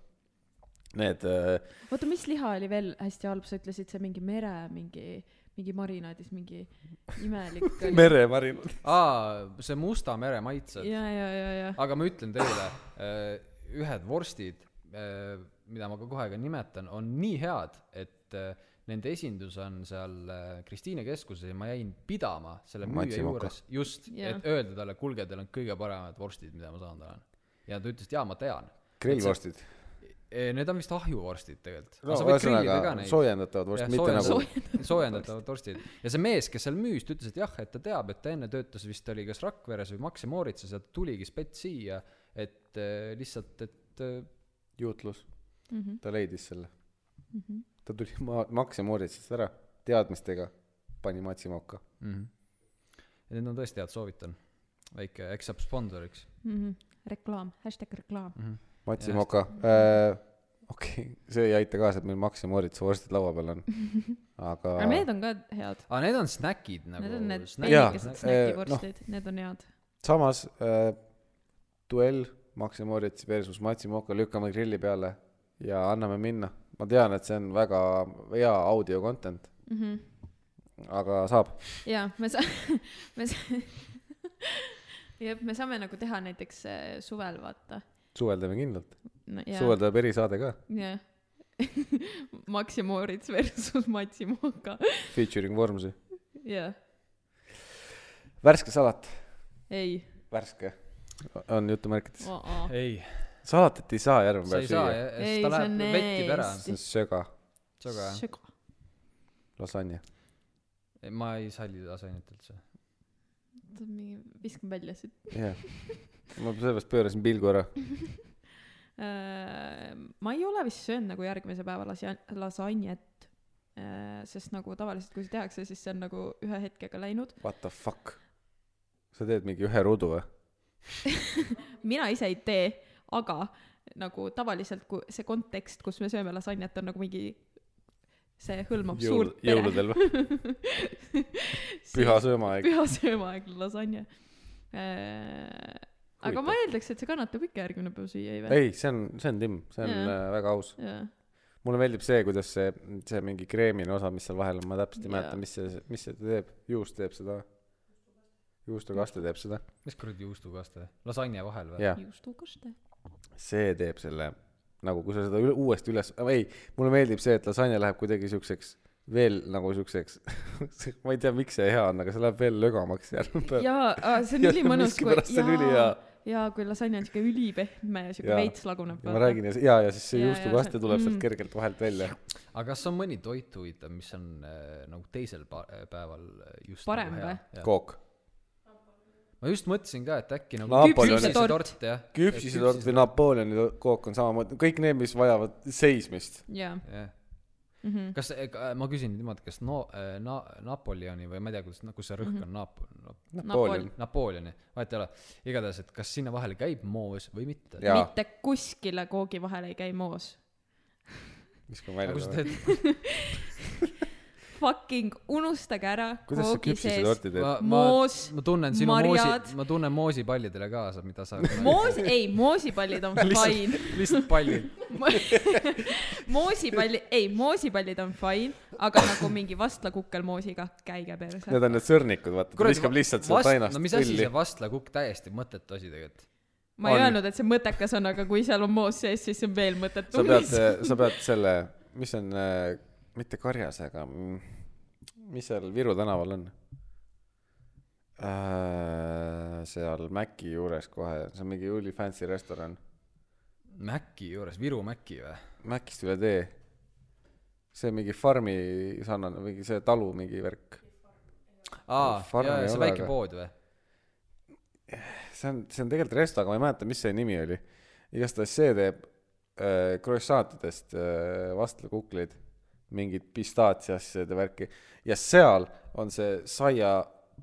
S1: Need äh,
S3: oota , mis liha oli veel hästi halb , sa ütlesid see mingi mere mingi , mingi marinaadis mingi imelik oli .
S1: meremarinad .
S2: aa , see Musta mere maitsed .
S3: ja , ja , ja , ja ,
S2: aga ma ütlen teile , ühed vorstid , mida ma ka kohe ka nimetan , on nii head , et eh, nende esindus on seal eh, Kristiine keskuses ja ma jäin pidama selle müüja
S1: Matsi Moka.
S2: juures just ,
S3: Jah.
S2: et öelda talle , kuulge , teil on kõige paremad vorstid , mida ma saanud olen . ja ta ütles , et jaa , ma tean .
S1: grillvorstid .
S2: Need on vist ahjuvorstid tegelikult
S1: no ühesõnaga soojendatavad vorstid , mitte nagu
S3: soojend-
S2: nagu soojendatavad vorstid ja see mees , kes seal müüs , ta ütles , et jah , et ta teab , et ta enne töötas vist oli kas Rakveres või Maxi Moritzas ja ta tuligi spets siia , et eh, lihtsalt , et eh,
S1: juutlus .
S3: Mhm,
S1: ta leidis selle . ta tuli ma- , Max ja Moritsast ära teadmistega , pani Matsi moka .
S2: Mhm. ja need on tõesti head , soovitan . väike , eks saab sponsoriks .
S3: mhm. reklaam , hashtag reklaam .
S2: Mhm.
S1: Matsi
S2: Just.
S1: moka äh, , okei okay. , see ei aita kaasa , et meil Max ja Moritsa vorstid laua peal on , aga
S3: aga need on ka head .
S2: aga need on snäkid nagu .
S3: Need on need
S1: Jaa,
S3: peenikesed
S1: eh,
S3: snäkivorstid , need on head .
S1: samas äh, duell Max ja Moritz versus Matsi Moka lükkame grilli peale ja anname minna . ma tean , et see on väga hea audio content mm . -hmm. aga saab .
S3: jaa , me saa- , me saa- , jah , me saame nagu teha näiteks eh, suvel , vaata .
S1: suveldame kindlalt .
S3: No,
S1: suvel tuleb erisaade ka ,
S3: jah . Maxi Moritz versus Matsi Moka ,
S1: featuring Vormsi .
S3: jah ,
S1: värske salat ,
S3: ei ,
S1: värske on jutumärkides .
S2: ei ,
S1: salatit ei saa
S2: sa
S1: Järvepäev
S2: ei saa
S1: süüa ,
S2: jah ,
S3: Ei,
S2: sest ta
S3: see on
S2: läheb , vettib ära .
S3: eest.
S1: see on söga ,
S2: see on väga hea .
S3: söga .
S1: lasanje .
S2: ma ei salli lasainet üldse .
S3: oota , mingi , viskan välja siit .
S1: jah yeah. , ma sellepärast pöörasin pilgu ära .
S3: Äh, ma ei ole vist söönud nagu järgmise päeva lasa- , lasanjet , sest nagu tavaliselt , kui see tehakse , siis see on nagu ühe hetkega läinud .
S1: What the fuck ? sa teed mingi ühe ruudu või ?
S3: mina ise ei tee , aga nagu tavaliselt , kui see kontekst , kus me sööme lasanjet , on nagu mingi , see hõlmab
S1: Jõul-
S3: suurt , pere .
S1: jõuludel või ? püha söömaaeg .
S3: püha söömaaegne lasanje . aga ma eeldaks , et see kannatab ikka järgmine päev süüa , ei või ?
S1: ei , see on , see on timm , see on
S3: Jaa.
S1: äh, väga aus .
S3: jaa ,
S1: mulle meeldib see , kuidas see , see mingi kreemine osa , mis seal vahel on , ma täpselt ei
S3: Jaa.
S1: mäleta , mis see , mis see teeb , juust teeb seda . juustukaste teeb seda ,
S2: mis kuradi juustukaste , lasanje vahel või ?
S1: jaa ,
S3: juustukaste .
S1: see teeb selle nagu , kui sa seda üle, uuesti üles , ei , mulle meeldib see , et lasanje läheb kuidagi siukseks veel nagu siukseks , ma ei tea , miks see hea on , aga see läheb veel lögamaks järgmine päev .
S3: jaa , see on ülimõnus , kui
S1: miskipärast see on ülihea .
S3: jaa , kui lasanja on siuke ülipehme ja siuke
S1: Jaa.
S3: veits laguneb .
S1: ja ma räägin ja , ja , ja siis see
S3: Ja, ja
S1: juustukaste
S3: see-
S1: tuleb sealt
S3: mm.
S1: kergelt vahelt välja .
S2: aga kas on mõni toit huvitav , mis on äh, nagu teisel pa- päeval äh, just
S3: Parem
S2: nagu
S3: või?
S2: hea ?
S1: kook .
S2: ma just mõtlesin ka , et äkki nagu
S1: Napoleon-
S2: küpsisetort, jah .
S1: küpsisetort või Napoleoni to- kook on samamoodi , kõik need , mis vajavad seismist .
S3: jaa , mhm.
S2: jah kas , ma küsin niimoodi , kas no- , na- , Napoleoni või ma ei tea , kuidas , kus see rõhk
S3: Mhm.
S2: on , Nap- , Nap- ,
S1: Napoleon .
S2: Napoleoni , vahet ei ole . igatahes , et kas sinna vahele käib moos või mitte .
S1: jaa ,
S3: mitte kuskile koogi vahele ei käi moos .
S1: viskan välja
S2: aga kui Nagu sa
S1: selle .
S2: teed ,
S3: Fucking unustage ära
S1: kuidas sa
S3: koogi sees
S1: küpsisetorti teed
S2: ma ?, ma ,
S3: Moos,
S2: ma tunnen sinu
S3: marjad.
S2: moosi , ma tunnen moosipallidele kaasa , mida sa
S3: moos , ei , moosipallid on fine .
S2: lihtsalt pallid .
S3: moosipalli , ei , moosipallid on fine , aga nagu mingi vastlakukkel moosiga , käige perse .
S1: Need on need sõrnikud , vaata , ta viskab lihtsalt seda tainast
S2: no mis asi see vastlakukk , täiesti mõttetu asi tegelikult .
S3: ma ei
S1: on.
S3: öelnud , et see mõttekas on , aga kui seal on moos sees , siis see on veel mõttetum
S1: sa . pead , äh, sa pead selle , mis on , mitte karjas , aga mm, mis seal Viru tänaval on ? Äh, seal Maci juures kohe , see on mingi really fancy restoran ,
S2: Maci juures , Viru Maci või ?
S1: Macist üle tee . see on mingi farmi sarnane , mingi see talu mingi värk .
S2: aa ,
S1: Farm ei
S2: see
S1: ole,
S2: väike
S1: aga-
S2: pood või ?
S1: see on , see on tegelikult resto , aga ma ei mäleta , mis see nimi oli . igastahes see teeb äh, croissantidest äh, vastlakukleid , mingit pistaatsiasjade värki ja seal on see saia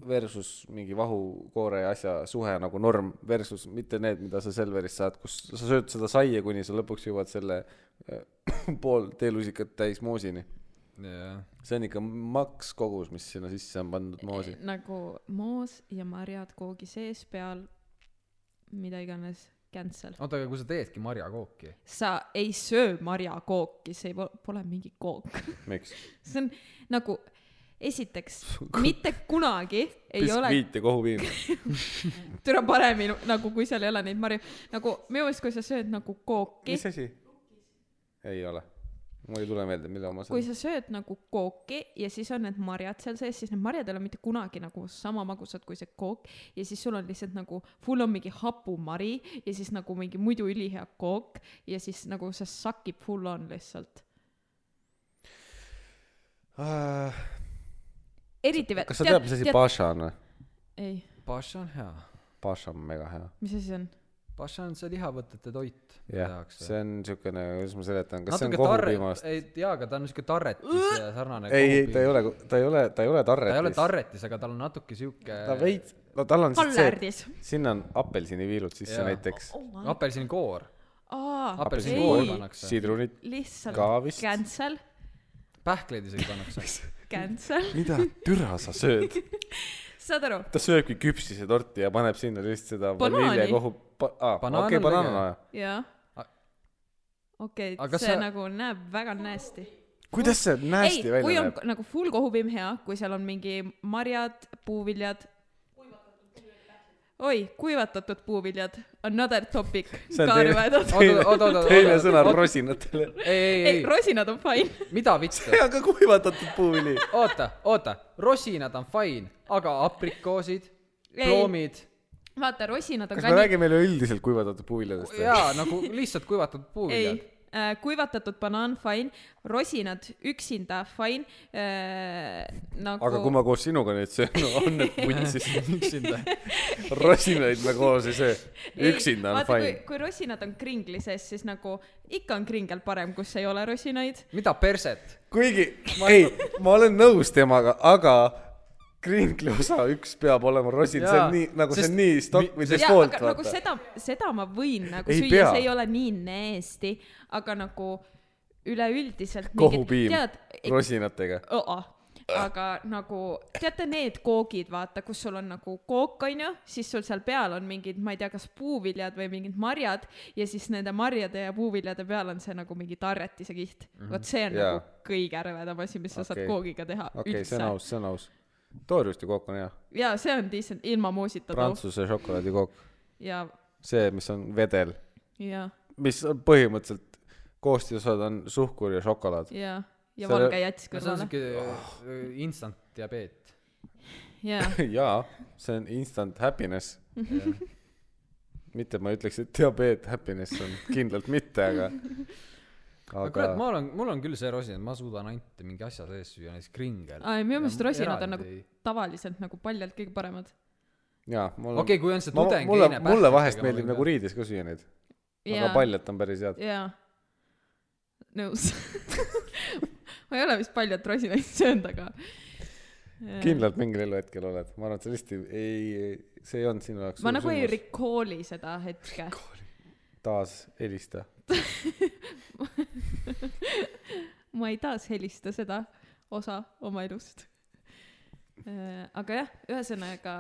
S1: versus mingi vahukoore ja asja suhe nagu norm versus mitte need , mida sa Selverist saad , kus sa sööd seda saia , kuni sa lõpuks jõuad selle äh, pool teelusikat täis moosini .
S2: jah
S1: see on ikka maks kogus , mis sinna sisse on pandud moosi .
S3: nagu moos ja marjad koogi sees peal , mida iganes , cancel .
S2: oota , aga kui sa teedki marjakooki ,
S3: sa ei söö marjakooki , see po- pole mingi kook .
S1: miks ?
S3: see on nagu , esiteks , mitte kunagi ei ole
S1: biskviit ja kohupiim .
S3: türa paremini , nagu kui seal ei ole neid marju , nagu minu meelest , kui sa sööd nagu kooki
S1: mis , asi ? ei ole . mul ei tule meelde , mille oma see
S3: kui
S1: on .
S3: sa sööd nagu kooki ja siis on need marjad seal sees , siis need marjad ei ole mitte kunagi nagu sama magusad kui see kook ja siis sul on lihtsalt nagu full on mingi hapumari ja siis nagu mingi muidu ülihea kook ja siis nagu see sakib full on lihtsalt . eriti veel .
S1: Ah, kas sa tead , mis asi ? paša on või ?
S3: ei ,
S2: paša on hea
S1: paša on mega hea .
S3: mis asi see on ?
S2: paša on see lihavõtete toit , mida
S1: jah ,
S2: tehakse .
S1: see on siukene , kuidas ma seletan , kas see on
S2: natuke tarret
S1: kohupiimast ?,
S2: ei jaa , aga ta on siuke tarretis ja sarnane .
S1: ei , ei , ta ei . ole , ta ei ole , ta ei ole
S2: ta ei ole
S1: tarretis .
S2: tarretis , aga tal on natuke siuke
S1: ta veits , no tal on siis see ,
S3: hallardis .
S1: sinna on apelsiniviilud sisse
S2: Jaa.
S1: näiteks .
S2: apelsinikoor ,
S3: aa ,
S2: apelsinikoor
S3: Ei.
S2: pannakse ,
S1: sidrunid ,
S3: lihtsalt
S1: nagu. ka vist.
S3: cancel ,
S2: pähkleid isegi pannakse .
S3: cancel ,
S1: mida türa sa sööd ?
S3: saad aru ?
S1: ta sööbki küpsisetorti ja paneb sinna lihtsalt seda
S3: Banaani.
S1: vanilje kohu , aa ,
S2: Banaan
S1: okei ,
S2: on
S1: banaan on
S2: lõge.
S1: vaja .
S3: jah
S2: A- .
S3: okei
S2: Aga
S3: okay, , see
S2: sa-
S3: sa... nagu näeb väga nästi .
S1: kuidas see
S3: ei ,
S1: nästi
S3: kui
S1: välja
S3: on
S1: näeb ?
S3: nagu full kohupiim hea , kui seal on mingi marjad , puuviljad . oi , kuivatatud puuviljad , another topic .
S1: see on teine , teine ,
S2: Oot, oot, oot, oot,
S1: teine
S2: oot,
S1: sõna
S2: oot.
S1: rosinatele .
S2: ei , ei ,
S3: ei ,
S2: ei ,
S3: rosinad on fine .
S2: mida vittu
S1: see , on ka kuivatatud puuvili .
S2: oota , oota , rosinad on fine , aga aprikoosid ,
S3: Ei.
S2: ploomid
S3: vaata , rosinad on
S1: kas
S3: ka
S1: me
S3: nii .
S1: räägime üleüldiselt kuivatatud puuviljadest või ?
S2: jaa , nagu lihtsalt kuivatud
S3: ei äh,
S2: puuviljad .,
S3: kuivatatud banaan fine , rosinad üksinda fine äh, , nagu .
S1: aga kui ma koos sinuga neid söön , on need putsis . üksinda . rosinaid me koos ei söö .
S3: Ei,
S1: üksinda on
S3: vaata,
S1: fine
S3: kui, . kui rosinad on kringli sees , siis nagu ikka on kringel parem , kus ei ole rosinaid .
S2: mida perset ?
S1: kuigi , ei , ma olen nõus temaga , aga krinkli osa üks peab olema rosin , see
S2: Jaa,
S1: on nii , nagu see
S2: sest
S1: on nii
S2: mi-
S1: stokk või
S2: sest-
S1: default ,
S3: nagu
S1: vaata .
S3: seda , seda ma võin nagu
S1: Ei
S3: ei süüa
S1: pea. ,
S3: see ei ole nii neesti , aga nagu üleüldiselt .
S1: kohupiim
S3: tead ,
S1: rosinatega .
S3: aga nagu teate need koogid , vaata , kus sul on nagu kook , onju , siis sul seal peal on mingid , ma ei tea , kas puuviljad või mingid marjad ja siis nende marjade ja puuviljade peal on see nagu mingi tarretise kiht mm . -hmm. vot see on
S1: Mhm. Jaa.
S3: yeah. nagu kõige ärvedam asi , mis sa okay.
S1: Okei.
S3: saad koogiga teha
S1: okei , see
S3: üldse
S1: on . aus , see on aus . toorjuustikook on hea ,
S3: ja see on decent , ilma moosita too .
S1: prantsuse šokolaadikook ,
S3: ja ,
S1: see , mis on vedel
S3: ja ,
S1: mis on põhimõtteliselt koostisosad on suhkur ja šokolaad .
S3: ja , ja
S1: See oli-
S3: valge jats
S2: see on
S3: kõrvale .
S2: siuke
S1: Oh.
S2: öö, instant diabeet .
S3: jaa ,
S1: jaa , see on instant happiness . mitte ma ei ütleks , et diabeet happiness on kindlalt mitte , aga ,
S2: aga kurat ,
S1: aga
S2: ma olen , mul on küll see rosin , ma suudan ainult mingi asja sees süüa , näiteks kringel .
S3: aa , Ah, minu meelest rosinad on nagu tavaliselt nagu paljalt kõige paremad .
S1: jaa , mul on
S2: okei , kui on see
S1: ma,
S2: tudeng .
S1: mulle , mulle vahest meeldib nagu . riides ka süüa neid , aga paljalt on päris head .
S3: jaa , nõus . ma ei ole vist paljalt rosinaid söönud , aga .
S1: kindlalt mingil eluhetkel oled , ma arvan , et sa tõesti ei , see ei olnud sinu jaoks
S3: ma nagu ei . recall'i seda hetke .
S1: taas helista .
S3: ma ei taashelista seda osa oma elust . aga jah , ühesõnaga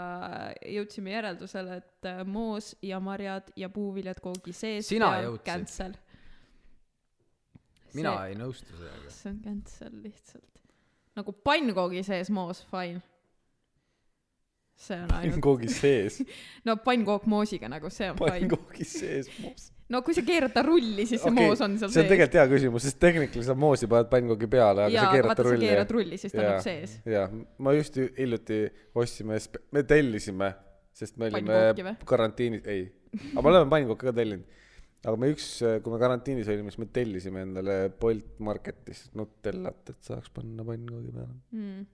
S3: jõudsime järeldusele , et äh, moos ja marjad ja puuviljad koogi sees .
S2: Sina jõudsid.
S3: cancel .
S2: mina ei nõustu sellega .
S3: see on cancel lihtsalt . nagu pannkoogi sees moos , fine . see on ainult ,
S1: koogis sees ,
S3: no pannkook moosiga nagu see on fine .
S1: koogis sees .
S3: no kui sa keerad ta rulli , siis see
S1: Okei,
S3: moos on seal
S1: see on tegelikult hea küsimus , sest tehnikaliselt sa moosi paned pannkoogi peale , aga
S3: jaa ,
S1: sa
S3: aga
S1: keerad ta
S3: vaata , sa
S1: rulli .
S3: keerad rulli , siis ta on
S1: Jaa.
S3: nagu sees .
S1: jah , ma just ju- hiljuti ostsime , me tellisime , sest me
S3: Pannkooki
S1: olime
S3: või?
S1: karantiinis , ei , aga me oleme pannkooki ka tellinud . aga me üks , kui me karantiinis olime , siis me tellisime endale Bolt Marketist Nutellat , et saaks panna pannkoogi peale .
S3: mm. .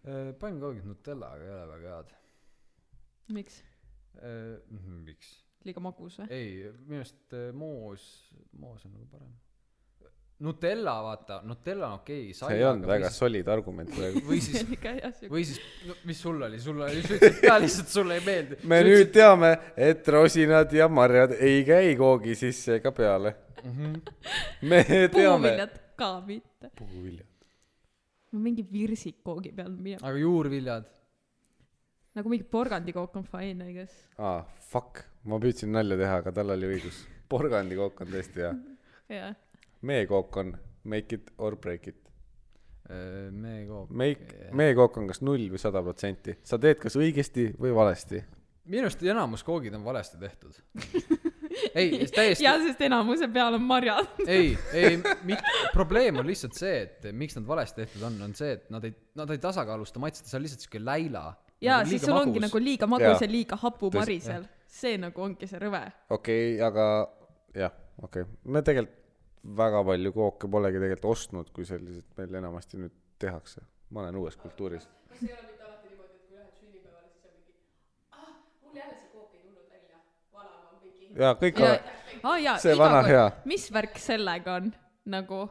S2: Äh, pannkoogid Nutellaga ei ole väga head .
S3: miks ?
S2: miks ?
S3: liiga magus või ?
S2: ei , minu arust eh, moos , moos on nagu parem . Nutella , vaata , Nutella on okei okay, .
S1: see ei olnud väga solid argument praegu .
S2: või siis ,
S3: liiga hea siuke .
S2: või siis , no mis sul oli , sul oli , sa ütlesid ka lihtsalt , sulle ei meeldi .
S1: me nüüd teame , et rosinad ja marjad ei käi koogi sisse ega peale . me teame .
S3: puuviljad ka mitte .
S1: puuviljad .
S3: ma mingi virsik koogi peal minema ,
S2: aga juurviljad ?
S3: nagu mingi porgandikook on fine , I guess .
S1: aa , fuck , ma püüdsin nalja teha , aga tal oli õigus . porgandikook on tõesti hea
S3: jah .
S1: meekook on make it or break it .
S2: äh, meekook .
S1: Make , meekook on kas null või sada protsenti , sa teed kas õigesti või valesti .
S2: minu arust enamus koogid on valesti tehtud . ei , täiesti ,
S3: ja , sest enamuse peal on marjad .
S2: ei , ei , probleem on lihtsalt see , et miks nad valesti tehtud on , on see , et nad ei , nad ei tasakaalusta maitset , see on lihtsalt sihuke läila .
S3: ja siis sul ongi nagu liiga magus
S1: Jaa.
S3: ja liiga hapu
S1: Tõsi.
S3: mari seal . see nagu ongi see rõve .
S1: okei okay, , aga jah , okei okay. , me tegelikult väga palju kooke polegi tegelikult ostnud , kui sellised meil enamasti nüüd tehakse . ma olen uues kultuuris . jaa , kõik
S3: ja
S1: on ,,
S3: aa jaa ,
S1: See vana hea.
S3: mis värk sellega on nagu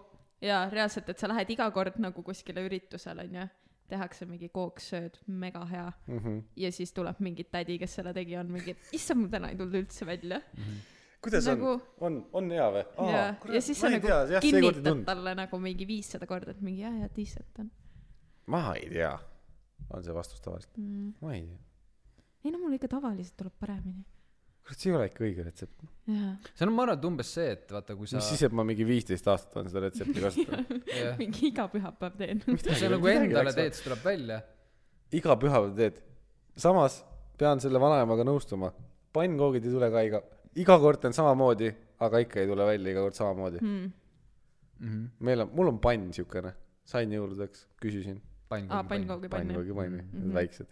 S3: jaa , reaalselt , et sa lähed iga kord nagu kuskile üritusele onju , tehakse mingi kooksööd , mega hea mm .
S1: Mhm.
S3: -hmm. ja siis tuleb mingi tädi , kes selle tegi , on mingi , issand , ma täna ei tulnud üldse välja .
S1: kuidas nagu...
S3: nagu-
S1: on , on , on hea või ?
S3: ja , ja siis sa nagu tea, kinnitad . talle nagu mingi viissada korda , et mingi jah , jah , decent on .
S1: ma ei tea , on see vastus tavaliselt mm. . ma ei tea ,
S3: ei no mul ikka tavaliselt tuleb paremini .
S1: kurat , see ei ole ikka õige retsept .
S3: jaa ,
S2: see on , ma arvan , et umbes see , et vaata , kui sa
S1: mis . siis , et ma mingi viisteist aastat olen seda retsepti kasutanud .
S3: mingi iga pühapäev teen .
S2: sa nagu
S1: midagi
S2: endale
S1: läks
S2: teed , siis tuleb välja .
S1: iga pühapäev teed . samas pean selle vanaemaga nõustuma , pannkoogid ei tule ka iga , iga kord teen samamoodi , aga ikka ei tule välja iga kord samamoodi mm. .
S3: Hmm.
S1: meil on , mul on pann siukene , sain jõuludeks , küsisin .
S3: aa , pannkoogi pann jah .
S1: pannkoogi panni mm , -hmm. väiksed .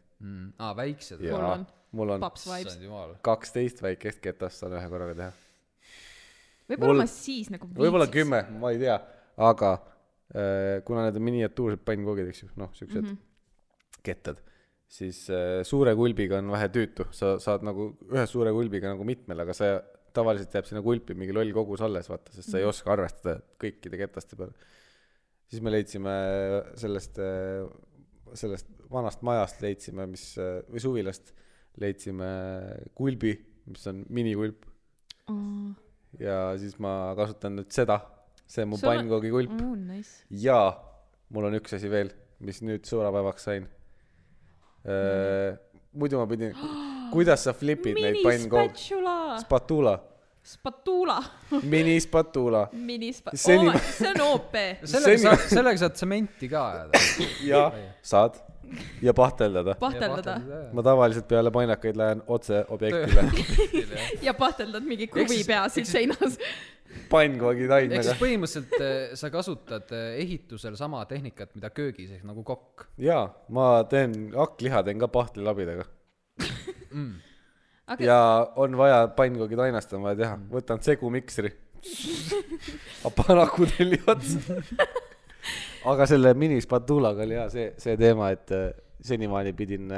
S2: aa , väiksed .
S3: Jaa. Mul on.
S1: mul on
S3: paps vibes .
S2: issand jumal .
S1: kaksteist väikest ketast saan ühe korraga teha .
S3: võib-olla
S1: Mul-
S3: ma siis nagu
S1: võib-olla
S3: viitsiks .
S1: kümme , ma ei tea , aga äh, kuna need on miniatuursed pannkoogid , eks ju , noh , siuksed mm -hmm. kettad , siis äh, suure kulbiga on vähe tüütu , sa saad nagu ühe suure kulbiga nagu mitmele , aga sa tavaliselt jääb sinna kulpi mingi loll kogus alles , vaata , sest sa ei oska arvestada kõikide ketaste peale . siis me leidsime äh, sellest , sellest vanast majast leidsime , mis äh, või suvilast leidsime kulbi , mis on minikulp ja siis ma kasutan nüüd seda , see on mu
S3: Sul on-
S1: pannkoogikull
S3: oo , nice .
S1: ja mul on üks asi veel , mis nüüd suurapäevaks sain . muidu ma pidin , kuidas sa flipid neid pannkoog- ,
S3: minispatšula ,
S1: spatuula ,
S3: spatuula ,
S1: minispatuula
S3: minispa- ,
S1: Seni-
S3: oh, my- see on OP .
S2: sellega
S1: Seni-
S2: saad , sellega saad tsementi ka ajada .
S1: ja saad ja pahteldada .
S3: pahteldada
S1: ma tavaliselt peale painakaid lähen otse objektile
S3: ja pahteldad mingi kruvi
S2: siis-
S3: pea siin seinas .
S1: pannkoogi
S2: ehk
S1: taimega
S2: siis põhimõtteliselt eh, sa kasutad eh, ehitusel sama tehnikat , mida köögis , ehk nagu kokk .
S1: ja ma teen hakkliha teen ka pahtlilabidega .
S3: aga
S1: ja on vaja pannkoogid ainast on vaja teha , võtan segumiksri . aga paraku tuli otsa . aga selle minispatuulaga oli hea see , see teema , et äh, senimaani pidin ,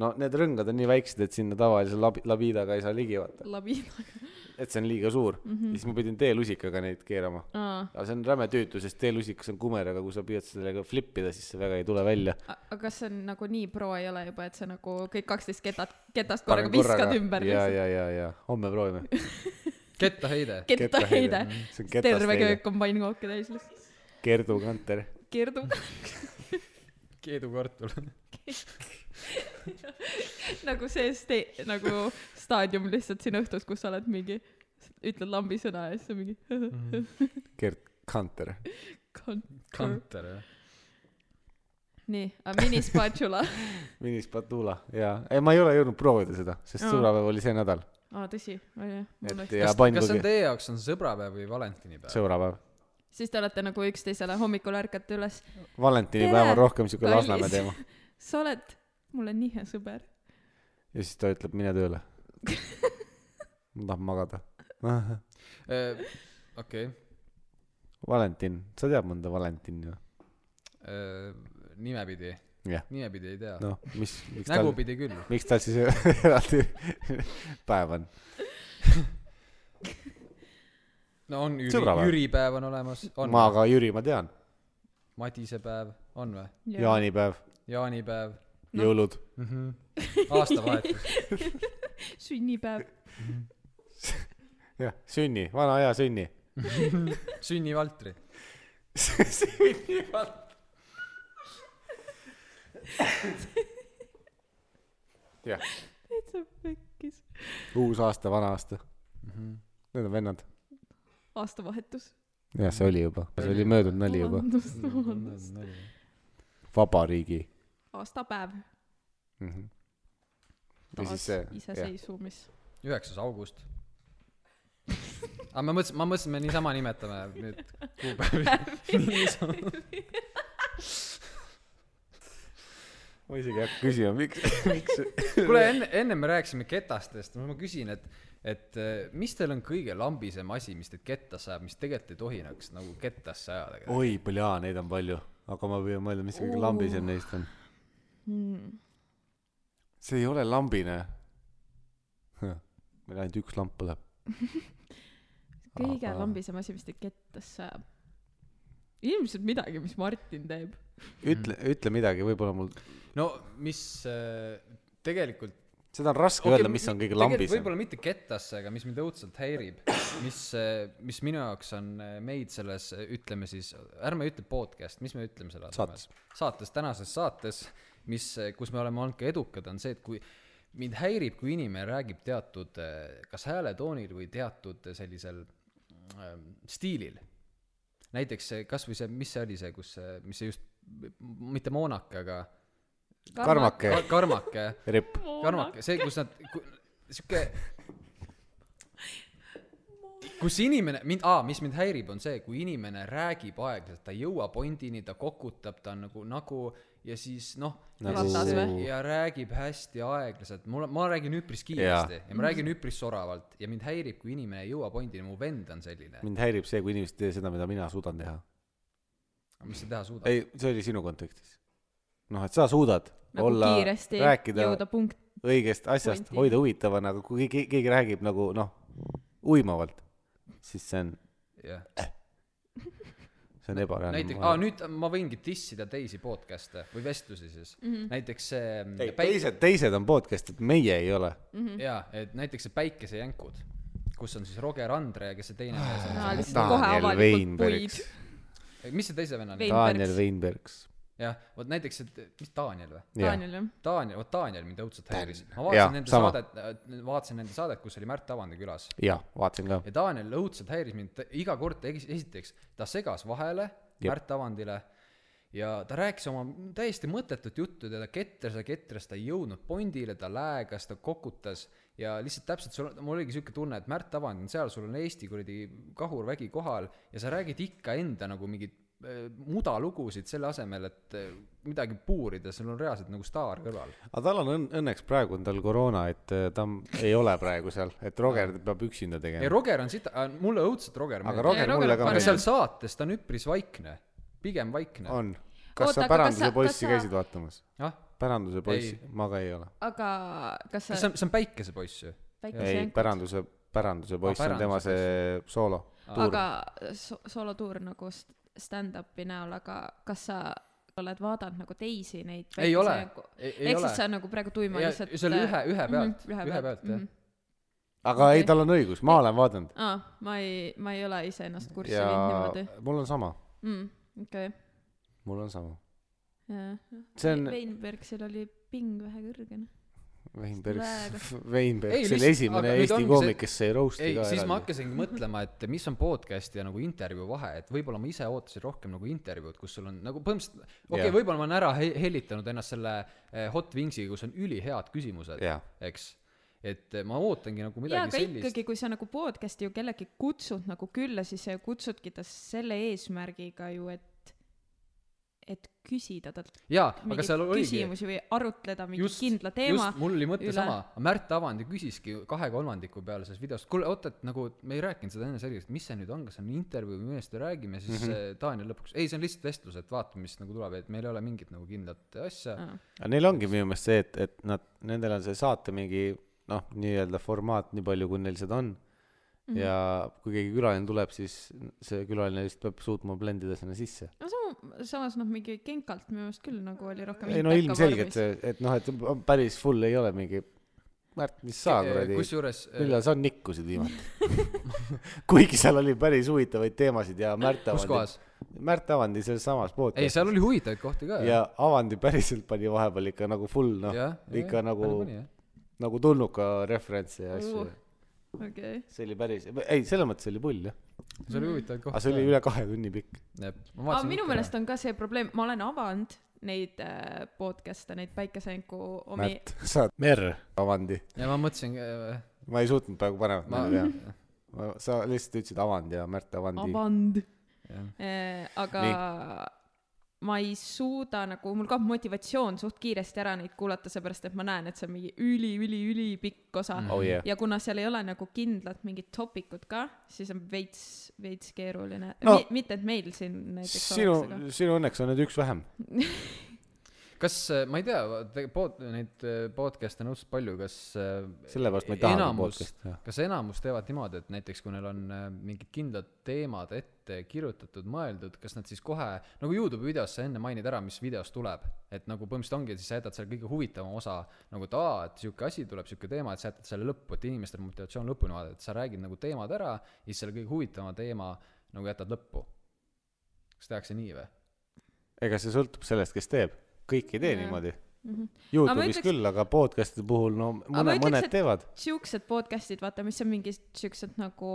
S1: no need rõngad on nii väiksed , et sinna tavalise labi- , labiidaga ei saa ligi vaata ,
S3: labiinaga
S1: et see on liiga suur mm . -hmm. siis ma pidin teelusikaga neid keerama .
S3: Aa,
S1: aga see on räme tüütu , sest teelusikas on kumer , aga kui sa püüad sellega flippida , siis see väga ei tule välja .
S3: a- aga kas see on nagu nii pro ei ole juba , et sa nagu kõik kaksteist ketat , ketast korraga viskad ümber
S1: ja , ja , ja , ja homme proovime .
S2: kettaheide .
S3: kettaheide .
S1: Mm, see on
S3: terve
S1: kettaheide .
S3: köök on pannkooke täis lihtsalt .
S1: Gerdu Kanter .
S3: kirdub
S2: keedukartul .
S3: nagu see ste- , nagu staadium lihtsalt siin õhtus , kus sa oled mingi , ütled lambi sõna ja siis sa mingi
S2: Mhm.
S1: Gerd Kanter .
S3: kantor .
S2: kanter , jah .
S3: nii , mini spatula .
S1: Mini Spatula ja , ei ma ei ole jõudnud proovida seda , sest
S3: Aa.
S1: sõbrapäev oli see nädal ,
S3: aa , tõsi , oli
S1: et
S3: jah .
S1: ja
S2: kas see on
S1: pannkoogid ,
S2: teie jaoks on sõbrapäev või valentinipäev ?
S1: sõbrapäev .
S3: siis te olete nagu üksteisele hommikul ärkate üles .
S1: valentinipäev
S3: Tere,
S1: on rohkem siuke
S3: kallis.
S1: Lasnamäe teema
S3: sa oled , mul on nii hea sõber .
S1: ja siis ta ütleb , mine tööle . ma tahan magada .
S2: Äh, okei ,
S1: Valentin , sa tead mõnda Valentini või ?
S2: äh, nimepidi ,
S1: jah ,
S2: nimepidi ei tea .
S1: noh , mis , miks tal ,
S2: nägupidi küll .
S1: miks tal siis eraldi päev on ?
S2: no on Jüri ,
S1: Sõbrapäev.
S2: Jüri päev on olemas , on
S1: ma . aga Jüri ma tean ,
S2: Madise päev on või ?
S1: jaanipäev ,
S2: jaanipäev
S3: Noh.
S1: jõulud ,
S2: mm . -hmm. aastavahetus .
S3: sünnipäev .
S1: jah , sünni , vana hea sünni .
S2: sünnivaltri .
S1: sünnipäev . jah
S3: täitsa pekkis .
S1: uus aasta , vana aasta mm . -hmm. Need on vennad .
S3: aastavahetus .
S1: jah , see oli juba , see oli möödunud nali juba .
S3: vabandust .
S1: vabariigi
S3: aastapäev .
S1: mm . -hmm. või siis
S3: taas
S1: see , jah ,
S3: iseseisvumis .
S2: üheksas august . aga ma mõtlesin , ma mõtlesin , me niisama nimetame nüüd kuupäevi .
S1: ma isegi ei hakka küsima , miks , miks .
S2: kuule , enne , enne me rääkisime ketastest , ma küsin , et , et eh, mis teil on kõige lambisem asi , mis teid kettasse ajab , mis tegelikult ei tohi nagu, nagu kettasse ajada ?
S1: oi , palju , jaa , neid on palju , aga ma püüan mõelda , mis see kõige lambisem neist on .
S3: Mm.
S1: see ei ole lambine . meil ainult üks lamp põleb .
S3: kõige
S1: Aga-
S3: lambisem asi , mis teid kettasse ajab . ilmselt midagi , mis Martin teeb .
S1: ütle , ütle midagi , võib-olla mul ,
S2: no mis eh, tegelikult
S1: seda on raske okay,
S2: Okei,
S1: öelda , mis on kõige lambisem .
S2: võib-olla mitte ketasse , aga mis mind õudselt häirib , mis , mis minu jaoks on eh, meid selles , ütleme siis , ärme ütle podcast , mis me ütleme selle
S1: Saates. .
S2: saates , tänases saates , mis , kus me oleme olnud ka edukad , on see , et kui mind häirib , kui inimene räägib teatud eh, kas hääletoonil või teatud äh, sellisel eh, stiilil . näiteks eh, kasvõi see , mis see oli see , kus , mis see just , mitte moonake , aga
S1: karmake ,
S2: ka- karmake
S1: ripp .
S2: karmake , see , kus nad , sihuke . kus inimene , mind , aa , mis mind häirib , on see , kui inimene räägib aeglaselt , ta ei jõua pondini , ta kokutab , ta on nagu , nagu ja siis noh .
S1: Nagu-
S3: Ratas või?
S2: ja räägib hästi aeglaselt , mul , ma räägin üpris kiiresti ja. ja ma räägin üpris soravalt ja mind häirib , kui inimene ei jõua pondini , mu vend on selline .
S1: mind häirib see , kui inimesed ei tee seda , mida mina suudan teha .
S2: mis sa teha suudad ?
S1: ei , see oli sinu kontekstis . noh , et sa suudad
S3: nagu
S1: olla ,
S3: kiiresti
S1: rääkida
S3: jõuda punkt .
S1: õigest asjast ,
S3: pointi.
S1: hoida huvitavana , aga kui keegi, keegi räägib nagu noh , uimavalt , siis see on ,
S2: jah ,
S1: see on ebareaalne
S2: näiteks , aa . nüüd ma võingi tissida teisi podcast'e või vestlusi siis mm .
S3: Mhm.
S2: -hmm. näiteks see
S1: ei , teised , teised on podcast'id , meie ei ole .
S2: jaa , et näiteks see Päikesejänkud , kus on siis Roger Andre ja kes see teine mees
S1: Ah.
S3: aa ,
S2: on .
S3: lihtsalt kohe
S1: Daniel
S3: avalikult puid
S1: Weinbergs. .
S2: mis see teise venelane
S3: Vein-
S2: oli ?
S1: Daniel Weinbergs .
S2: jah , vot näiteks , et mis Daniel või ?
S1: jah ,
S3: Daniel jah .
S2: Daniel , vot Daniel mind õudselt häiris . ma
S1: Jaa,
S2: vaatasin nende
S1: sama.
S2: saadet , vaatasin nende saadet , kus oli Märt Avandi külas
S1: jah , vaatasin ka .
S2: ja Daniel õudselt häiris mind , ta iga kord ta egi- esiteks , ta segas vahele
S1: Jep.
S2: Märt Avandile ja ta rääkis oma täiesti mõttetut juttu , teda ketras ja ketras , ta ei jõudnud pondile , ta läägas , ta kokutas ja lihtsalt täpselt sul , mul oligi siuke tunne , et Märt Avand on seal , sul on Eesti kuradi kahurvägi kohal ja sa räägid ikka enda nagu mingit äh, mudalugusid selle asemel , et äh, midagi puurida , sul on reaalselt nagu staar kõrval .
S1: aga tal on õnn- , õnneks praegu on tal koroona , et eh, ta m- ei ole praegu seal , et Roger peab üksinda
S2: ei ,
S1: tegema .
S2: Roger on sita- , mulle õudselt Roger
S1: aga
S2: meeldib .
S3: Ei,
S1: Roger
S3: Roger
S1: mulle
S3: on
S1: ka
S2: aga
S3: parem.
S2: seal
S1: meeldib .
S2: saates ta on üpris vaikne , pigem vaikne .
S1: on . kas
S3: Oota,
S1: sa
S3: aga kas sa-
S1: Päranduse
S3: kas
S1: poissi
S3: sa-
S1: käisid vaatamas ?
S2: ah ,
S1: päranduse poiss
S2: Ei. ,
S1: ma ka ei ole .
S3: aga kas
S2: see
S3: sa
S2: on , see on päikesepoiss ju .
S1: ei ,
S3: päikese ,
S1: päranduse , päranduse poiss on
S2: Ah, Päranduse
S1: tema see soolo .
S3: aga so- soolotuur nagu st- stand-up'i näol , aga kas sa oled vaadanud nagu teisi neid
S2: ei ole
S3: päikese- ,
S2: ei ei
S3: ehk
S2: ole
S3: siis . sa nagu praegu tuima
S2: Ja
S3: lihtsalt
S2: see oli ühe , ühe pealt ,
S3: äh, Mhm,
S2: ühe pealt jah .
S3: mhm.
S1: aga ei ,
S3: Okei.
S1: tal on õigus , ma olen vaadanud
S3: aa , ma ei , ma ei ole ise ennast kurssi
S1: ja
S3: viinud niimoodi
S1: mul on sama ,
S3: mm, . okei okay. ,
S1: mul on sama .
S3: jah .
S1: see on
S3: Veinbergsil oli ping vähe kõrgene .
S1: Veinberg
S3: Väga. ,
S1: Veinberg ,
S2: Ei,
S1: see oli
S2: lihtsalt-
S1: esimene
S2: aga nüüd
S1: Eesti
S2: ongi see-
S1: koomik , kes sai roast'i
S2: ei
S1: ka ,
S2: siis ma
S1: eraldi .
S2: hakkasingi mõtlema , et mis on podcast'i ja nagu intervjuu vahe , et võib-olla ma ise ootasin rohkem nagu intervjuud , kus sul on nagu põhimõtteliselt , okei okay,
S1: Jah. ,
S2: võib-olla ma olen ära he- hellitanud ennast selle eh, Hot Wingsiga , kus on ülihead küsimused ,
S1: jaa ,
S2: eks . et eh, ma ootangi nagu
S3: jaa ,
S2: midagi
S3: aga
S2: sellist .
S3: ikkagi , kui sa nagu podcast'i ju kellegi kutsud nagu külla , siis sa ju kutsudki ta selle eesmärgiga ju , et , et küsida talt
S2: jaa , aga seal
S3: mingeid
S2: oligi
S3: küsimusi või arutleda mingi
S2: just ,
S3: just, kindla teema
S2: just , mul oli mõte
S3: üle.
S2: üle. sama , Märt Avandi küsiski kahe kolmandiku peale selles videos , kuule oota , et nagu me ei rääkinud seda enne selgeks , mis see nüüd on , kas see on intervjuu või millest me räägime , siis
S1: Mhm.
S2: mm -hmm. Taaniel lõpuks , ei , see on lihtsalt vestlus , et vaatame , mis nagu tuleb , et meil ei ole mingit nagu kindlat asja mm .
S3: Aa.
S1: aga neil ongi minu meelest see , et , et nad , nendel on see saate mingi noh , nii-öelda formaat , nii palju , kui neil seda on mm .
S3: Mhm.
S1: -hmm. ja kui keegi külaline tuleb , siis see külaline vist peab suutma blendida sinna sisse .
S3: no sama , samas noh , mingi Genkalt minu meelest küll nagu oli rohkem
S1: ei no
S3: Inteka
S1: ilmselgelt
S3: vormis.
S1: see , et noh , et päris full ei ole mingi , Märt , mis sa kuradi ,
S2: kusjuures eh,
S1: millal sa nikkusid viimati ? kuigi seal oli päris huvitavaid teemasid ja Märt
S2: kus
S1: Avandi ,
S2: kohas ?
S1: Märt Avandi sealsamas
S2: ei ,
S1: podcast'is
S2: seal oli huvitavaid kohti ka .
S1: ja Avandi päriselt pani vahepeal ikka nagu full noh , ikka nagu , nagu tulnuka referentse ja asju
S3: Uh. . okei okay.
S1: see oli päris , ei selles mõttes oli pull jah ,
S2: see oli huvitavaid kohti .
S1: aga see oli üle kahe tunni pikk .
S2: üle
S3: aga minu meelest on ka see probleem , ma olen avanud neid äh, podcast'e , neid päikesejänku omi ,
S1: Märt , sa oled Mer Avandi ,
S2: ja ma mõtlesin ,
S1: ma ei suutnud praegu paremat
S2: ma ,
S1: nime teha . sa lihtsalt ütlesid Avand ja Märt Avandi .
S3: avanud
S2: Jah.
S3: eh, , aga ma ei suuda nagu , mul kaob motivatsioon suht kiiresti ära neid kuulata , seepärast et ma näen , et see on mingi üli-üli-ülipikk osa
S2: Mhm.
S3: mm. .
S1: oh yeah .
S3: ja kuna seal ei ole nagu kindlat mingit topikut ka , siis on veits , veits keeruline
S1: No.
S3: no. . mitte , et meil siin näiteks oleks ,
S1: sinu , sinu õnneks on nüüd üks vähem .
S2: kas , ma ei tea , pod- , neid eh, podcast'e on õudselt palju , kas eh,
S1: sellepärast ma ei taha enam
S2: enamus-
S1: podcast'i teha .
S2: kas enamus teevad niimoodi , et näiteks kui neil on äh, mingid kindlad teemad ette kirjutatud , mõeldud , kas nad siis kohe , nagu Youtube'i videos sa enne mainid ära , mis videos tuleb , et nagu põhimõtteliselt ongi , et siis sa jätad selle kõige huvitavama osa nagu , et aa , et sihuke asi tuleb , sihuke teema , et sa jätad selle lõppu , et inimestel on motivatsioon lõpuni vaadata , et sa räägid nagu teemad ära ja siis selle kõige huvitavama teema nagu jätad lõppu . kas tehakse nii või ?
S1: ega see sõltub sellest , kes teeb , kõik ei tee
S3: Jaa.
S1: niimoodi .
S3: Mhm. Aga ma
S1: Youtube'is
S3: ütleks-
S1: küll , aga podcast'ide puhul no
S3: ma
S1: mõne ,
S3: ütleks,
S1: mõned
S3: et-
S1: teevad
S3: siuksed podcast'id , vaata , mis on mingid siuksed nagu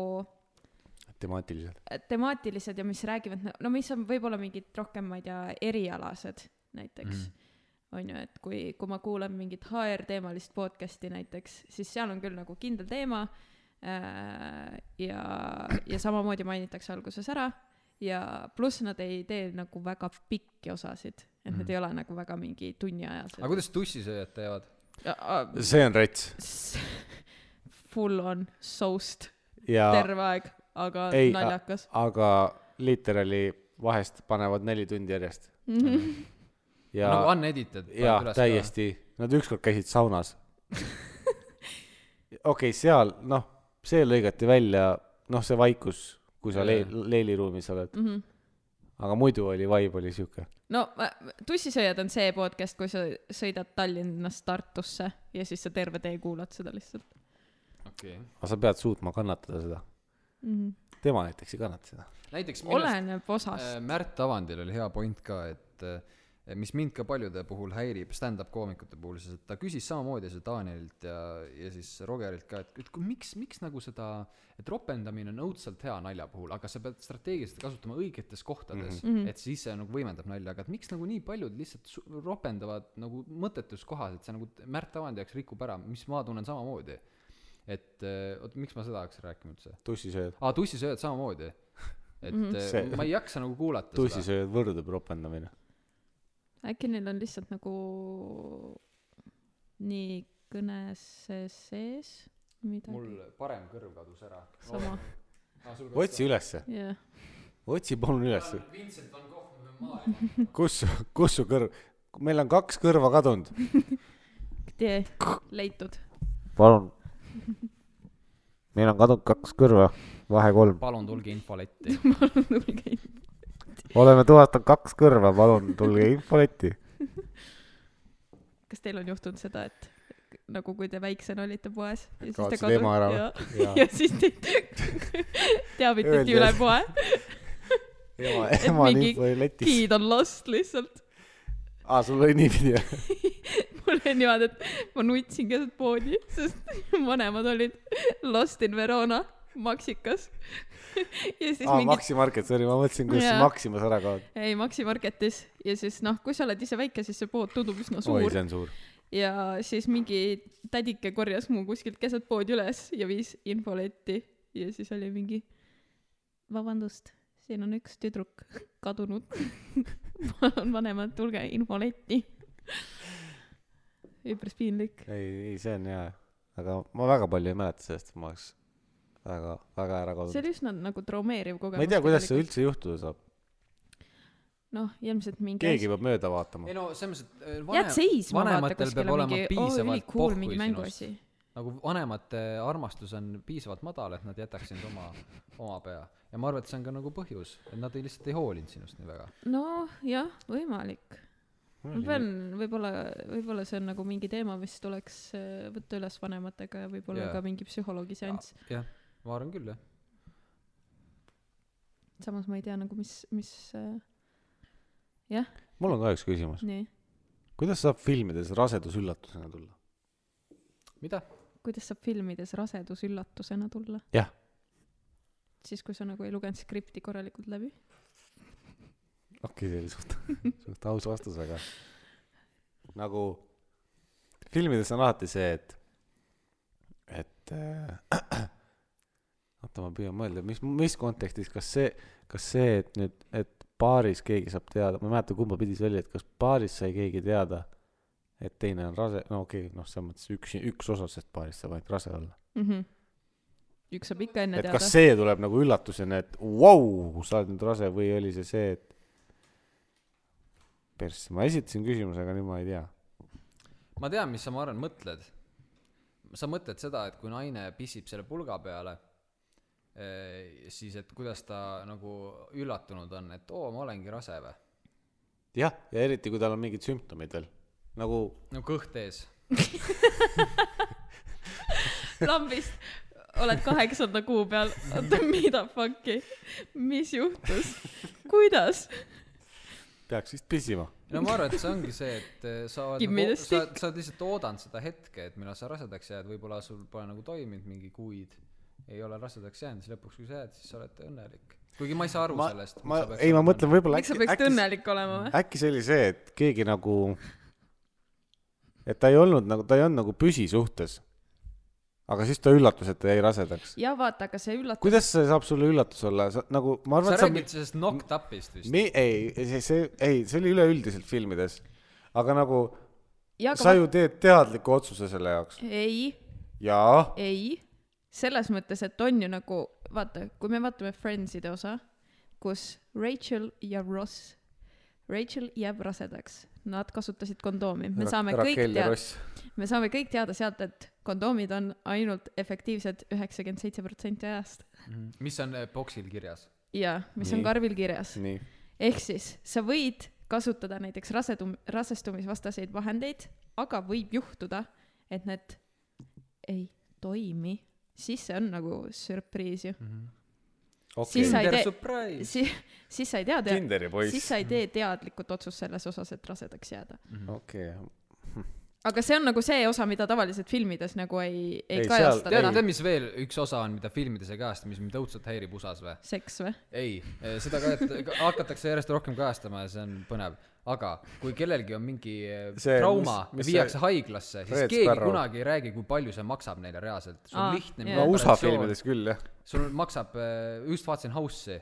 S1: temaatiliselt .
S3: temaatilised ja mis räägivad , no mis on võib-olla mingid rohkem , ma ei tea , erialased näiteks mm. . on ju , et kui , kui ma kuulan mingit HR-teemalist podcast'i näiteks , siis seal on küll nagu kindel teema äh, ja , ja samamoodi mainitakse alguses ära ja pluss nad ei tee nagu väga pikki osasid , et mm. need ei ole nagu väga mingi tunniajased ah,
S2: aga . kuidas tussisööjad teevad ?
S1: see on rets
S3: Full on soust
S1: ja
S3: terve aeg , aga
S1: Ei,
S3: ei, naljakas .
S1: aga literaali vahest panevad neli tundi järjest .
S3: Mhm,
S1: ja
S2: nagu
S1: no, ,
S2: unedited .
S1: ja täiesti , nad ükskord käisid saunas . okei okay, , seal noh , see lõigati välja , noh , see vaikus , kui sa le- , leeliruumis oled
S3: mhm.
S1: mm . -hmm. aga muidu oli , vibe oli sihuke .
S3: no ma- tussisööjad on see podcast , kui sa sõidad Tallinnast Tartusse ja siis sa terve tee kuulad seda lihtsalt
S2: okei okay. .
S1: aga sa pead suutma kannatada seda .
S3: mm . -hmm.
S1: tema näiteks ei kannata seda .
S2: näiteks minu arust-
S3: oleneb osast
S2: Äh, Märt Avandil oli hea point ka , et äh, mis mind ka paljude puhul häirib , stand-up koomikute puhul , siis et ta küsis samamoodi seda Danielilt ja , ja siis Rogerilt ka , et , et kui- miks , miks nagu seda , et ropendamine on õudselt hea nalja puhul , aga sa pead strateegiliselt kasutama õigetes kohtades mm , -hmm. et siis see nagu võimendab nalja , aga et miks nagu nii paljud lihtsalt su- ropendavad nagu mõttetus kohas , et see nagu Märt Avandi jaoks rikub ära , mis ma tunnen samamoodi . et äh, oot , miks ma seda hakkasin rääkima üldse ?
S1: tussisööd .
S2: aa , tussisööjad samamoodi . et
S3: Mhm.
S2: mm -hmm.
S1: See-
S2: ma ei jaksa nagu kuulata seda .
S1: tussisööjad võrdu propendamine . Äh.
S3: äkki neil on lihtsalt nagu nii kõnes sees
S2: mul
S3: midagi
S2: parem kõrv kadus ära .
S3: sama
S1: otsi ülesse ,
S3: jah
S1: otsi palun ülesse .
S2: Vincent van Gogh , me peame maailma .
S1: kus , kus su kõrv , meil on kaks kõrva kadunud .
S3: tee leitud
S1: palun . meil on kadunud kaks kõrva , vahe kolm .
S2: palun tulge infoletti .
S3: palun tulge
S1: oleme tuvastanud kaks kõrva , palun tulge infoletti .
S3: kas teil on juhtunud seda et k- nagu kui te väiksena olite poes ja siis te
S1: Kaotasid
S3: kadu-
S1: ema ära või?
S3: ja,
S1: Jaa.
S3: ja siis teid
S1: Öeldi,
S3: teavitati üle
S1: et-
S3: poe
S1: ema ,
S3: Et
S1: ema on
S3: mingi
S1: infoletis .
S3: giid on lost lihtsalt
S1: aa , sul oli niipidi jah ?
S3: mul oli niimoodi et ma nutsin keset poodi sest vanemad olid lost in Verona Maxikas ja siis
S1: aa ,
S3: mingid
S1: Maxi Market , sorry , ma mõtlesin , kuidas
S3: Jaa.
S1: Maximas ära kaob .
S3: ei Maxi Marketis ja siis noh , kui sa oled ise väike , siis see pood tundub üsna
S1: oi ,
S3: suur
S1: see on suur .
S3: ja siis mingi tädike korjas mu kuskilt keset poodi üles ja viis infoletti ja siis oli mingi vabandust , siin on üks tüdruk kadunud . palun vanemad , tulge infoletti . üpris piinlik .
S1: ei , ei , see on hea , aga ma väga palju ei mäleta sellest , et ma oleks väga , väga ära
S3: see
S1: kadunud .
S3: oli üsna nagu traumeeriv kogemus .
S1: ma ei tea , kuidas see . üldse juhtuda saab ,
S3: noh , ilmselt mingi
S1: keegi peab mööda vaatama
S2: ei . no selles mõttes , et äh,
S3: jääd seisma , vaata
S2: vanematel peab
S3: kuskile
S2: olema
S3: mingi , oo ,
S2: piisavalt
S3: ülikool ,
S2: pohhui
S3: mingi
S2: sinust .
S3: mänguasi .
S2: nagu vanemate armastus on piisavalt madal , et nad jätaks sind oma , oma pea . ja ma arvan , et see on ka nagu põhjus , et nad ei, lihtsalt ei hoolinud sinust nii väga .
S3: noh , jah , võimalik . ma pean , võib-olla , võib-olla see on nagu mingi teema , mis tuleks äh, võtta üles vanematega ja võib-olla
S2: Jaa.
S3: yeah. ka mingi psühholoogi seanss .
S2: jah , ma arvan küll , jah .
S3: samas ma ei tea nagu , mis , mis äh, jah ,
S1: mul on ka üks küsimus .
S3: nii .
S1: kuidas saab filmides rasedus üllatusena tulla ?
S2: mida ?
S3: kuidas saab filmides rasedus üllatusena tulla ?
S1: Jah. .
S3: siis , kui sa nagu ei lugenud skripti korralikult läbi .
S1: okei , see oli suht , suht aus vastus , aga nagu filmides on alati see , et , et äh, oota , ma püüan mõelda , mis , mis kontekstis , kas see , kas see , et nüüd , et paaris keegi saab teada , ma ei mäleta , kumba pidi see oli , et kas paaris sai keegi teada , et teine on rase , no okei okay, , noh , selles mõttes üks , üks osa sellest paarist saab ainult rase olla .
S2: Mhm.
S3: üks saab ikka enne
S1: et
S3: teada
S1: kas . see tuleb nagu üllatusena , et vau , sa oled nüüd rase või oli see see , et persse , ma esitasin küsimuse , aga nüüd ma ei tea .
S2: ma tean , mis sa , ma arvan , mõtled . sa mõtled seda , et kui naine pissib selle pulga peale , siis et kuidas ta nagu üllatunud on , et oo , ma olengi rase või ?
S1: jah , ja eriti , kui tal on mingid sümptomid veel . nagu
S2: no kõht ees .
S3: lambist oled kaheksanda kuu peal , oota , mida fuck'i , mis juhtus , kuidas ?
S1: peaks vist pissima .
S2: no ma arvan , et see ongi see , et eh, sa oled
S3: Give me
S2: nagu,
S3: the
S2: sa, sa oled lihtsalt oodanud seda hetke , et millal sa rasedaks jääd , võib-olla sul pole nagu toiminud mingi kuid , ei ole rasedaks jäänud , siis lõpuks , kui sa jääd , siis sa oled õnnelik . kuigi ma ei saa aru
S1: ma
S2: sellest .,
S1: ma , ei , ma mõtlen võib-olla
S3: miks sa
S1: äkki ,
S3: peaksid
S1: äkki ,
S3: õnnelik olema või ?
S1: äkki see oli see , et keegi nagu , et ta ei olnud nagu , ta ei olnud nagu püsisuhtes . aga siis ta üllatus , et ta jäi rasedaks .
S3: ja vaata , aga see üllatus ,
S1: kuidas see saab sulle üllatus olla , sa nagu , ma arvan ,
S2: sa
S1: et sa
S2: räägid sellest knocked up'ist vist ?
S1: mi- , ei , see , see , ei , see oli üleüldiselt filmides . aga nagu
S3: jaa ,
S1: sa
S3: aga
S1: ju teed teadliku otsuse selle jaoks .
S3: ma... ei ,
S1: jaa ,
S3: ei , selles mõttes , et on ju nagu , vaata , kui me vaatame Friendside osa , kus Rachel ja Ross , Rachel jääb rasedaks , nad kasutasid kondoomi , me saame kõik teada , me saame kõik teada sealt , et kondoomid on ainult efektiivsed üheksakümmend seitse protsenti ajast
S2: mis on eh, boksil kirjas ?
S3: ja mis on
S1: Nii.
S3: karvil kirjas .
S1: nii ,
S3: ehk siis sa võid kasutada näiteks rasedum- , rasestumisvastaseid vahendeid , aga võib juhtuda , et need ei toimi , siis see on nagu sürpriis ju mm .
S1: okei
S3: Siis sa ei tee-
S2: surprise
S3: -hmm. . siis , siis sa ei tea, tea ,
S1: Kinderi
S3: siis
S1: poiss ,
S3: sa ei tee teadlikult otsust selles osas , et rasedaks jääda .
S1: okei .
S3: aga see on nagu see osa , mida tavaliselt filmides nagu ei ,
S1: Ei,
S3: ei, ei
S1: seal-
S2: tead ,
S3: kajastata
S2: tead , . mis veel üks osa on , mida filmides ei kajasta , mis mind õudselt häirib USA-s või ?
S3: seks või ?
S2: ei , seda ka, et, ka hakatakse järjest rohkem kajastama ja see on põnev . aga kui kellelgi on mingi eh,
S1: See,
S2: trauma
S1: mis- mis
S2: ja viiakse
S1: see-
S2: haiglasse , siis
S1: Red
S2: keegi
S1: Sparrow.
S2: kunagi ei räägi , kui palju see maksab neile reaalselt . sul
S3: Aa,
S2: on lihtne
S3: jaa.
S1: no
S2: mingi
S1: USA
S2: operatsioon-
S1: filmides küll jah .
S2: sul maksab , just vaatasin eh, House'i ,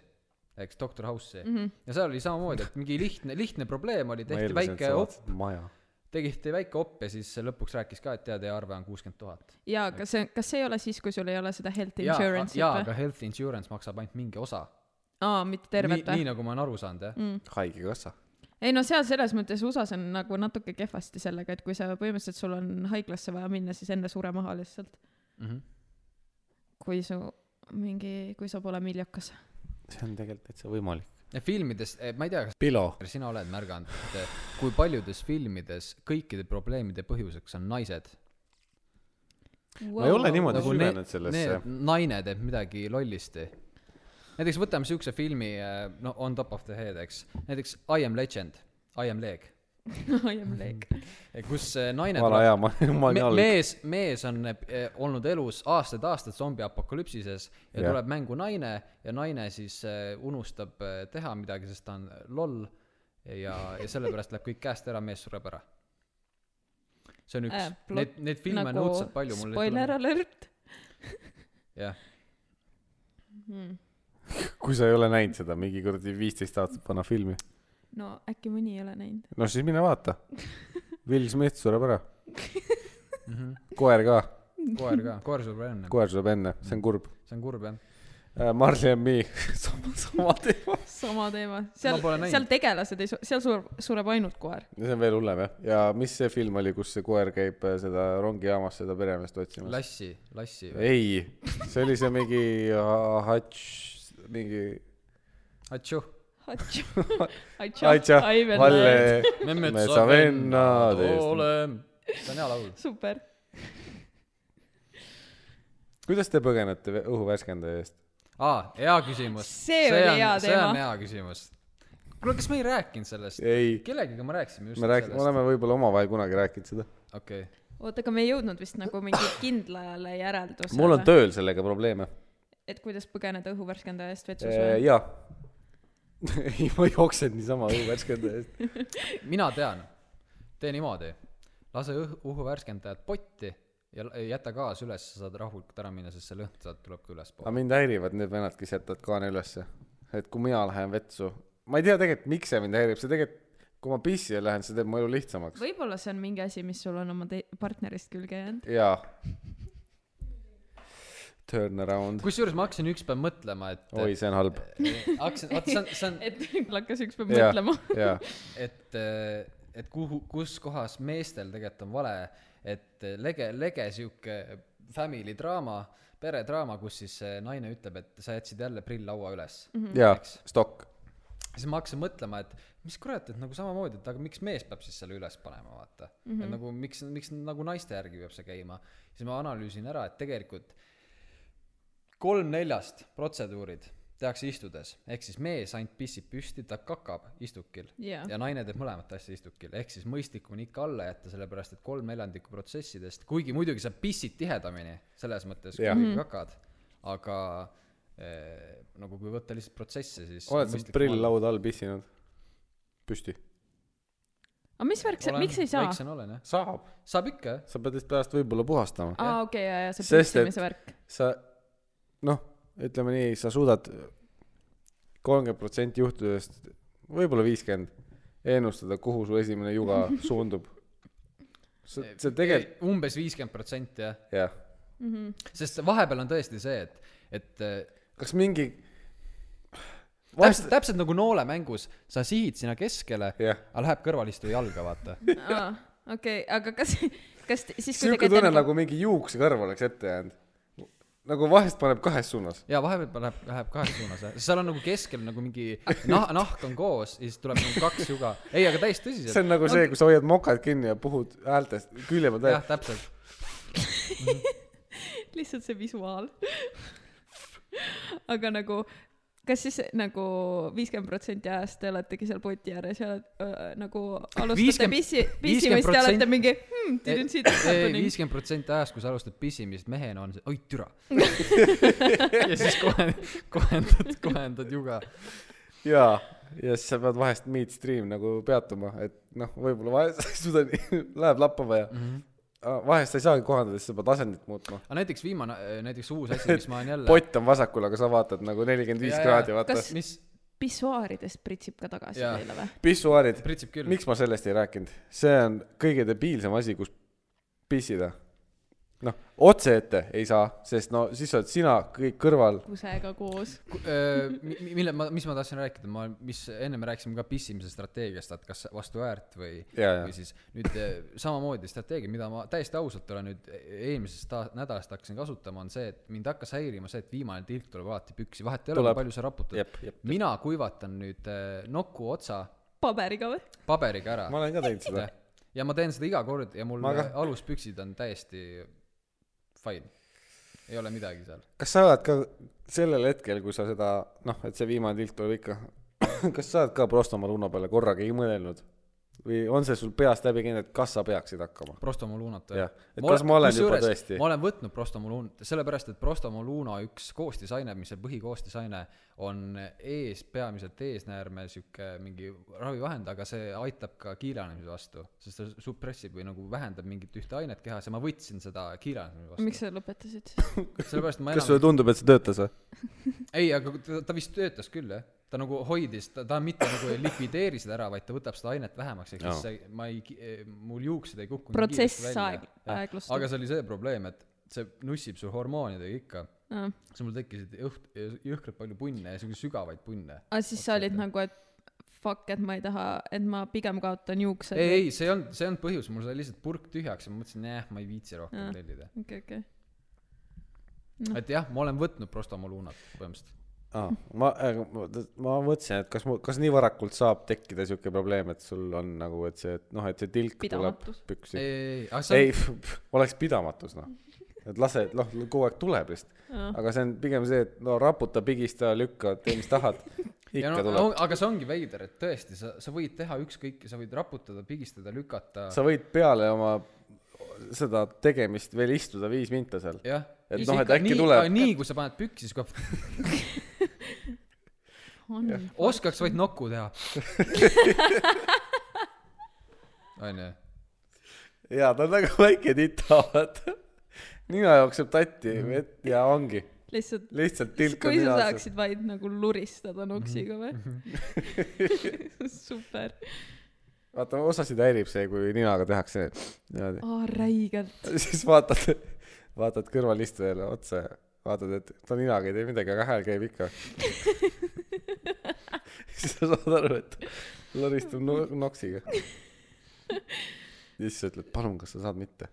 S2: eks Doctor House see mm .
S3: Mhm.
S2: -hmm. ja seal oli samamoodi , et mingi lihtne , lihtne probleem oli ,
S1: ma
S2: tehti
S1: eeldasin , et
S2: väike
S1: sa
S2: op ,
S1: vaatasid maja .
S2: tegiti väike op ja siis lõpuks rääkis ka , et jaa , teie arve on kuuskümmend tuhat .
S3: jaa , kas see , kas see ei ole siis , kui sul ei ole seda health
S2: jaa ,
S3: insurance'it
S2: jaa ,
S3: või
S2: aga ? health insurance maksab ainult mingi osa .
S3: aa , mitte
S2: nii
S3: tervet ,
S2: nii
S3: või ? Mm.
S2: nagu ma olen aru saanud , jah .
S1: haigekassa .
S3: ei no seal selles mõttes USA-s on nagu natuke kehvasti sellega , et kui sa põhimõtteliselt sul on haiglasse vaja minna , siis enne sure maha lihtsalt . Mm.
S2: Mhm.
S3: kui su mingi , kui sa pole miljokas .
S1: see on tegelikult täitsa võimalik .
S2: filmides , ma ei tea ,
S1: Pilo .
S2: kas sina oled märganud , et eh, kui paljudes filmides kõikide probleemide põhjuseks on naised
S1: ma ei ole niimoodi
S2: nagu need
S1: süvenenud , sellesse .
S2: need naine teeb midagi lollisti . näiteks võtame siukse filmi , no on top of the head , eks , näiteks I am legend , I am leg ,
S3: niimoodi .
S2: kus eh, naine
S1: vana hea , ma , ma olin
S2: me,
S1: all .
S2: mees , mees on eh, olnud elus aastaid-aastaid zombi apokalüpsises ja
S1: Jah.
S2: tuleb mängu naine ja naine siis eh, unustab eh, teha midagi , sest ta on eh, loll ja , ja sellepärast läheb kõik käest ära , mees sureb ära . see on üks
S3: Äh, , plot- nagu
S2: neid , neid filme on õudselt palju , mul
S3: spoiler . alert .
S2: jah ,
S3: Mhm.
S1: kui sa ei ole näinud seda mingi kuradi viisteist aastat vana filmi ,
S3: no äkki mõni ei ole näinud .
S1: no siis mine vaata . Will Smith sureb ära .
S2: Mhm.
S1: koer ka ,
S2: koer ka , koer sureb ära enne ,
S1: koer sureb enne , see on kurb .
S2: see on kurb jah .
S1: Marley and me , sama , sama teema .
S3: sama teema , seal
S2: Ma pole , näinud.
S3: seal tegelased ei , seal sureb , sureb ainult koer .
S1: ja see on veel hullem jah , ja mis see film oli , kus see koer käib äh, seda rongijaamas seda peremeest otsimas ?
S2: Lassi , Lassi või ?
S1: ei , see oli see mingi ha- Hatš , mingi
S2: Atšu .
S1: Aitša , Valle ,
S2: me
S1: metsa vennad eest .
S2: oleme . see on hea laul .
S3: super .
S1: kuidas te põgenete ve- õhuvärskendaja eest ?
S2: aa , hea küsimus .
S3: See oli
S2: on,
S3: hea
S2: see on
S3: teema.
S2: hea küsimus . kuule , kas me ei rääkinud sellest ?
S1: ei ,
S2: kellegiga me rääkisime just
S1: me räägime ,
S2: sellest .
S1: oleme võib-olla omavahel kunagi rääkinud seda .
S2: okei okay. ,
S3: oota , aga me ei jõudnud vist nagu mingi kindlale järeldusele .
S1: mul on tööl sellega probleeme .
S3: et kuidas põgeneda õhuvärskendaja eest vetsus või ?
S1: jaa . ei , ma jooksen niisama õhuvärskendaja eest .
S2: mina tean . tee niimoodi . lase õh- , uhuvärskendajad potti ja l- jäta gaas üles , sa saad rahulikult ära minna , sest see lõhn sealt tuleb ka
S1: aga
S2: ülespoole .
S1: mind häirivad need vennad , kes jätavad kaane ülesse . et kui mina lähen vetsu , ma ei tea tegelikult , miks see mind häirib , see tegelikult , kui ma pissile lähen , see teeb mu elu lihtsamaks .
S3: võib-olla see on mingi asi , mis sul on oma te- partnerist külge jäänud .
S1: jaa . Turn around .
S2: kusjuures ma hakkasin üks päev mõtlema , et
S1: oi , see on halb .
S2: hakkasin , vaata see on , see on
S3: et mul hakkas ükspäev
S1: jaa
S3: mõtlema .,
S1: jaa .
S2: et , et kuhu , kus kohas meestel tegelikult on vale , et lege , lege sihuke family draama , peredraama , kus siis see naine ütleb , et sa jätsid jälle prill laua üles mm .
S1: jaa , stokk .
S2: siis ma hakkasin mõtlema , et mis kurat , et nagu samamoodi , et aga miks mees peab siis selle üles panema , vaata mm . -hmm. et nagu miks , miks nagu naiste järgi peab see käima . siis ma analüüsin ära , et tegelikult kolm neljast protseduurid tehakse istudes , ehk siis mees ainult pissib püsti , ta kakab istukil
S3: Jaa.
S2: ja naine teeb mõlemat asja istukil , ehk siis mõistlikum on ikka alla jätta , sellepärast et kolm neljandikku protsessidest , kuigi muidugi sa pissid tihedamini selles mõttes , kui
S1: Jah.
S2: ikkagi kakad , aga eh, nagu kui võtta lihtsalt protsesse , siis
S1: oled sa prill lauda all pissinud ? püsti .
S3: aga mis värk see , miks ei saa ?
S2: väiksem olen jah ,
S1: saab .
S2: saab ikka jah ,
S1: sa pead ennast pärast võib-olla puhastama .
S3: aa , okei , ja , ja see
S1: Sest et-
S3: pitsimise värk .
S1: sa noh , ütleme nii , sa suudad kolmkümmend protsenti juhtudest , võib-olla viiskümmend , ennustada , kuhu su esimene juga suundub . see , see tegelikult ,
S2: umbes viiskümmend protsenti jah ,
S1: jah .
S2: sest vahepeal on tõesti see , et , et eh,
S1: kas mingi ,
S2: täpselt , täpselt nagu noolemängus , sa sihid sinna keskele
S1: Jah.
S2: aga läheb kõrvalistuja jalga , vaata .
S3: aa , okei , aga kas , kas te- siis , kui te
S1: sihuke tunne
S3: käite
S1: nagu mingi juuksekarv oleks ette jäänud ? nagu vahest paneb kahes suunas .
S2: ja vahepeal läheb , läheb kahes suunas , seal on nagu keskel nagu mingi nah- , nahk on koos ja siis tuleb nagu kaks juga . ei , aga täiesti
S1: see
S2: tõsiselt .
S1: on nagu see , kui sa hoiad mokad kinni ja puhud häältest külje peal
S2: jah ,
S1: täis .
S2: täpselt .
S3: lihtsalt see visuaal . aga nagu , kas siis nagu viiskümmend protsenti ajast te oletegi seal poti ääres ja öö, nagu alustate
S2: 50
S3: pissi , pissimist ja
S2: 50%
S3: olete mingi hmm,
S2: Eh,
S3: didn't see that happening .
S2: viiskümmend protsenti ajast , kui sa alustad pissimist mehena , on see , oi türa . ja siis kohe , kohendad , kohendad juga .
S1: jaa , ja siis sa pead vahest midstream nagu peatuma , et noh , võib-olla vahest sa ei suuda nii , läheb lappama ja mm -hmm. vahest sa ei saagi kohandada , siis sa pead asendit muutma .
S2: aga näiteks viimane , näiteks uus asi , mis ma olen jälle .
S1: pott on vasakul , aga sa vaatad nagu nelikümmend viis kraadi , vaata .
S3: Kas-
S2: mis
S3: pissuaaridest pritsib ka tagasi
S2: Jaa.
S3: teile või ?
S1: pissuaarid ,
S2: pritsib küll .
S1: miks ma sellest ei rääkinud , see on kõige debiilsem asi , kus pissida . noh , otse ette ei saa , sest no siis oled sina kõik kõrval .
S3: kusega koos .
S2: Äh, mille ma , mis ma tahtsin rääkida , ma , mis enne me rääkisime ka pissimise strateegiast , et kas vastu äärt või ,
S1: ja , ja
S2: või siis nüüd eh, samamoodi strateegia , mida ma täiesti ausalt olen nüüd äh, eelmisest ta- nädalast hakkasin kasutama , on see , et mind hakkas häirima see , et viimane tilk tuleb alati püksi , vahet ei ole ,
S1: Tuleb.
S2: kui palju sa raputad .
S1: jep , jep .
S2: mina kuivatan nüüd eh, noku otsa
S3: paberiga või ?
S2: paberiga ära
S1: ma olen ka teinud seda
S2: Jah. . ja ma teen seda iga kord ja mul
S1: Ma ka.
S2: aluspüksid on täiesti fine , ei ole midagi seal .
S1: kas sa oled ka sellel hetkel , kui sa seda , noh , et see viimane tilk tuleb ikka , kas sa oled ka Prostomaa luuna peale korragi mõelnud või on see sul peast läbi käinud , et kas sa peaksid hakkama ?
S2: prostomoluunat
S1: Jah. Et kas ma olen juba tõesti-
S2: ma olen võtnud prostomoluunat , sellepärast et prostomoluuna üks koostisaine , mis see põhikoostisaine on ees , peamiselt eesnäärme sihuke mingi ravivahend , aga see aitab ka kiilanemise vastu , sest ta suppressib või nagu vähendab mingit ühte ainet kehas ja ma võtsin seda kiilanemise vastu .
S3: miks sa lõpetasid siis ?
S2: sellepärast ma
S1: kas
S2: enam
S1: sulle tundub , et see töötas või ?
S2: ei , aga ta, ta vist töötas küll jah , ta nagu hoidis , ta , ta mitte nagu ei likvideeri seda ära , vaid ta võtab seda ainet vähemaks , ehk
S1: Jaa.
S2: siis see , ma ei , mul juuksed ei kukkunud
S3: protsess
S2: kiiresti välja.
S3: aeg- ,
S2: Jah. aga
S3: aeglustub .
S2: see oli see probleem , et see nussib su hormoonidega ikka ,
S3: aa ,
S2: siis mul tekkisid õht- , jõhkralt palju punne ja siukseid sügavaid punne .
S3: siis sa olid nagu , et fuck , et ma ei taha , et ma pigem kaotan juuksed .
S2: ei ,. ei , see ei olnud , see ei olnud põhjus , mul sai lihtsalt purk tühjaks ja ma mõtlesin , jah , ma ei viitsi rohkem
S3: Aa.
S2: tellida .
S3: okei , okei .
S2: et jah , ma olen võtnud prostamoluunat põhimõtteliselt .
S1: aa , ma , ma mõtlesin , et kas mu , kas nii varakult saab tekkida siuke probleem , et sul on nagu , et see , noh , et see tilk
S3: Pidamatus.
S1: tuleb püksi .
S2: ei ,
S1: ei,
S2: ei , ei , aga see
S1: ei , oleks pidamatus , noh . et lase , noh , kogu aeg tuleb lihtsalt . aga see on pigem see , et no raputa , pigista , lükka , tee mis tahad .
S2: ja
S1: ikka
S2: no,
S1: tuleb
S2: no . aga see ongi veider , et tõesti , sa , sa võid teha ükskõik , sa võid raputada , pigistada , lükata ,
S1: sa võid peale oma seda tegemist veel istuda viis minta seal .
S2: jah .
S1: Et noh, et äkki tuleb.
S2: nii , kui sa paned püksi , siis kohe
S3: on .
S2: oskaks vaid nokku teha . onju
S1: jaa , ta on väga väike tita , vaata . nina jookseb tatti vett ja ongi ,
S3: lihtsalt ,
S1: lihtsalt tilk on
S3: kui sa
S1: nina sees .
S3: saaksid vaid nagu luristada noksiga
S1: Mhm.
S3: või ? super .
S1: vaata , osasid häirib see , kui ninaga tehakse niimoodi .
S3: aa , räigelt .
S1: siis vaatad , vaatad kõrvalistujale otsa ja vaatad , et ta ninaga ei tee midagi , aga hääl käib ikka . siis sa saad aru , et loristab no- noksiga . ja siis sa ütled , palun , kas sa saad mitte .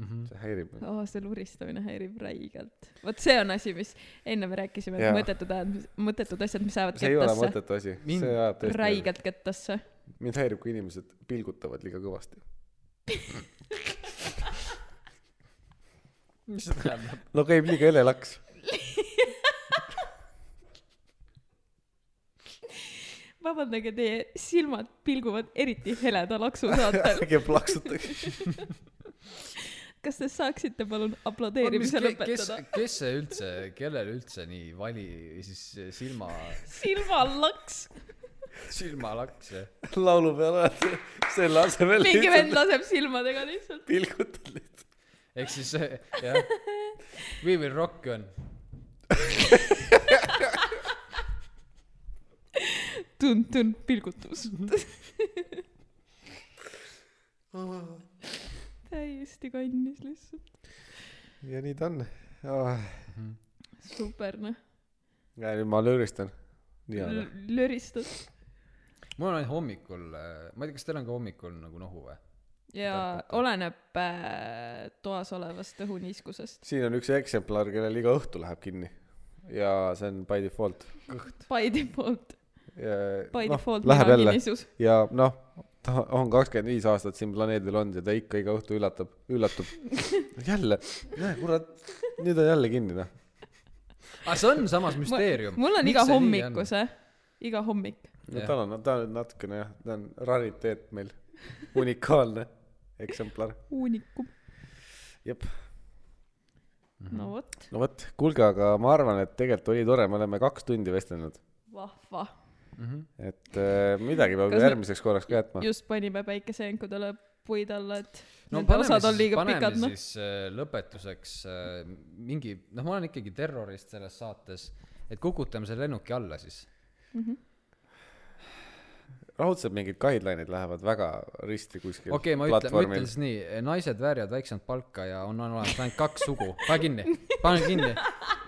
S2: mm . -hmm.
S1: see häirib mind .
S3: aa , see luristamine häirib räigelt . vot see on asi , mis enne me rääkisime , et
S1: Jaa.
S3: mõttetud ajad , mõttetud asjad , mis jäävad
S1: see ei ole
S3: kettasse .
S1: mõttetu asi ,
S2: Mind-
S1: see ajab tõesti .
S3: räigelt kettasse .
S1: mind häirib , kui inimesed pilgutavad liiga kõvasti .
S2: mis see tähendab ?
S1: no käib liiga helelaks .
S3: vabandage , teie silmad pilguvad eriti heleda laksu saatel .
S1: ärge plaksutage .
S3: kas te saaksite palun aplodeerimise
S2: kes
S3: lõpetada ?,
S2: kes see üldse , kellel üldse nii vali siis silma ,
S3: silmalaks .
S2: silmalaks ja
S1: laulupeol oled selle asemel
S3: mingi vend laseb silmadega lihtsalt .
S1: pilgutad lihtsalt .
S2: ehk siis eh, jah , We will rock you on .
S3: tund-tund pilgutus . täiesti kannis lihtsalt .
S1: ja nii ta on oh. .
S3: super noh .
S1: ja nüüd ma lööristan . nii on .
S3: Mm. löristad
S2: mul on hommikul , ma ei tea , kas teil on ka hommikul nagu nohu või ?
S3: ja oleneb äh, toas olevast õhuniiskusest .
S1: siin on üks eksemplar , kellel iga õhtu läheb kinni ja see on by default .
S3: By default , by
S1: no,
S3: default
S1: Noh, läheb
S3: no, mina olen
S1: jälle
S3: hilisus .
S1: ja noh , ta on kakskümmend viis aastat siin planeedil olnud ja ta ikka iga õhtu üllatab , üllatub . jälle , näe kurat , nüüd on jälle kinni noh .
S2: aga Ah, see on samas müsteerium .
S3: mul on iga hommiku . see , iga hommik .
S1: no
S2: Jah.
S1: tal on , ta on natukene jah , ta on rariteet meil , unikaalne eksemplar .
S3: uunikum .
S1: jep ,
S3: no vot ,
S1: no vot , kuulge , aga ma arvan , et tegelikult oli tore , me oleme kaks tundi vestelnud ,
S3: vahva .
S1: et äh, midagi peab
S3: Kas me-
S1: järgmiseks korraks ka jätma .
S3: just panime päikeseenkudele puid alla , et
S2: no
S3: no, need
S2: paneme
S3: osad on
S2: siis ,
S3: liiga
S2: paneme
S3: pikad ,
S2: pikad,
S3: noh .
S2: siis äh, lõpetuseks äh, mingi , noh , ma olen ikkagi terrorist selles saates , et kukutame selle lennuki alla siis mm . -hmm.
S1: raudselt mingid guideline'id lähevad väga risti kuskil
S2: okei okay, , ma ütlen , ma ütlen siis nii , naised väärivad väiksemat palka ja on olemas ainult kaks sugu , pane kinni , pane kinni .